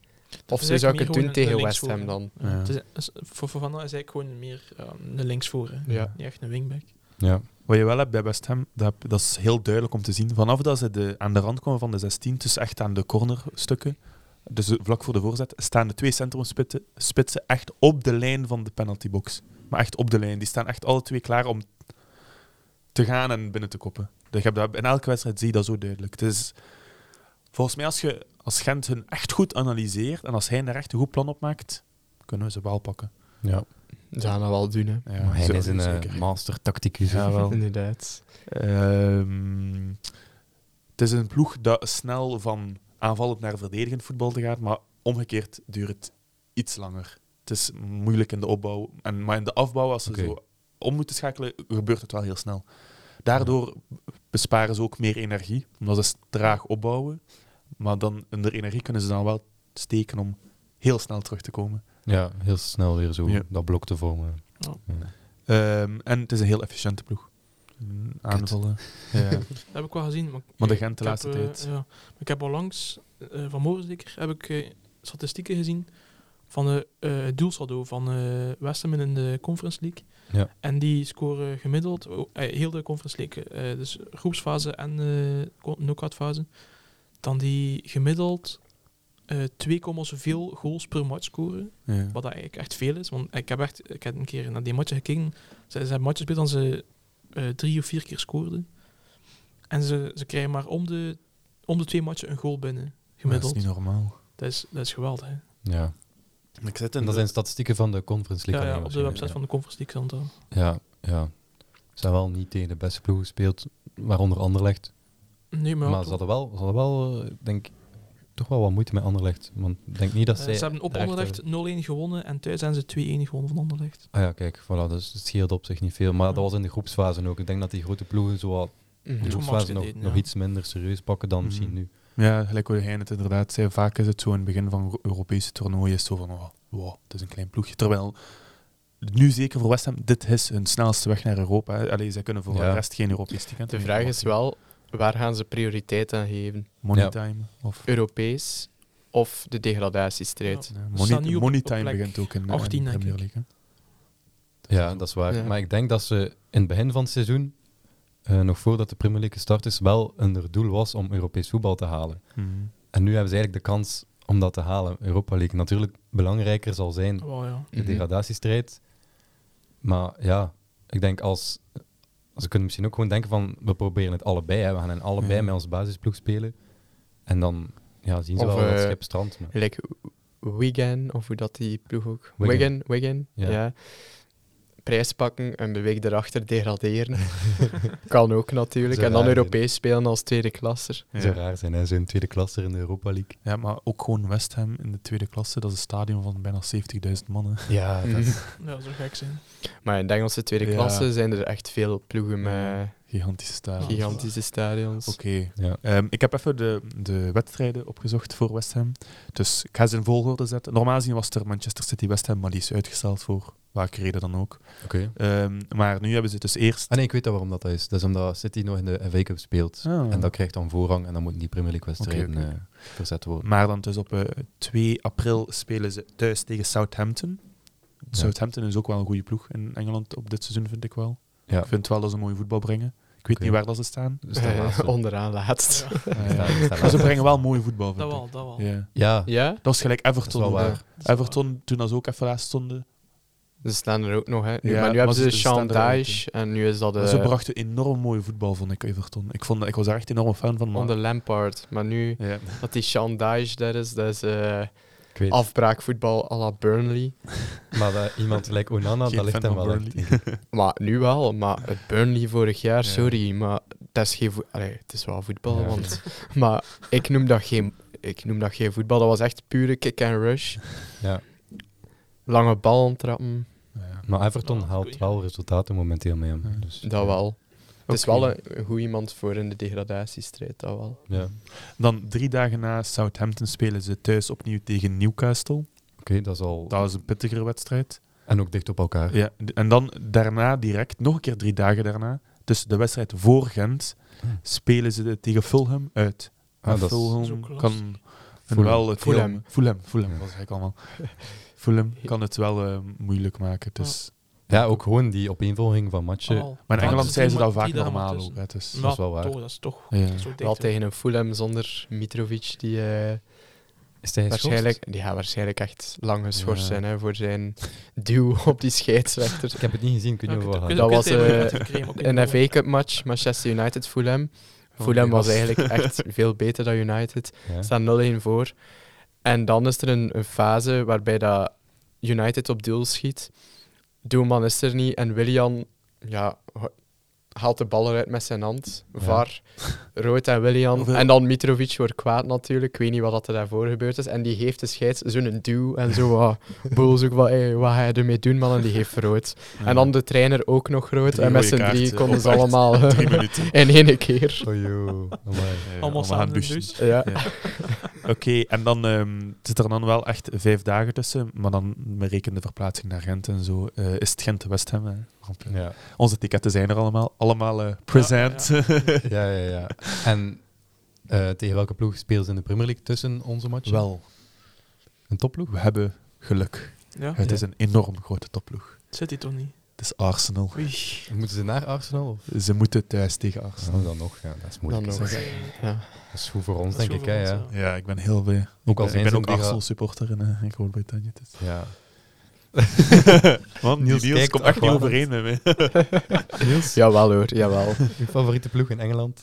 Speaker 2: Of
Speaker 4: is
Speaker 2: zo zou
Speaker 4: eigenlijk
Speaker 2: ik het doen
Speaker 4: meer gewoon een
Speaker 2: tegen West
Speaker 4: linksvoor,
Speaker 2: Ham dan.
Speaker 3: Ja.
Speaker 4: Het is- is- voor Fofana is eigenlijk gewoon meer eh, een linksvoor. hè.
Speaker 2: Ja.
Speaker 4: Niet echt een wingback.
Speaker 1: Ja.
Speaker 3: Wat je wel hebt bij West Ham, dat, heb- dat is heel duidelijk om te zien. Vanaf dat ze de, aan de rand komen van de 16, dus echt aan de cornerstukken, dus vlak voor de voorzet, staan de twee centrumspitsen spitsen echt op de lijn van de penaltybox. Maar echt op de lijn. Die staan echt alle twee klaar om te gaan en binnen te koppen. Dus je hebt dat, in elke wedstrijd zie je dat zo duidelijk. Het is, volgens mij, als, je, als Gent hun echt goed analyseert en als hij daar echt een goed plan op maakt, kunnen we ze wel pakken.
Speaker 1: ja.
Speaker 2: Ze gaan dat wel doen, hè.
Speaker 3: Ja,
Speaker 1: maar hij
Speaker 3: zo-
Speaker 1: is een eh,
Speaker 3: zeker.
Speaker 1: master tacticus.
Speaker 3: Ja,
Speaker 2: [laughs]
Speaker 3: wel.
Speaker 2: Inderdaad.
Speaker 3: Ehm, het is een ploeg dat snel van aanvallend naar verdedigend voetbal te gaat, maar omgekeerd duurt het iets langer. Het is moeilijk in de opbouw, en, maar in de afbouw, als ze
Speaker 1: Oké.
Speaker 3: zo om moeten schakelen, gebeurt het wel heel snel. Daardoor besparen ze ook meer energie, omdat ze traag opbouwen. Maar dan, in de energie kunnen ze dan wel steken om heel snel terug te komen.
Speaker 1: Ja, heel snel weer zo
Speaker 3: Ja.
Speaker 1: dat blok te vormen.
Speaker 4: Ja.
Speaker 1: Ja.
Speaker 3: Ehm, en het is een heel efficiënte ploeg. Aanvallen. Ja.
Speaker 4: Dat heb ik wel gezien. Maar,
Speaker 3: Maar de
Speaker 4: ik-
Speaker 3: Gent de
Speaker 4: ik
Speaker 3: laatste
Speaker 4: heb, eh,
Speaker 3: tijd.
Speaker 4: ja. Maar ik heb onlangs, eh vanmorgen zeker, heb ik eh, statistieken gezien van de eh het doelsaldo van eh West Ham in de Conference League.
Speaker 1: Ja.
Speaker 4: En die scoren gemiddeld, oh, eh, heel de Conference League, eh, dus groepsfase en eh knock fase, dan die gemiddeld eh 2, zoveel goals per match scoren
Speaker 3: Ja.
Speaker 4: eh, wat dat eigenlijk echt veel is. Want ik heb echt ik heb een keer naar die matchen gekeken. Ze, ze hebben matches gespeeld dat ze eh, drie of vier keer scoorden. En ze, ze krijgen maar om de, om de twee matchen een goal binnen, gemiddeld.
Speaker 3: Dat is niet normaal.
Speaker 4: dat, is, dat is geweldig. Hè?
Speaker 1: Ja.
Speaker 3: Ik zit
Speaker 1: En dat zijn statistieken van de Conference
Speaker 4: Ja,
Speaker 1: League.
Speaker 4: ja,
Speaker 1: alleen
Speaker 4: op de website
Speaker 1: waarschijnlijk,
Speaker 4: van de Conference League stond dat.
Speaker 1: Ja, ja. Ze hebben wel niet tegen de beste ploeg gespeeld, waaronder Anderlecht.
Speaker 4: Nee, maar,
Speaker 1: Maar ze hadden wel, ze hadden wel eh, denk ik, toch wel wat moeite met Anderlecht. Want ik denk niet dat
Speaker 4: Eh,
Speaker 1: zij...
Speaker 4: ze hebben op
Speaker 1: daar echt
Speaker 4: Anderlecht 0-1 gewonnen en thuis hebben ze 2-1 gewonnen van Anderlecht.
Speaker 1: Ah ja, kijk, voilà, dus het scheelt op zich niet veel. Maar dat was in de groepsfase ook. Ik denk dat die grote ploegen zo wat
Speaker 2: Mhm.
Speaker 1: de
Speaker 4: Zo'n
Speaker 1: groepsfase
Speaker 4: match
Speaker 1: nog,
Speaker 4: deden,
Speaker 1: nog
Speaker 4: ja.
Speaker 1: iets minder serieus pakken dan
Speaker 3: Mhm.
Speaker 1: misschien nu.
Speaker 3: Ja, gelijk hoe jij het inderdaad zei, vaak is het zo in het begin van Euro- Europese toernooien is het zo van, oh, wow, het is een klein ploegje. Terwijl, nu zeker voor West Ham, dit is hun snelste weg naar Europa. hè. Allee, zij kunnen voor
Speaker 1: Ja.
Speaker 3: de rest geen Europees ticket.
Speaker 2: De vraag is wel, waar gaan ze prioriteit aan geven?
Speaker 3: Moneytime. Of,
Speaker 2: Europees of de degradatiestrijd?
Speaker 3: ja,
Speaker 4: We staan nu
Speaker 3: money,
Speaker 4: op- op
Speaker 3: moneytime
Speaker 4: plek
Speaker 3: begint ook in de
Speaker 4: 18 denk
Speaker 3: Premier
Speaker 4: ik.
Speaker 3: League. hè.
Speaker 1: Ja, dat is waar.
Speaker 2: Ja.
Speaker 1: Maar ik denk dat ze in het begin van het seizoen, eh, nog voordat de Premier League gestart is, wel een doel was om Europees voetbal te halen.
Speaker 3: Mhm.
Speaker 1: En nu hebben ze eigenlijk de kans om dat te halen. Europa League natuurlijk belangrijker zal zijn,
Speaker 4: Wel, ja.
Speaker 1: de
Speaker 2: Mhm.
Speaker 1: degradatiestrijd. Maar ja, ik denk als... Ze kunnen misschien ook gewoon denken van, we proberen het allebei. Hè. We gaan in allebei
Speaker 3: Ja.
Speaker 1: met onze basisploeg spelen. En dan ja, zien ze
Speaker 2: Of,
Speaker 1: wel dat
Speaker 2: eh,
Speaker 1: schip strandt. maar-
Speaker 2: Like Wigan, of hoe dat die ploeg ook...
Speaker 1: Wigan.
Speaker 2: Wigan, Wigan, ja.
Speaker 1: Ja.
Speaker 2: Prijs pakken en de week erachter degraderen. [laughs] kan ook natuurlijk.
Speaker 1: Zo
Speaker 2: en dan
Speaker 1: raar,
Speaker 2: Europees spelen als tweede klasser.
Speaker 1: Zo
Speaker 3: Ja.
Speaker 1: raar zijn, hè? Zo'n tweede klasser in de Europa League.
Speaker 3: Ja, maar ook gewoon West Ham in de tweede klasse, dat is een stadion van bijna 70.000 mannen.
Speaker 1: Ja,
Speaker 4: Ja, dat zou gek zijn.
Speaker 2: Mhm. Maar in de Engelse tweede
Speaker 3: Ja.
Speaker 2: klasse zijn er echt veel ploegen
Speaker 3: Ja.
Speaker 2: met
Speaker 3: Gigantische stadion.
Speaker 4: Giga-
Speaker 2: gigantische stadions.
Speaker 3: Oké.
Speaker 1: ja.
Speaker 3: Ehm, ik heb even de, de wedstrijden opgezocht voor West Ham. Dus ik ga ze in volgorde zetten. Normaal gezien was er Manchester City-West Ham, maar die is uitgesteld voor welke reden dan ook.
Speaker 1: oké.
Speaker 3: Ehm, maar nu hebben ze dus eerst...
Speaker 1: Ah nee, ik weet dat waarom dat is. Dat is omdat City nog in de FA Cup speelt.
Speaker 3: Ah.
Speaker 1: En dat krijgt dan voorrang en dan moeten die Premier League wedstrijden
Speaker 3: Oké, oké.
Speaker 1: eh, verzet worden.
Speaker 3: Maar dan dus op eh, 2 april spelen ze thuis tegen Southampton. Southampton is ook wel een goede ploeg in Engeland op dit seizoen, vind ik wel.
Speaker 1: Ja,
Speaker 3: Ik vind wel dat ze mooi voetbal brengen. Ik weet
Speaker 1: Oké.
Speaker 3: niet waar dat ze
Speaker 1: [laughs]
Speaker 3: staan.
Speaker 1: dus de laatste.
Speaker 2: Eh, onderaan laatst.
Speaker 4: Ja,
Speaker 3: Eh,
Speaker 1: staan- we staan
Speaker 3: maar ze
Speaker 1: laatst.
Speaker 3: brengen wel mooi voetbal, vind
Speaker 4: dat
Speaker 3: ik.
Speaker 4: wel, dat wel.
Speaker 3: Ja.
Speaker 1: Ja,
Speaker 2: [laughs] Ja?
Speaker 3: Dat was gelijk
Speaker 1: dat is wel
Speaker 3: Everton.
Speaker 1: waar.
Speaker 3: eh. Everton, toen dat ze ook even laatst stonden,
Speaker 2: Ze staan er ook nog, hè. Nu-
Speaker 3: Ja,
Speaker 2: maar nu
Speaker 3: maar
Speaker 2: hebben
Speaker 3: ze-
Speaker 2: ze
Speaker 3: ze staan er
Speaker 2: Sean
Speaker 3: ook in.
Speaker 2: Dyche en nu is
Speaker 1: Eh,
Speaker 2: dat eh,
Speaker 3: Maar Ze
Speaker 2: de
Speaker 3: brachten enorm mooie voetbal, vond ik, Everton. Ik, vond, ik was daar echt enorm fan
Speaker 1: Oh,
Speaker 3: van. maar-
Speaker 2: onder Lampard. Maar nu
Speaker 3: Ja.
Speaker 1: Ah,
Speaker 2: dat die Sean Dyche daar is, dat is eh,
Speaker 1: ik weet
Speaker 2: afbraakvoetbal à la Burnley.
Speaker 1: Maar dat iemand like Onana,
Speaker 3: Geen
Speaker 1: dat ligt
Speaker 3: fan
Speaker 1: hem
Speaker 3: van
Speaker 1: wel echt.
Speaker 3: Burnley.
Speaker 1: in.
Speaker 2: Maar nu wel, maar het Burnley vorig jaar,
Speaker 3: Ja.
Speaker 2: sorry, maar dat is geen voet- Allee, het is wel voetbal,
Speaker 1: Ja.
Speaker 2: want... Maar ik noem, dat geen, ik noem dat geen voetbal, dat was echt pure kick and rush.
Speaker 1: Ja.
Speaker 2: Lange ballen trappen,
Speaker 3: [laughs] Ja.
Speaker 1: Maar Everton
Speaker 4: Ja,
Speaker 1: haalt
Speaker 4: goed.
Speaker 1: wel resultaten momenteel mee hem.
Speaker 3: Ja.
Speaker 1: Dus,
Speaker 2: dat wel. Het is
Speaker 3: Oké.
Speaker 2: wel een, een goed iemand voor in de degradatiestrijd, dat wel.
Speaker 1: Ja, oké,
Speaker 3: Dan drie dagen na Southampton spelen ze thuis opnieuw tegen Newcastle.
Speaker 1: dat is al...
Speaker 3: Dat is een pittigere wedstrijd.
Speaker 1: En ook dicht op elkaar.
Speaker 3: Ja. d- En dan daarna direct, nog een keer drie dagen daarna, dus de wedstrijd voor Gent,
Speaker 1: Hm.
Speaker 3: spelen ze de- tegen Fulham uit.
Speaker 1: Ah,
Speaker 3: En
Speaker 1: dat is-
Speaker 3: Fulham
Speaker 4: Zo klas.
Speaker 3: kan
Speaker 1: Fulham.
Speaker 3: wel het heel-
Speaker 2: Fulham.
Speaker 3: Fulham, Fulham,
Speaker 1: Ja.
Speaker 3: dat zeg ik allemaal. Fulham kan het wel eh, moeilijk maken. Dus
Speaker 1: Ja, ook gewoon die opeenvolging van matchen.
Speaker 4: Al.
Speaker 3: Maar in
Speaker 4: Ja,
Speaker 3: Engeland
Speaker 4: dus
Speaker 3: zijn ze
Speaker 4: drie
Speaker 3: dat
Speaker 4: ma-
Speaker 3: vaak
Speaker 4: drie dagen
Speaker 3: normaal ook.
Speaker 4: tussen.
Speaker 3: hè. Dus,
Speaker 1: Dat is wel
Speaker 4: Maar
Speaker 1: waar.
Speaker 4: toch, dat is toch
Speaker 3: ja.
Speaker 4: zo dicht.
Speaker 2: Wel tegen een Fulham zonder Mitrovic, die eh,
Speaker 1: Is hij geschorst?
Speaker 2: waarschijnlijk, die gaat waarschijnlijk echt lang geschorst
Speaker 3: Ja.
Speaker 2: zijn hè, voor zijn duw [laughs] op die scheidsrechter.
Speaker 1: Ik heb het niet gezien, ik weet
Speaker 4: Ja,
Speaker 1: niet
Speaker 4: ik-
Speaker 1: over
Speaker 4: ik
Speaker 1: wat
Speaker 4: weet
Speaker 1: gaat.
Speaker 4: ook
Speaker 2: Dat was,
Speaker 4: niet wat hij
Speaker 2: eh,
Speaker 4: heeft gekregen, maar ik weet
Speaker 2: Een
Speaker 4: niet
Speaker 2: FA Cup match, Manchester United Fulham. Fulham Oh, was [laughs] eigenlijk echt veel beter dan United.
Speaker 1: Ja.
Speaker 2: Er staan 0-1 voor. En dan is er een, een fase waarbij dat United op doel schiet. Doelman is er niet en Willian ja, ho- haalt de bal eruit met zijn hand.
Speaker 1: Ja.
Speaker 2: Var, rood en Willian.
Speaker 3: Hoeveel-
Speaker 2: En dan Mitrovic wordt kwaad natuurlijk. Ik weet niet wat er daarvoor gebeurd is. En die geeft de scheids zo'n duw en zo wat boels ook wat, hey, wat ga je ermee doen man? En die geeft rood. En dan de trainer ook nog rood.
Speaker 3: Drie
Speaker 2: en met
Speaker 3: rode
Speaker 2: z'n drie
Speaker 3: kaarten
Speaker 2: konden
Speaker 3: op
Speaker 2: ze
Speaker 3: echt
Speaker 2: allemaal
Speaker 3: [laughs]
Speaker 2: eh,
Speaker 3: drie minuten.
Speaker 2: [laughs] in één keer.
Speaker 1: Oh joh, amai.
Speaker 3: Ja,
Speaker 4: allemaal
Speaker 3: aan
Speaker 4: samen dus.
Speaker 3: het
Speaker 4: in de
Speaker 3: douchen.
Speaker 4: bus.
Speaker 2: Ja.
Speaker 3: Ja. Oké, en dan ehm, zit er dan wel echt vijf dagen tussen, maar dan met reken de verplaatsing naar Gent en zo, eh, is het Gent-West Ham. hè. Want, eh,
Speaker 1: Ja.
Speaker 3: Onze tickets zijn er allemaal, allemaal eh, present.
Speaker 4: Ja,
Speaker 3: [laughs]
Speaker 1: Ja, ja, ja. En eh, tegen welke ploeg spelen ze in de Premier League tussen onze matchen?
Speaker 3: Wel,
Speaker 1: Een topploeg?
Speaker 3: we hebben geluk. [laughs]
Speaker 4: Ja,
Speaker 3: Het is een enorm grote topploeg.
Speaker 4: zit hij toch niet?
Speaker 3: Het is Arsenal.
Speaker 4: Oei.
Speaker 1: Moeten ze naar Arsenal? Of?
Speaker 3: Ze moeten thuis tegen Arsenal.
Speaker 1: Oh, dan nog, ja, dat is moeilijk.
Speaker 2: Dan
Speaker 1: te
Speaker 2: nog.
Speaker 1: zeggen.
Speaker 4: Eh,
Speaker 2: Ja.
Speaker 1: Dat is goed voor ons,
Speaker 4: Dat is
Speaker 1: denk ik.
Speaker 4: goed
Speaker 1: Hè,
Speaker 4: voor
Speaker 1: ja.
Speaker 4: ons,
Speaker 3: Ja, ik ben heel blij.
Speaker 1: Ook al
Speaker 3: Ik
Speaker 1: zijn
Speaker 3: ben-
Speaker 1: ze
Speaker 3: ik ben ook
Speaker 1: tegen-
Speaker 3: Arsenal-supporter in, eh, in Groot-Brittannië. dus.
Speaker 1: Ja.
Speaker 3: Want
Speaker 1: Niels
Speaker 3: Niels, Niels
Speaker 1: kijkt
Speaker 3: komt echt niet
Speaker 1: aqualand.
Speaker 3: overeen met mij.
Speaker 1: Niels,
Speaker 2: Jawel hoor, jawel.
Speaker 1: je favoriete ploeg in Engeland?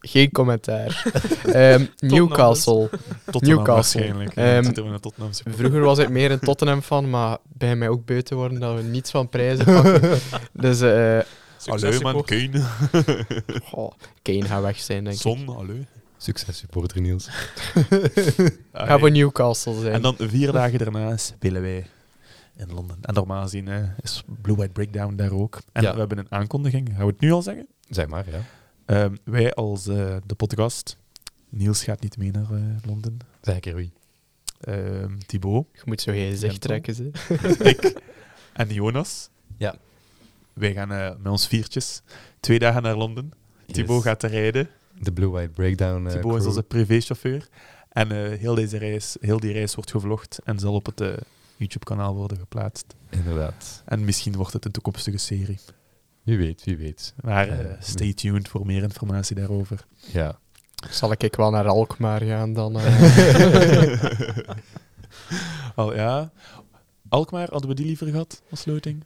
Speaker 2: Geen commentaar. [laughs] Ehm, Newcastle.
Speaker 3: Tottenham
Speaker 2: Newcastle.
Speaker 3: waarschijnlijk. Ja,
Speaker 2: Ehm,
Speaker 3: zitten we naar Tottenham supporter.
Speaker 2: Vroeger was ik meer een Tottenham fan, maar bij mij ook buiten worden dat we niets van prijzen pakken. Dus eh
Speaker 3: Allee man,
Speaker 4: support.
Speaker 3: Kane.
Speaker 2: goh, Kane gaat weg zijn, denk ik.
Speaker 3: Son, allee.
Speaker 1: Succes, supporter Niels.
Speaker 2: Ga voor Newcastle zijn.
Speaker 3: Ah, En dan vier dagen daarna spelen wij in Londen. En normaal gezien hè, is Blue White Breakdown daar ook. En
Speaker 1: Ja.
Speaker 3: we hebben een aankondiging, gaan we het nu al zeggen?
Speaker 1: Zeg maar, ja.
Speaker 3: Ehm, wij als eh, de podcast, Niels gaat niet mee naar eh, Londen.
Speaker 1: Zeg een keer wie.
Speaker 3: Ehm Thibaut, [laughs]
Speaker 2: Je moet zo geen
Speaker 3: Gentle.
Speaker 2: zicht trekken, ze.
Speaker 3: ik en Jonas.
Speaker 1: Ja.
Speaker 3: Wij gaan eh, met ons viertjes twee dagen naar Londen. Thibaut
Speaker 1: Yes.
Speaker 3: gaat rijden.
Speaker 1: De Blue White Breakdown. eh,
Speaker 3: Thibaut is
Speaker 1: crew.
Speaker 3: onze privéchauffeur. En eh, heel, deze reis, heel die reis wordt gevlogd en zal op het eh, YouTube-kanaal worden geplaatst.
Speaker 1: Inderdaad.
Speaker 3: En misschien wordt het een toekomstige serie.
Speaker 1: Wie weet, wie weet.
Speaker 3: Maar eh,
Speaker 1: Eh,
Speaker 3: stay tuned voor meer informatie
Speaker 2: [laughs]
Speaker 3: daarover.
Speaker 1: Ja.
Speaker 2: Zal ik wel naar Alkmaar gaan dan?
Speaker 3: [laughs]
Speaker 2: eh?
Speaker 3: Al ja. Alkmaar, hadden we die liever gehad als loting?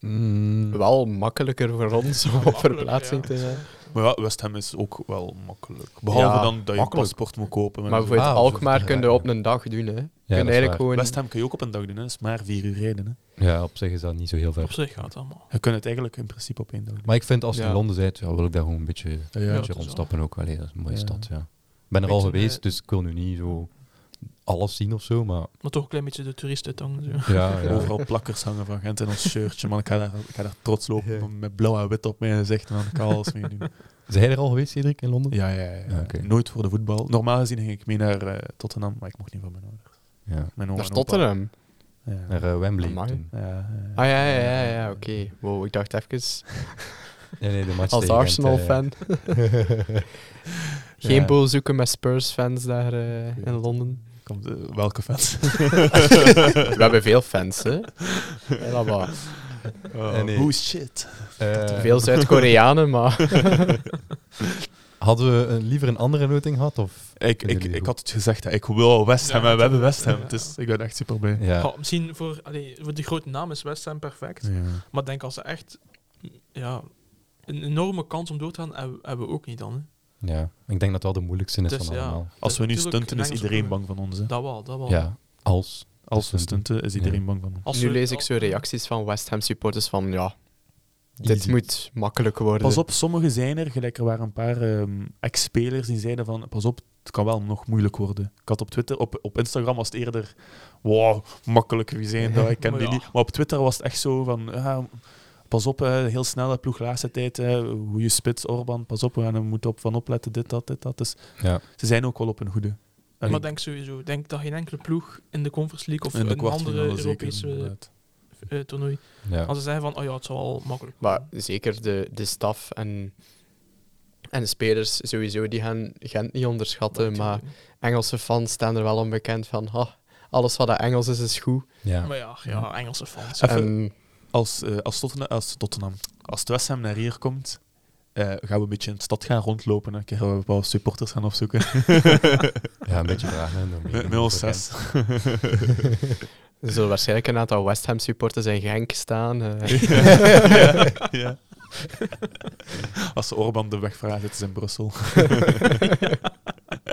Speaker 1: Mm,
Speaker 2: wel makkelijker voor ons om op
Speaker 4: Makkelijker,
Speaker 2: verplaatsing
Speaker 4: ja.
Speaker 2: te zijn.
Speaker 3: Maar ja, West Ham is ook wel makkelijk. Behalve
Speaker 2: Ja,
Speaker 3: dan dat je een
Speaker 2: makkelijk.
Speaker 3: paspoort moet kopen.
Speaker 2: Maar voor het
Speaker 1: Ah,
Speaker 2: Alkmaar
Speaker 1: zo-
Speaker 2: kun je op een dag doen, hè.
Speaker 1: ja,
Speaker 2: Je
Speaker 1: dat
Speaker 2: kunt
Speaker 1: is
Speaker 2: eigenlijk
Speaker 1: waar.
Speaker 2: gewoon...
Speaker 3: West Ham kun je ook op een dag doen, hè. is maar vier uur rijden. Hè.
Speaker 1: ja, op zich is dat niet zo heel
Speaker 4: Op
Speaker 1: ver.
Speaker 4: zich gaat het allemaal.
Speaker 3: Je kunt het eigenlijk in principe op één dag doen.
Speaker 1: Maar ik vind als je
Speaker 2: Ja.
Speaker 1: in Londen bent, ja, wil ik daar gewoon een beetje, een
Speaker 3: ja,
Speaker 4: dat
Speaker 1: beetje
Speaker 4: is wel.
Speaker 1: rondstappen ook. Allee, dat is een mooie
Speaker 3: Ja.
Speaker 1: stad, ja. Ik ben er
Speaker 4: Beetje,
Speaker 1: al geweest,
Speaker 4: eh,
Speaker 1: dus ik wil nu niet zo alles zien of zo, maar
Speaker 4: Maar toch een klein beetje de toerist uithangen. zo.
Speaker 1: ja, Oh, ja.
Speaker 3: Overal plakkers hangen van Gent in ons shirtje. Man, ik ga daar, ik ga daar trots lopen
Speaker 1: Ja.
Speaker 3: met blauw en wit op mijn gezicht. En dan kan ik alles mee
Speaker 1: [laughs]
Speaker 3: doen.
Speaker 1: Zijn jij er al geweest, Cedric, in Londen?
Speaker 3: Ja, ja, ja. ja.
Speaker 1: Ja, oké.
Speaker 3: Nooit voor de voetbal. Normaal gezien ging ik mee naar eh, Tottenham, maar ik mocht niet van mijn ouders.
Speaker 1: Ja.
Speaker 2: Dat
Speaker 3: Mijn oom
Speaker 2: is
Speaker 3: en opa.
Speaker 2: Tottenham.
Speaker 3: Ja.
Speaker 1: Naar eh, Wembley.
Speaker 2: Amai.
Speaker 1: toen.
Speaker 3: Ja, ja.
Speaker 2: Ah ja, ja, ja, ja oké. Wow, ik dacht even,
Speaker 1: Nee, nee, de match
Speaker 2: als
Speaker 1: tegen Gent,
Speaker 2: Arsenal-fan.
Speaker 1: eh,
Speaker 2: Geen
Speaker 3: Ja.
Speaker 2: boel zoeken met Spurs-fans daar eh, in
Speaker 3: [laughs]
Speaker 2: Londen.
Speaker 3: Komt, eh, welke fans?
Speaker 2: [laughs]
Speaker 3: [laughs]
Speaker 2: We hebben veel fans, hè. Ja, maar
Speaker 1: Eh, nee.
Speaker 3: Who's Oh, shit?
Speaker 1: eh,
Speaker 2: Veel Zuid-Koreanen, maar...
Speaker 1: Hadden we een- liever een andere noting gehad? Of?
Speaker 3: Ik,
Speaker 1: Vinden
Speaker 3: ik,
Speaker 1: jullie
Speaker 3: ik
Speaker 1: goed?
Speaker 3: had het gezegd, hè. ik wil West Ham.
Speaker 4: Ja,
Speaker 3: en we hebben
Speaker 4: dat-
Speaker 3: West Ham.
Speaker 4: ja.
Speaker 3: Dus ik ben echt super blij.
Speaker 1: Ja.
Speaker 4: Ja, misschien voor, allee, voor de grote naam is West Ham perfect. Maar ik denk als ze echt ja, een enorme kans om door te gaan, hebben, hebben we ook niet dan. Hè.
Speaker 1: ja, ik denk dat dat de moeilijkste is
Speaker 4: Dus
Speaker 1: van
Speaker 4: ja.
Speaker 1: allemaal.
Speaker 3: Als we nu
Speaker 4: Tuurlijk,
Speaker 3: stunten, is
Speaker 4: Engels
Speaker 3: iedereen
Speaker 4: ook.
Speaker 3: bang van ons. Hè.
Speaker 4: Dat wel, dat wel.
Speaker 1: Ja, als.
Speaker 3: Als we
Speaker 1: stunten.
Speaker 3: stunten, is iedereen bang van ons.
Speaker 4: Als
Speaker 2: Nu
Speaker 4: we-
Speaker 2: lees ik zo
Speaker 4: al-
Speaker 2: reacties van West Ham-supporters van, ja, dit
Speaker 1: Easy.
Speaker 2: moet makkelijk worden.
Speaker 3: Pas op, sommige zijn er, gelijk er waren een paar ehm, ex-spelers die zeiden van, pas op, het kan wel nog moeilijk worden. Ik had op Twitter, op, op Instagram was het eerder, wow, makkelijk, wie
Speaker 4: [laughs]
Speaker 3: zijn dat, ik ken
Speaker 4: Maar
Speaker 3: die
Speaker 4: ja.
Speaker 3: niet. Maar op Twitter was het echt zo van, ja, pas op, eh, heel snel, de ploeg laatste tijd, eh, hoe je spits, Orban, pas op, we gaan er moeten op van opletten, dit, dat, dit, dat. Dus
Speaker 1: Ja.
Speaker 3: ze zijn ook wel op een goede. En
Speaker 4: Maar denk sowieso, ik denk dat geen enkele ploeg in de Conference League of
Speaker 3: in de
Speaker 4: een andere
Speaker 3: kwartfinale zeker.
Speaker 4: Europese
Speaker 3: inderdaad.
Speaker 4: eh, toernooi,
Speaker 1: Ja.
Speaker 4: als ze zeggen van, oh ja, het zal al makkelijk
Speaker 2: Maar
Speaker 4: worden.
Speaker 2: zeker de, de staf en, en de spelers sowieso, die gaan Gent niet onderschatten. eh, Maar Engelse fans staan er wel onbekend van. Ha, alles wat dat Engels is, is goed.
Speaker 1: Ja.
Speaker 4: Maar ja, ja, Engelse fans.
Speaker 3: Even-
Speaker 2: En
Speaker 3: Als, eh, als, Tottenham, als Tottenham, als het West Ham naar hier komt, eh, gaan we een beetje in de stad gaan rondlopen. Dan gaan we een paar supporters gaan opzoeken.
Speaker 1: ja, een beetje vragen. hè, door
Speaker 3: Met,
Speaker 1: mening
Speaker 3: met ons
Speaker 1: over
Speaker 3: zes.
Speaker 2: er zullen waarschijnlijk een aantal West Ham supporters in Genk staan. eh.
Speaker 3: [laughs] ja, [laughs] ja. Als ze Orban de weg vraagt, het is in Brussel.
Speaker 1: Gent.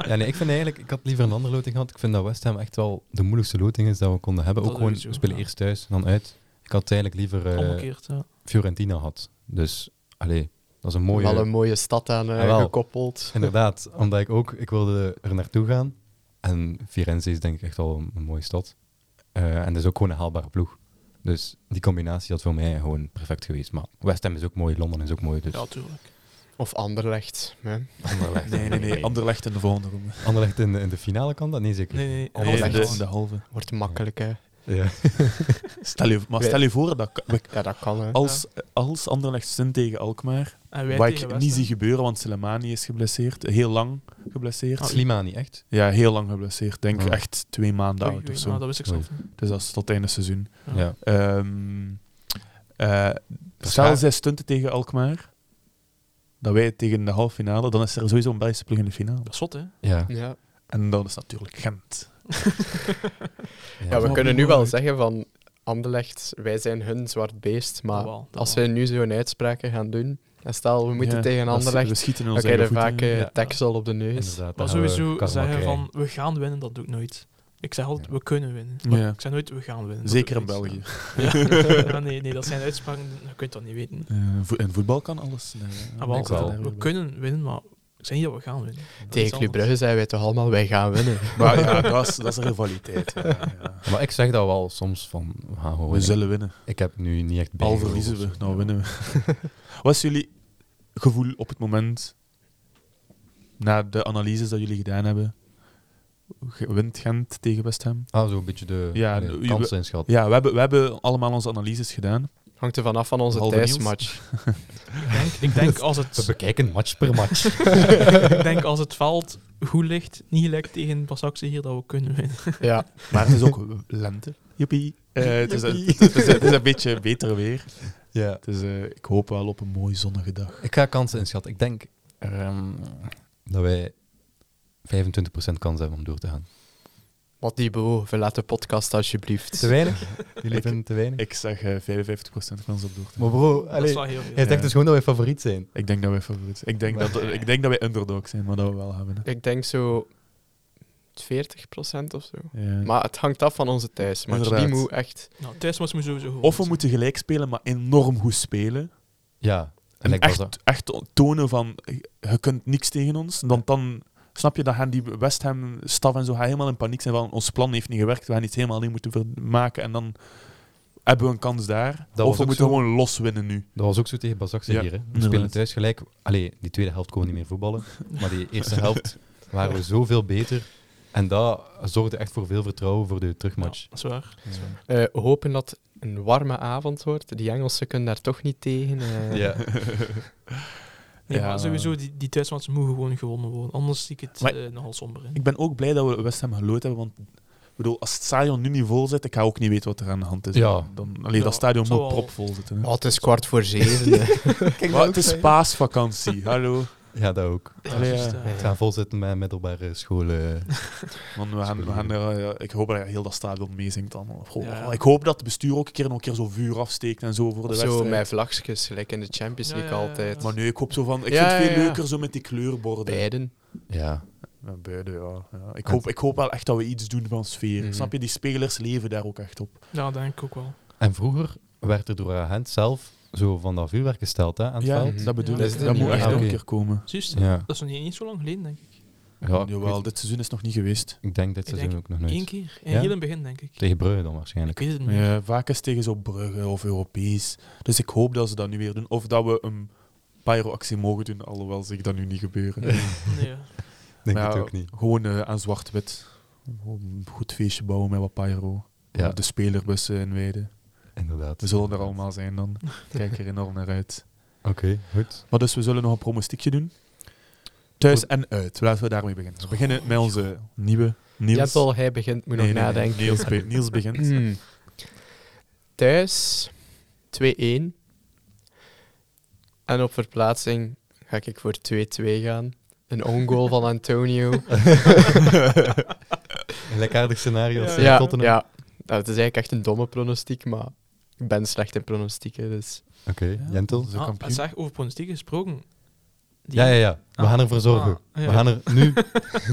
Speaker 1: Ja, nee, ik vind eigenlijk, ik had liever een andere loting gehad. Ik vind dat West Ham echt wel de moeilijkste loting is dat we konden hebben.
Speaker 4: Dat
Speaker 1: Ook gewoon,
Speaker 4: sowieso,
Speaker 1: we spelen
Speaker 4: ja.
Speaker 1: eerst thuis, dan uit. Ik had eigenlijk liever eh,
Speaker 4: Omgekeerd, ja.
Speaker 1: Fiorentina gehad. Dus, allee, dat is een mooie... Ah,
Speaker 2: Wel een mooie stad aan eh,
Speaker 1: Jawel.
Speaker 2: gekoppeld.
Speaker 1: [laughs] Inderdaad, omdat ik ook, ik wilde er naartoe gaan. En Firenze is denk ik echt al een, een mooie stad. Eh, en dat is ook gewoon een haalbare ploeg. Dus die combinatie had voor mij gewoon perfect geweest. Maar West Ham is ook mooi, Londen is ook mooi. Dus
Speaker 4: Ja, tuurlijk.
Speaker 2: Of Anderlecht. hè.
Speaker 1: Anderlecht.
Speaker 3: Nee, nee, nee. Anderlecht in de volgende ronde.
Speaker 1: Anderlecht in de, in de finale kan dat? Nee, zeker.
Speaker 4: Nee, nee,
Speaker 1: Nee,
Speaker 3: Nee, in
Speaker 4: Anderlecht.
Speaker 3: de, in de halve.
Speaker 2: Wordt makkelijk, hè.
Speaker 1: Ja.
Speaker 3: Stel je, maar stel je voor, dat, we-
Speaker 2: Ja, dat kan, hè.
Speaker 3: als, als Anderlecht stint tegen Alkmaar,
Speaker 4: En wij
Speaker 3: wat
Speaker 4: tegen
Speaker 3: ik
Speaker 4: West
Speaker 3: niet
Speaker 4: Ham.
Speaker 3: zie gebeuren, want Selemani is geblesseerd. Heel lang geblesseerd.
Speaker 1: Slimani, echt?
Speaker 3: Ja, heel lang geblesseerd. Denk
Speaker 1: Ja.
Speaker 3: echt twee maanden
Speaker 4: Oei,
Speaker 3: oud
Speaker 4: oei,
Speaker 3: of zo.
Speaker 4: nou, dat wist ik zelf niet.
Speaker 3: Dus dat is tot het einde seizoen.
Speaker 1: Ja.
Speaker 3: Ehm eh, stel,
Speaker 1: waar.
Speaker 3: zij stunten tegen Alkmaar. Dat wij tegen de halve finale. Dan is er sowieso een Belgische ploeg in de finale.
Speaker 4: Dat is zot, hè?
Speaker 1: Ja.
Speaker 2: Ja.
Speaker 3: En dat is natuurlijk Gent.
Speaker 2: ja, we
Speaker 3: maar
Speaker 2: kunnen nu
Speaker 3: mooi.
Speaker 2: wel zeggen van... Anderlecht, wij zijn hun zwart beest. Maar
Speaker 4: Dat wel, dat
Speaker 2: als we
Speaker 4: wel.
Speaker 2: nu zo'n uitspraken gaan doen... En stel, we moeten
Speaker 3: Ja,
Speaker 2: tegen
Speaker 3: als-
Speaker 2: Anderlecht...
Speaker 3: We schieten in
Speaker 2: Dan
Speaker 3: onze
Speaker 2: krijg je
Speaker 3: eigen
Speaker 2: vaak
Speaker 3: voeten.
Speaker 2: eh,
Speaker 4: Ja.
Speaker 2: deksel op de neus.
Speaker 1: Inderdaad,
Speaker 4: Maar
Speaker 1: dan gaan we
Speaker 4: sowieso
Speaker 1: karma
Speaker 4: zeggen
Speaker 1: krijgen.
Speaker 4: van, we gaan winnen, dat doe ik nooit. Ik zeg altijd,
Speaker 1: Ja.
Speaker 4: we kunnen winnen.
Speaker 3: Ja.
Speaker 4: Maar Ik zeg nooit, we gaan winnen. dat
Speaker 3: Zeker
Speaker 4: doe
Speaker 3: in
Speaker 4: ik
Speaker 3: België.
Speaker 4: niet. dus, eh. Ja. Ja, nee, nee, dat zijn uitspraken, je kunt dat niet weten.
Speaker 3: Eh, vo- in voetbal kan alles. Nee,
Speaker 4: Ah,
Speaker 3: nee,
Speaker 4: wel,
Speaker 3: ik zat
Speaker 1: wel.
Speaker 3: daar
Speaker 4: we
Speaker 3: weer bij.
Speaker 4: kunnen winnen, maar Ik zei niet dat we gaan winnen. Dat is
Speaker 2: Tegen Club
Speaker 4: anders.
Speaker 2: Brugge zijn wij toch allemaal, wij gaan winnen. [laughs]
Speaker 3: Maar ja, dat is, dat is een rivaliteit. ja, ja.
Speaker 1: Maar ik zeg dat wel soms van, we gaan gewoon
Speaker 3: We zullen winnen.
Speaker 1: Ik heb nu niet echt bij.
Speaker 3: Al verliezen we, nou winnen we. [laughs] Wat is jullie gevoel op het moment, na de analyses dat jullie gedaan hebben? Ge- Wint Gent tegen West Ham?
Speaker 1: Ah, zo een beetje de,
Speaker 3: Ja,
Speaker 1: de
Speaker 3: de-
Speaker 1: kansen inschat.
Speaker 3: Ja, we hebben, we hebben allemaal onze analyses gedaan.
Speaker 2: Hangt er vanaf van onze
Speaker 3: Halve
Speaker 2: thuismatch.
Speaker 3: [laughs]
Speaker 4: Ik denk, ik denk als
Speaker 1: We
Speaker 4: het,
Speaker 1: bekijken match per match.
Speaker 4: ik denk als het veld goed ligt, niet gelijk tegen Basakse hier, dat we kunnen winnen.
Speaker 2: ja.
Speaker 3: Maar het is ook [laughs] lente. Joepie. Eh, het, is, een- het, is, het is een beetje beter weer.
Speaker 1: ja.
Speaker 3: Het is, eh, ik hoop wel op een mooie zonnige dag.
Speaker 1: Ik ga kansen inschatten. Ik denk ehm, dat wij 25% kans hebben om door te gaan.
Speaker 2: Wat die boe, verlaat de podcast alsjeblieft.
Speaker 1: Te weinig? Jullie vinden te weinig?
Speaker 3: Ik zeg eh, 55% kans op door te
Speaker 1: maar bro,
Speaker 4: Dat is
Speaker 1: allee,
Speaker 4: wel
Speaker 1: hij
Speaker 4: heel veel.
Speaker 3: Ja.
Speaker 1: zegt dus gewoon dat wij favoriet zijn.
Speaker 3: Ik denk dat wij favoriet ik denk dat, ik denk dat wij underdog zijn, maar dat we wel hebben.
Speaker 2: Ik denk zo 40% of zo.
Speaker 3: Ja.
Speaker 2: Maar het hangt af van onze thuismatch. Die
Speaker 3: Inderdaad.
Speaker 2: moet echt...
Speaker 4: Nou, thuis was me sowieso goed.
Speaker 3: Of we moeten gelijk spelen, maar enorm goed spelen.
Speaker 1: Ja.
Speaker 3: En
Speaker 1: lijkt wel zo.
Speaker 3: echt, echt tonen van, je kunt niks tegen ons. Want dan, snap je, dat gaan die West Ham staf en zo gaan helemaal in paniek zijn van, ons plan heeft niet gewerkt, we gaan iets helemaal niet moeten ver- maken. En dan hebben we een kans daar.
Speaker 1: was
Speaker 3: of we
Speaker 1: ook
Speaker 3: moeten
Speaker 1: zo.
Speaker 3: gewoon los winnen nu.
Speaker 1: Dat was ook zo tegen Bazakse
Speaker 3: Ja,
Speaker 1: hier. Hè. We
Speaker 3: inderdaad.
Speaker 1: spelen thuis gelijk. Allee, die tweede helft kon we niet meer voetballen. Maar die eerste helft waren we zoveel beter. En dat zorgde echt voor veel vertrouwen voor de
Speaker 4: Ja,
Speaker 1: terugmatch.
Speaker 4: dat is waar.
Speaker 2: eh, hopen dat het een warme avond wordt. Die Engelsen kunnen daar toch niet tegen. eh.
Speaker 4: [laughs] Nee,
Speaker 3: Ja.
Speaker 4: maar sowieso, die, die thuismatch moet gewoon gewonnen worden. Anders zie ik het
Speaker 3: Maar-
Speaker 4: eh, nogal somber in.
Speaker 3: Ik ben ook blij dat we West Ham geloot hebben, want ik bedoel, als het stadion nu niet vol zit, ik ga ook niet weten wat er aan de hand is.
Speaker 1: Ja.
Speaker 3: Dan, alleen
Speaker 4: Ja,
Speaker 3: dat stadion
Speaker 4: zou
Speaker 3: moet
Speaker 4: wel-
Speaker 3: propvol zitten. hè.
Speaker 2: Oh, het is kwart voor zeven.
Speaker 3: [laughs]
Speaker 2: eh.
Speaker 3: Maar het is paasvakantie, [laughs] hallo.
Speaker 1: Ja, dat ook.
Speaker 4: Ja,
Speaker 3: Allee,
Speaker 4: juist,
Speaker 3: ja.
Speaker 4: eh,
Speaker 1: Het gaan volzitten met middelbare scholen.
Speaker 3: Man, we gaan, we gaan er, eh, ik hoop dat heel dat stadion meezingt allemaal. Goh,
Speaker 4: Ja.
Speaker 3: oh, Ik hoop dat het bestuur ook een keer nog een keer zo vuur afsteekt en zo voor de
Speaker 2: zo
Speaker 3: wedstrijd.
Speaker 2: mijn vlagjes, gelijk in de Champions
Speaker 4: Ja,
Speaker 2: League
Speaker 4: ja, ja,
Speaker 2: altijd.
Speaker 4: ja.
Speaker 3: Maar nee, ik hoop zo van, ik
Speaker 2: Ja,
Speaker 3: vind het veel
Speaker 2: ja, ja.
Speaker 3: leuker zo met die kleurborden.
Speaker 2: Beiden.
Speaker 1: Ja.
Speaker 3: Ja, beide, ja. ja. Ik, hoop, ik hoop wel echt dat we iets doen van sfeer.
Speaker 2: Mhm.
Speaker 3: Snap je, die spelers leven daar ook echt op.
Speaker 4: Ja, denk ik ook wel.
Speaker 1: En vroeger werd er door agent zelf zo van dat vuurwerk gesteld hè, aan het
Speaker 3: Ja,
Speaker 1: veld.
Speaker 2: Mhm.
Speaker 3: dat bedoel
Speaker 4: Ja,
Speaker 3: ik.
Speaker 4: dat is
Speaker 3: Dat moet
Speaker 4: nieuw,
Speaker 3: echt
Speaker 1: ja.
Speaker 3: nog een
Speaker 1: Oké.
Speaker 3: keer komen.
Speaker 4: Juist,
Speaker 1: Ja.
Speaker 4: dat is nog niet eens zo lang geleden, denk ik.
Speaker 1: Ja, ik
Speaker 3: Jawel,
Speaker 1: weet-
Speaker 3: dit seizoen is nog niet geweest.
Speaker 1: ik denk dit
Speaker 4: Ik
Speaker 1: seizoen
Speaker 4: denk
Speaker 1: ook nog nooit.
Speaker 4: Eén keer. In
Speaker 1: Ja?
Speaker 4: heel in het begin, denk ik.
Speaker 1: Tegen Brugge dan waarschijnlijk.
Speaker 4: Ik weet het niet.
Speaker 3: Ja, vaak is het tegen zo'n Brugge of Europees. Dus ik hoop dat ze dat nu weer doen. Of dat we een pyroactie mogen doen, alhoewel zich dat nu niet gebeuren.
Speaker 4: Nee,
Speaker 1: [laughs] Ik
Speaker 4: ja.
Speaker 1: denk
Speaker 3: Maar
Speaker 4: Nou,
Speaker 1: het
Speaker 3: ja,
Speaker 1: ook niet.
Speaker 3: Gewoon eh, aan zwart-wit. Gewoon Een goed feestje bouwen met wat pyro.
Speaker 1: Ja,
Speaker 3: De spelerbussen inwijden.
Speaker 1: inderdaad.
Speaker 3: We zullen er allemaal zijn dan. Ik Kijk er enorm naar uit.
Speaker 1: Oké,
Speaker 4: [laughs]
Speaker 1: goed. [laughs]
Speaker 3: Maar dus we zullen nog een pronostiekje doen. Thuis en uit. Laten we daarmee beginnen. We beginnen met onze nieuwe Niels.
Speaker 2: Jep al, hij begint, moet
Speaker 3: Nee,
Speaker 2: nog
Speaker 3: nee, nee.
Speaker 2: nadenken.
Speaker 3: Niels, be- Niels
Speaker 2: [laughs]
Speaker 3: begint.
Speaker 2: Hmm. Thuis 2-1. En op verplaatsing ga ik voor 2-2 gaan. Een ongoal van Antonio.
Speaker 1: Een Lekkaardig scenario als
Speaker 4: Ja,
Speaker 1: eh,
Speaker 2: ja,
Speaker 1: Tottenham.
Speaker 2: ja. Nou, het is eigenlijk echt een domme pronostiek, maar ik ben slecht in pronostieken, dus...
Speaker 1: Oké, Jentel?
Speaker 3: Onze
Speaker 4: Ah,
Speaker 3: kampioen.
Speaker 4: zeg, over pronostiek gesproken. Die-
Speaker 1: Ja, ja, ja. We
Speaker 4: Ah.
Speaker 1: gaan ervoor zorgen.
Speaker 4: Ah, ja.
Speaker 1: We gaan er
Speaker 4: [laughs]
Speaker 1: nu,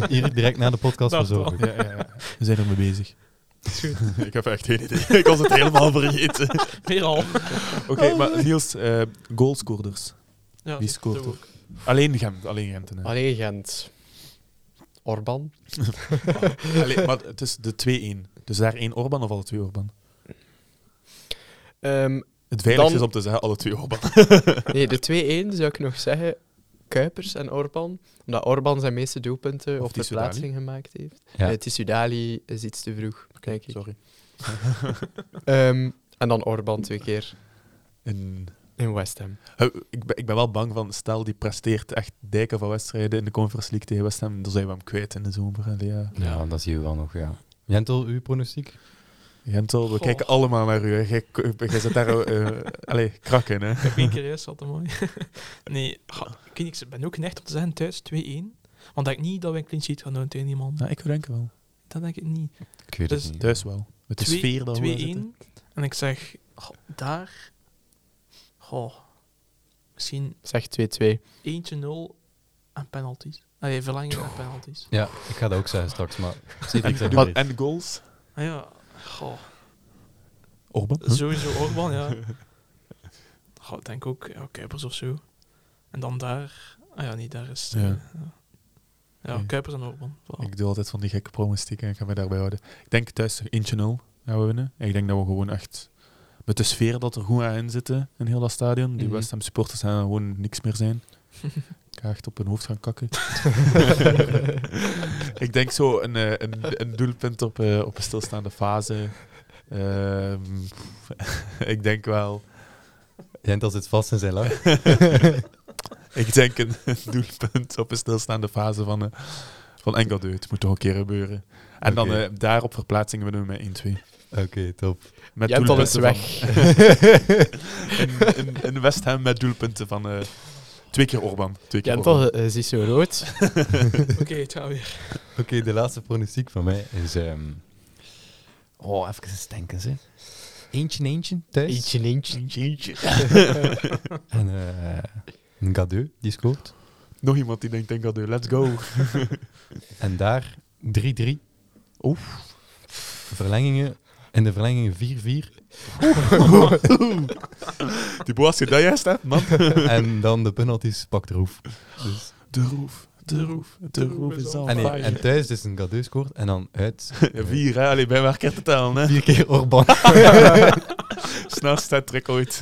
Speaker 1: hier direct na de podcast voor
Speaker 4: Dacht al.
Speaker 1: zorgen.
Speaker 3: Ja, ja, ja. We zijn ermee bezig. [laughs] ik heb echt geen idee. Ik was het helemaal vergeten.
Speaker 4: Weer al. [laughs]
Speaker 3: Oké, maar Niels, eh goalscorers.
Speaker 4: Ja,
Speaker 3: Wie
Speaker 4: zo-
Speaker 3: scoort
Speaker 4: zo
Speaker 3: er?
Speaker 4: ook.
Speaker 3: Alleen Gent. Alleen Gent. hè.
Speaker 2: Allee, Gent. Orban?
Speaker 3: Allee, maar het is de 2-1. Dus daar één Orban of alle twee Orban?
Speaker 2: Ehm,
Speaker 3: Het veiligste
Speaker 2: Dan-
Speaker 3: is om te zeggen alle twee
Speaker 4: [laughs]
Speaker 3: Orban.
Speaker 2: [laughs] nee, de 2-1 zou ik nog zeggen. Kuipers en Orban. Omdat Orban zijn meeste doelpunten
Speaker 3: Of
Speaker 2: op de
Speaker 3: Tissou Dali.
Speaker 2: plaatsing gemaakt heeft.
Speaker 1: Ja.
Speaker 2: Ja. Tissudali is iets te vroeg, denk ik.
Speaker 3: Sorry.
Speaker 2: Ehm, en dan Orban twee keer
Speaker 3: En,
Speaker 2: in West Ham.
Speaker 3: eh, ik, ben, ik ben wel bang van, stel die presteert echt dijken van wedstrijden in de Conference League tegen West Ham, dan zijn we hem kwijt in de zomer. Allee, ja.
Speaker 1: Ja, dat zien we wel nog, ja. Jentel, uw pronostiek?
Speaker 3: Gentel, we
Speaker 4: Goh.
Speaker 3: kijken allemaal naar u. hè. Jij jij zit daar eh [laughs] allee, krak in. Hè.
Speaker 4: Ik heb
Speaker 1: [laughs]
Speaker 4: één keer juist, dat is mooi. [laughs] nee, ga- ik, weet niet, ik ben ook geneigd om te zeggen thuis 2-1. Want ik denk niet dat wij een clean sheet gaan doen tegen iemand.
Speaker 3: Nou, ik denk wel.
Speaker 4: Dat denk ik niet.
Speaker 1: Ik weet
Speaker 4: Dus-
Speaker 1: het niet.
Speaker 3: Thuis wel. Met de
Speaker 4: Twee-
Speaker 3: sfeer dat we
Speaker 4: 2-1.
Speaker 3: zitten.
Speaker 4: En ik zeg, goh, daar... Goh, misschien
Speaker 2: Zeg 2-2.
Speaker 4: eentje 0 en penalties. Nee, verlenging en penalties.
Speaker 1: Ja, ik ga dat ook zeggen straks,
Speaker 4: [laughs]
Speaker 1: maar... Ik zeg
Speaker 3: En,
Speaker 1: maar
Speaker 3: wat- en goals?
Speaker 4: Ah ja, goh,
Speaker 3: Orban? hè?
Speaker 4: sowieso Orban, ja. Goh, ik denk ook ja, Kuipers of zo. En dan daar... Ah ja, nee, daar is...
Speaker 3: Ja.
Speaker 4: eh, ja. Ja,
Speaker 3: Oké.
Speaker 4: Kuipers en Orban. Voilà.
Speaker 3: [laughs] Ik doe altijd van die gekke pronostieken en ik ga me daarbij houden. Ik denk thuis eentje 0 gaan we winnen. En ik denk dat we gewoon echt met de sfeer dat er goed aan in zitten in heel dat stadion. Die
Speaker 2: Mhm.
Speaker 3: West Ham supporters gaan gewoon niks meer zijn. Ik ga echt op hun hoofd gaan kakken. ik denk zo een, eh, een, een doelpunt op, eh, op een stilstaande fase. Ehm, [laughs] ik denk wel.
Speaker 1: Jentel zit vast in zijn
Speaker 4: [laughs]
Speaker 1: lach.
Speaker 3: ik denk een [laughs] doelpunt op een stilstaande fase van, eh van Engeldeu. Het moet toch een keer gebeuren. En dan
Speaker 1: Oké.
Speaker 3: eh, daarop verplaatsingen we doen we met 1-2.
Speaker 1: Oké, top.
Speaker 3: Met
Speaker 2: Jentel is
Speaker 3: doelpunten
Speaker 2: weg.
Speaker 3: van- [laughs] in, in, in West Ham met doelpunten van eh, twee keer Orban. Twee keer
Speaker 2: Jentel
Speaker 3: Orban.
Speaker 2: eh, eh, ziet zo rood.
Speaker 4: Oké, het gaat weer.
Speaker 1: [laughs] Oké, de laatste pronostiek van mij is... ehm, Oh, even eens denken, ze. Eentje, eentje, thuis.
Speaker 2: Eentje, eh, eentje.
Speaker 1: En eh een Gadeu, die scoort.
Speaker 3: Nog iemand die denkt, Engeldeu, let's go.
Speaker 1: En daar 3-3. Oef. Verlengingen. In de verlengingen [laughs] 4-4.
Speaker 3: Die boas, als je dat juist hebt, man.
Speaker 1: en dan de penalties pakt Roef. Dus,
Speaker 3: De roef, de roef, de roef is al
Speaker 1: en, nee,
Speaker 3: fire.
Speaker 1: en thuis dus een Gadeu scoort. En dan uit
Speaker 3: Ja, Vier, hè? Allee, bij elkaar te tellen, hè.
Speaker 1: vier keer Orban. [laughs]
Speaker 3: Snelste trek ooit.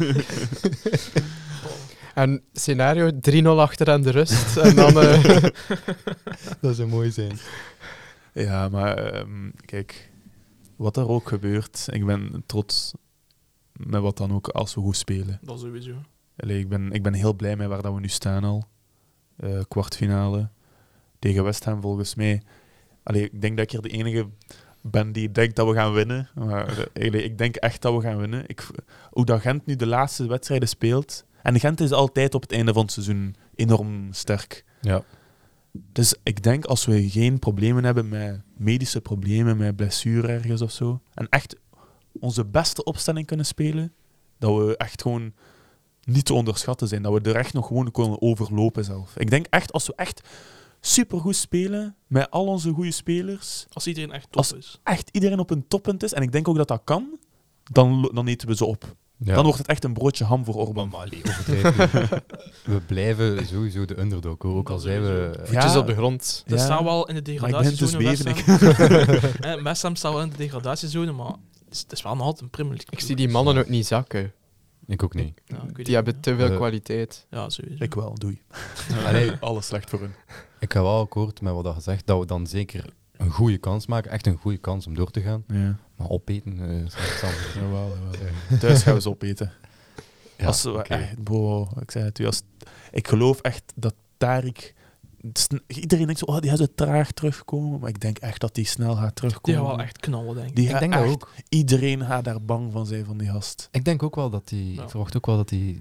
Speaker 2: En scenario 3-0 achter aan de rust. En dan...
Speaker 3: [laughs]
Speaker 2: eh,
Speaker 1: dat zou mooi zijn.
Speaker 3: Ja, maar ehm, kijk, wat er ook gebeurt, ik ben trots met wat dan ook als we goed spelen.
Speaker 4: Dat sowieso.
Speaker 3: Allee, ik, ben, ik ben heel blij met waar dat we nu staan al. Eh, kwartfinale tegen West Ham volgens mij. Allee, ik denk dat ik hier de enige ben die denkt dat we gaan winnen. Maar eh, allee, ik denk echt dat we gaan winnen. Ik, v- hoe dat Gent nu de laatste wedstrijden speelt. En Gent is altijd op het einde van het seizoen enorm sterk.
Speaker 1: Ja.
Speaker 3: Dus ik denk als we geen problemen hebben met medische problemen, met blessure ergens of zo, en echt onze beste opstelling kunnen spelen, dat we echt gewoon niet te onderschatten zijn. Dat we er echt nog gewoon kunnen overlopen zelf. Ik denk echt als we echt supergoed spelen, met al onze goede spelers,
Speaker 4: Als iedereen echt top
Speaker 3: Als-
Speaker 4: is.
Speaker 3: echt iedereen op een toppunt is, en ik denk ook dat dat kan, dan, lo- dan eten we ze op.
Speaker 1: Ja.
Speaker 3: Dan wordt het echt een broodje ham voor Orban.
Speaker 1: [laughs] we blijven sowieso de underdog, hoor. ook al zijn we...
Speaker 3: Ja.
Speaker 2: Voetjes op de grond.
Speaker 4: Ze
Speaker 3: Ja.
Speaker 4: staan wel in de
Speaker 3: Maar ik ben dus
Speaker 4: degradatiezone.
Speaker 3: bevenig.
Speaker 4: West Ham. [laughs] Eh, West Ham staat wel in de degradatiezone, maar het is, het is wel nog altijd een Premier League.
Speaker 2: Ik zie die mannen ook niet zakken.
Speaker 1: Ik ook niet.
Speaker 4: Ja, ik weet het
Speaker 2: Die hebben
Speaker 4: niet,
Speaker 2: te veel
Speaker 1: Eh,
Speaker 2: kwaliteit.
Speaker 4: Ja, Ja, sowieso.
Speaker 3: Ik wel, doei.
Speaker 1: Allee.
Speaker 3: Alles slecht voor hun.
Speaker 1: Ik ga wel akkoord met wat je zegt, dat we dan zeker een goede kans maken. Echt een goede kans om door te gaan.
Speaker 3: Ja.
Speaker 1: Maar opeten eh, is echt
Speaker 3: [laughs]
Speaker 1: anders.
Speaker 3: Jawel, Thuis gaan we ze opeten.
Speaker 1: Ja,
Speaker 3: als we
Speaker 1: oké.
Speaker 3: echt, wow, ik zei het u, als, ik geloof echt dat Tarik... het is- Iedereen denkt zo, oh, die gaat zo traag terugkomen. Maar ik denk echt dat die snel gaat
Speaker 4: Die
Speaker 3: terugkomen.
Speaker 4: gaan wel echt knallen, denk ik.
Speaker 3: Die
Speaker 1: Ik
Speaker 3: gaat
Speaker 1: denk dat
Speaker 3: echt-
Speaker 1: ook.
Speaker 3: Iedereen gaat daar bang van zijn, van die gast.
Speaker 1: Ik denk ook wel dat hij...
Speaker 4: Ja.
Speaker 3: Nou.
Speaker 1: Ik verwacht ook wel dat hij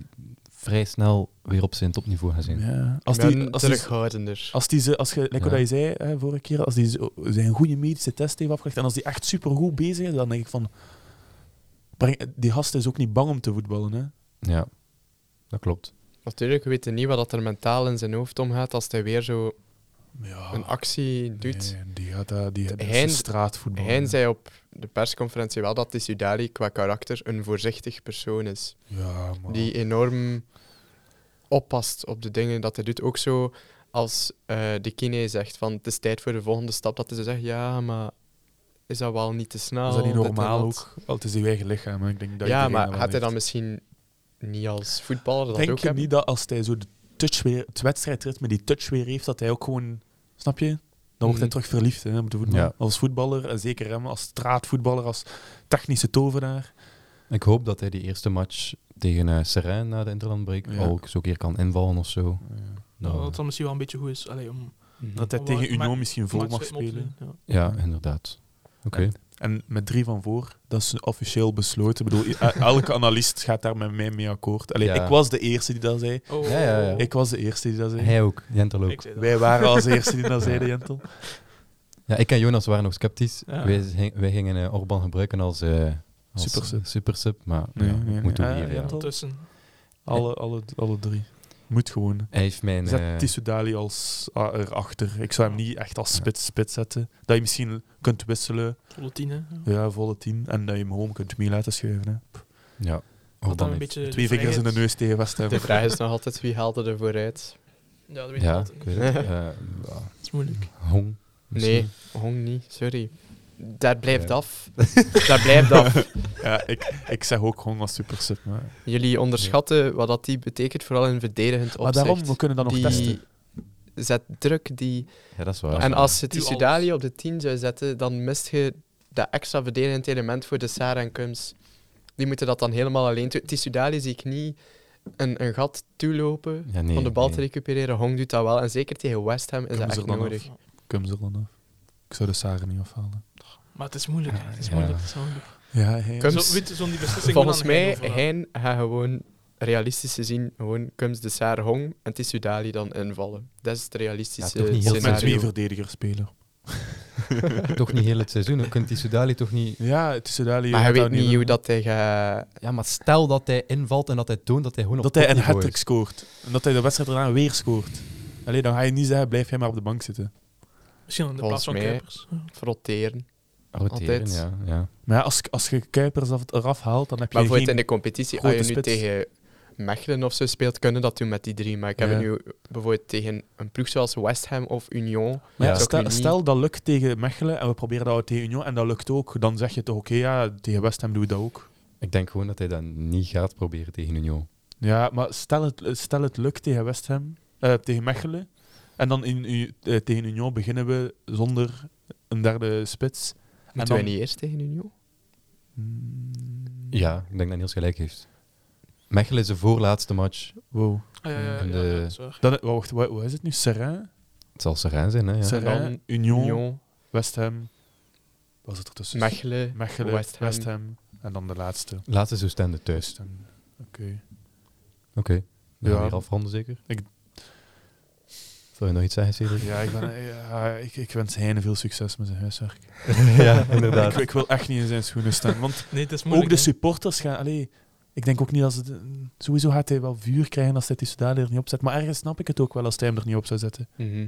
Speaker 1: vrij snel weer op zijn topniveau gaat zijn.
Speaker 3: Ja.
Speaker 2: Als
Speaker 3: Als die,
Speaker 2: die,
Speaker 3: als die,
Speaker 2: terughoudender.
Speaker 3: als die ze, als je, lekker
Speaker 1: Ja.
Speaker 3: dat je zei hè, vorige keer, als die zo- zijn goede medische test heeft afgelegd en als die echt supergoed bezig is, dan denk ik van... breng- die gast is ook niet bang om te voetballen, hè.
Speaker 1: Ja, dat klopt.
Speaker 2: Natuurlijk, we weten niet wat dat er mentaal in zijn hoofd omgaat als hij weer zo
Speaker 3: Ja.
Speaker 2: een actie doet.
Speaker 3: Nee, die gaat daar, die, dat is
Speaker 2: Hein-
Speaker 3: een straatvoetbal.
Speaker 2: Hij
Speaker 3: hè.
Speaker 2: zei op de persconferentie wel dat die Sudali qua karakter een voorzichtig persoon is.
Speaker 3: Ja, maar...
Speaker 2: Die enorm oppast op de dingen dat hij doet. Ook zo als eh, de kine zegt van het is tijd voor de volgende stap, dat hij zo zegt ja, maar is dat wel niet te snel?
Speaker 3: is dat niet
Speaker 2: Dit en
Speaker 3: normaal
Speaker 2: Oh, dat.
Speaker 3: ook? Wel, het is je eigen lichaam. hè. Ik denk dat
Speaker 2: ja,
Speaker 3: iedereen
Speaker 2: maar
Speaker 3: dat wel
Speaker 2: had hij dan
Speaker 3: heeft.
Speaker 2: misschien niet als voetballer dat
Speaker 3: Denk
Speaker 2: ook
Speaker 3: je
Speaker 2: hebben?
Speaker 3: niet dat als hij zo de touch weer, het wedstrijdritme, die touch weer heeft, dat hij ook gewoon... Snap je? Dan wordt hij
Speaker 2: Mhm.
Speaker 3: terug verliefd hè, op de voetbal.
Speaker 1: Ja.
Speaker 3: Als voetballer, en zeker hem, als straatvoetballer, als technische tovenaar.
Speaker 1: Ik hoop dat hij die eerste match tegen eh Seraing na de Interlandbreak
Speaker 3: Ja.
Speaker 1: ook zo'n keer kan invallen of zo.
Speaker 4: Nou,
Speaker 1: Nou,
Speaker 4: dat dan misschien wel een beetje goed is. Allee, om
Speaker 2: Mhm.
Speaker 3: Dat hij
Speaker 4: Om
Speaker 3: tegen
Speaker 4: wel-
Speaker 3: Uno
Speaker 4: maar-
Speaker 3: misschien vol mag
Speaker 4: matchritme op te
Speaker 3: spelen.
Speaker 4: doen,
Speaker 1: ja, inderdaad. Oké.
Speaker 3: En met drie van voor, dat is officieel besloten.
Speaker 2: [laughs]
Speaker 3: Ik bedoel, i- elke analist gaat daar met mij mee akkoord. Allee,
Speaker 1: Ja.
Speaker 3: Ik was de eerste die dat zei.
Speaker 4: Ja. Oh,
Speaker 1: Ja, ja, ja.
Speaker 3: Ik was de eerste die dat zei.
Speaker 1: Hij ook, Jentel ook.
Speaker 4: Ik zei dat.
Speaker 3: Wij waren als eerste die dat zeiden, Jentel.
Speaker 1: Ja, ik en Jonas waren nog sceptisch.
Speaker 4: Ja.
Speaker 1: Wij, zing- wij gingen eh, Orban gebruiken als, eh als
Speaker 3: Supersub.
Speaker 1: supersub, maar
Speaker 3: Nee,
Speaker 1: ja,
Speaker 3: nee, nee.
Speaker 1: moeten we
Speaker 3: Ah,
Speaker 1: hier, ja.
Speaker 3: ja, toch.
Speaker 4: Tussen.
Speaker 3: Alle, alle, alle drie. Moet gewoon.
Speaker 1: Hij heeft mijn...
Speaker 3: Zet
Speaker 1: eh,
Speaker 3: Tissou Dali als ah, erachter. Ik zou hem niet echt als spits, spits zetten. Dat je misschien kunt wisselen.
Speaker 4: Volle tien, hè. Ja.
Speaker 3: Ja, volle tien. En dat je hem gewoon kunt mee laten schuiven. Hè.
Speaker 1: ja,
Speaker 4: Dat
Speaker 1: Orban
Speaker 4: dan een
Speaker 1: heeft-
Speaker 4: beetje
Speaker 3: Twee vingers in de neus tegen West Ham.
Speaker 2: De vraag is nog altijd wie haalde er vooruit?
Speaker 4: Ja, dat weet ik
Speaker 1: Ja,
Speaker 4: altijd.
Speaker 1: ik weet het. Eh, ja,
Speaker 4: Dat is moeilijk.
Speaker 1: Hong.
Speaker 2: Nee,
Speaker 1: misschien.
Speaker 2: Hong niet, sorry. Daar blijft
Speaker 1: Ja.
Speaker 2: af. Daar blijft
Speaker 3: [laughs]
Speaker 2: af.
Speaker 3: Ja, ik, ik zeg ook gewoon als super sub. Maar,
Speaker 2: Jullie onderschatten wat dat die betekent, vooral in verdedigend
Speaker 3: maar
Speaker 2: opzicht.
Speaker 3: daarom, we kunnen dat nog
Speaker 2: die
Speaker 3: testen.
Speaker 2: zet druk die...
Speaker 1: Ja, dat is waar.
Speaker 2: en als je
Speaker 4: Doe
Speaker 2: Tissoudali op de 10 zou zetten, dan mist je dat extra verdedigend element voor de Sara en Kums. Die moeten dat dan helemaal alleen doen. Tissoudali zie ik niet een, een gat toelopen
Speaker 1: Ja, nee,
Speaker 2: om de bal te
Speaker 1: nee.
Speaker 2: recupereren. Hong doet dat wel. En zeker tegen West Ham is
Speaker 3: Kums
Speaker 2: dat
Speaker 3: er
Speaker 2: echt
Speaker 3: dan af.
Speaker 2: nodig.
Speaker 3: Kums er dan af. Ik zou de Saren niet afhalen.
Speaker 4: Maar het is moeilijk. hè. Het is
Speaker 1: Ja.
Speaker 4: moeilijk. Het is moeilijk.
Speaker 3: Ja, hey,
Speaker 2: Kums-
Speaker 4: Zo, weet je, zo'n die beslissing
Speaker 2: Volgens
Speaker 4: moet aan
Speaker 2: mij,
Speaker 4: Hein overlaten.
Speaker 2: Hein gaat gewoon realistisch gezien gewoon Kums de Saar Hong en Tissoudali dan invallen. Dat is het realistische
Speaker 1: Ja, toch niet heel
Speaker 3: Of met twee
Speaker 2: scenario.
Speaker 3: verdedigers spelen.
Speaker 1: [laughs] toch niet heel het seizoen. Je kunt die Sudali toch niet...
Speaker 3: Ja, het is Dali.
Speaker 2: Maar hij weet niet hoe dat hij gaat...
Speaker 1: Ja, maar stel dat hij invalt en dat hij toont dat hij gewoon op
Speaker 3: Dat hij een
Speaker 1: topniveau
Speaker 3: hat
Speaker 1: is.
Speaker 3: scoort. En dat hij de wedstrijd daarna weer scoort. Alleen dan ga je niet zeggen, blijf jij maar op de bank zitten.
Speaker 4: Misschien in de
Speaker 2: Volgens
Speaker 4: plaats van
Speaker 2: mij-
Speaker 4: Kuipers. Ja.
Speaker 2: Frotteren.
Speaker 1: Roteren,
Speaker 2: Altijd.
Speaker 1: ja. ja.
Speaker 3: Maar ja, als, als je Kuipers af- eraf haalt, dan heb je
Speaker 2: Maar voor
Speaker 3: geen...
Speaker 2: het in de competitie, als
Speaker 3: grote
Speaker 2: je nu
Speaker 3: spits.
Speaker 2: tegen Mechelen of zo speelt, kunnen dat doen met die drie. Maar ik heb
Speaker 3: Ja.
Speaker 2: het nu bijvoorbeeld tegen een ploeg zoals West Ham of Union.
Speaker 3: Maar
Speaker 1: Ja.
Speaker 3: ja,
Speaker 2: Ook
Speaker 3: stel,
Speaker 2: niet.
Speaker 3: stel dat lukt tegen Mechelen en we proberen dat ook tegen Union en dat lukt ook, dan zeg je toch oké, ja, tegen West Ham doen we dat ook.
Speaker 1: Ik denk gewoon dat hij dat niet gaat proberen tegen Union.
Speaker 3: Ja, maar stel het, stel het lukt tegen West Ham, eh, tegen Mechelen en dan in, U- eh, tegen Union beginnen we zonder een derde spits.
Speaker 2: Moeten
Speaker 3: dan-
Speaker 2: wij niet eerst tegen Union?
Speaker 3: Hmm,
Speaker 1: Ja, ik denk dat Niels gelijk heeft. Mechelen is de voorlaatste match.
Speaker 3: Wow.
Speaker 4: Ah, ja, ja,
Speaker 1: En
Speaker 4: ja,
Speaker 1: de-
Speaker 4: ja, dat is waar.
Speaker 3: Dan, wacht, wat, wat is het nu? Serrain?
Speaker 1: Het zal Serijn zijn, hè? Ja.
Speaker 3: Serrain,
Speaker 2: En dan
Speaker 3: Union,
Speaker 2: Eh, Union,
Speaker 3: West Ham. Was het er tussen?
Speaker 2: Mechelen.
Speaker 3: Mechelen,
Speaker 2: West
Speaker 3: West
Speaker 2: Ham.
Speaker 3: Ham. En dan de laatste.
Speaker 1: Laatste zo stende thuis.
Speaker 3: West Ham. Oké.
Speaker 1: Oké. We
Speaker 3: Ja.
Speaker 1: gaan weer afronden, zeker?
Speaker 3: Ik-
Speaker 1: Wil je nog iets zeggen, Cedric?
Speaker 3: Ja, ik, ben, eh, ja ik, ik wens Heine veel succes met zijn [laughs] huiswerk.
Speaker 1: [laughs] ja, inderdaad.
Speaker 3: Ik, ik wil echt niet in zijn schoenen staan. Want
Speaker 4: Nee, het is moeilijk.
Speaker 3: ook de
Speaker 4: hè.
Speaker 3: supporters gaan. Allee, ik denk ook niet dat ze. de- Sowieso gaat hij wel vuur krijgen als hij die Sudali er niet op zet. Maar ergens snap ik het ook wel als hij hem er niet op zou zetten.
Speaker 2: Mhm.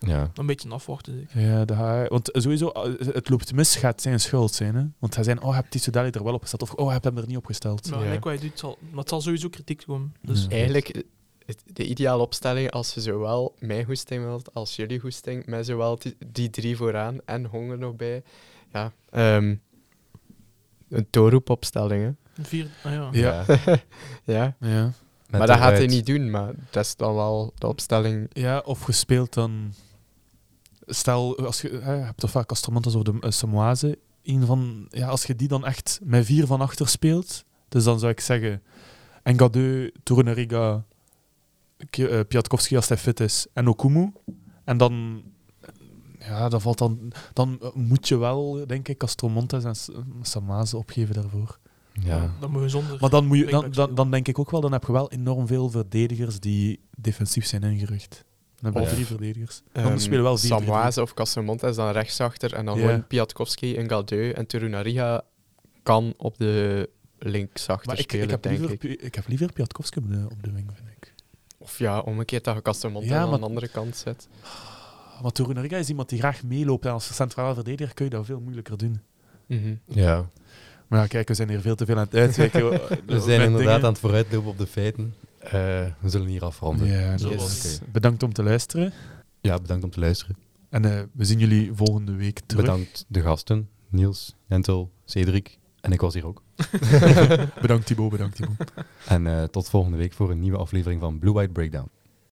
Speaker 1: Ja.
Speaker 4: Een beetje afwachten. zeker.
Speaker 3: Ja, dat ga- want sowieso, eh, het loopt mis, gaat zijn schuld zijn. Hè? Want hij zei: Oh, heb die Sudali er wel op gesteld? Of oh, heb hem er niet op gesteld?
Speaker 4: Maar
Speaker 2: Ja.
Speaker 4: gelijk wat hij doet, zal, maar het zal sowieso kritiek komen. Dus
Speaker 3: Ja.
Speaker 2: Eigenlijk eh, het- de ideale opstelling als je zowel mijn goesting wilt als jullie goesting, met zowel die, die drie vooraan en honger nog bij. Ja, ehm, een doorroepopstelling, hè. [laughs]
Speaker 4: een vier... Ah, ja.
Speaker 3: Ja.
Speaker 2: ja.
Speaker 3: Ja.
Speaker 1: Met
Speaker 2: maar dat gaat hij
Speaker 1: eruit.
Speaker 2: niet doen, maar dat is dan wel de opstelling.
Speaker 3: Ja, of gespeeld dan. Stel, als je, hè, je hebt toch vaak Astromantas of de eh, Samoaze. Een van, ja, als je die dan echt met vier van achter speelt, dus dan zou ik zeggen: Engadeu, Tourneriga, Ki- eh, Piatkowski als hij fit is en Okumu. En dan, ja, dat valt dan, dan eh, moet je wel, denk ik, Astromontas en S- Samoaze opgeven daarvoor.
Speaker 1: Ja.
Speaker 4: Dan moet je zonder...
Speaker 3: Maar dan, moet je, dan,
Speaker 4: Wingbacks
Speaker 3: dan,
Speaker 4: spelen.
Speaker 3: dan denk ik ook wel, dan heb je wel enorm veel verdedigers die defensief zijn ingericht. Dan heb je
Speaker 1: Of-
Speaker 3: drie verdedigers. Dan
Speaker 2: ehm,
Speaker 3: spelen wel vier.
Speaker 2: Samoise of Castromontes dan rechtsachter en dan
Speaker 3: Ja.
Speaker 2: gewoon Piatkowski en Galdeu en Torunariga kan op de linksachter
Speaker 3: Maar ik,
Speaker 2: spelen,
Speaker 3: ik, heb
Speaker 2: denk
Speaker 3: liever,
Speaker 2: ik.
Speaker 3: Pi- ik heb liever Piatkowski op de, op de wing, vind ik.
Speaker 2: Of ja, omgekeerd dat je Castromontes
Speaker 3: Ja,
Speaker 2: aan
Speaker 3: maar-
Speaker 2: de andere kant zet.
Speaker 3: Want Torunariga is iemand die graag meeloopt. En als centrale verdediger kun je dat veel moeilijker doen.
Speaker 2: Mhm.
Speaker 1: ja.
Speaker 3: Maar ja, kijk, we zijn hier veel te veel aan het [laughs] uitwijken.
Speaker 1: We zijn inderdaad aan het vooruitlopen op de feiten. Eh, we zullen hier afronden.
Speaker 3: Ja,
Speaker 4: Zo
Speaker 3: dat
Speaker 4: was
Speaker 3: is-
Speaker 1: het.
Speaker 3: Bedankt om te luisteren.
Speaker 1: Ja, bedankt om te luisteren.
Speaker 3: En eh, we zien jullie volgende week terug.
Speaker 1: Bedankt [laughs] de gasten, Niels, Jentel, Cedric. En ik was hier ook.
Speaker 3: [laughs] bedankt Thibaut, bedankt Thibaut.
Speaker 1: En eh, tot volgende week voor een nieuwe aflevering van Blue White Breakdown.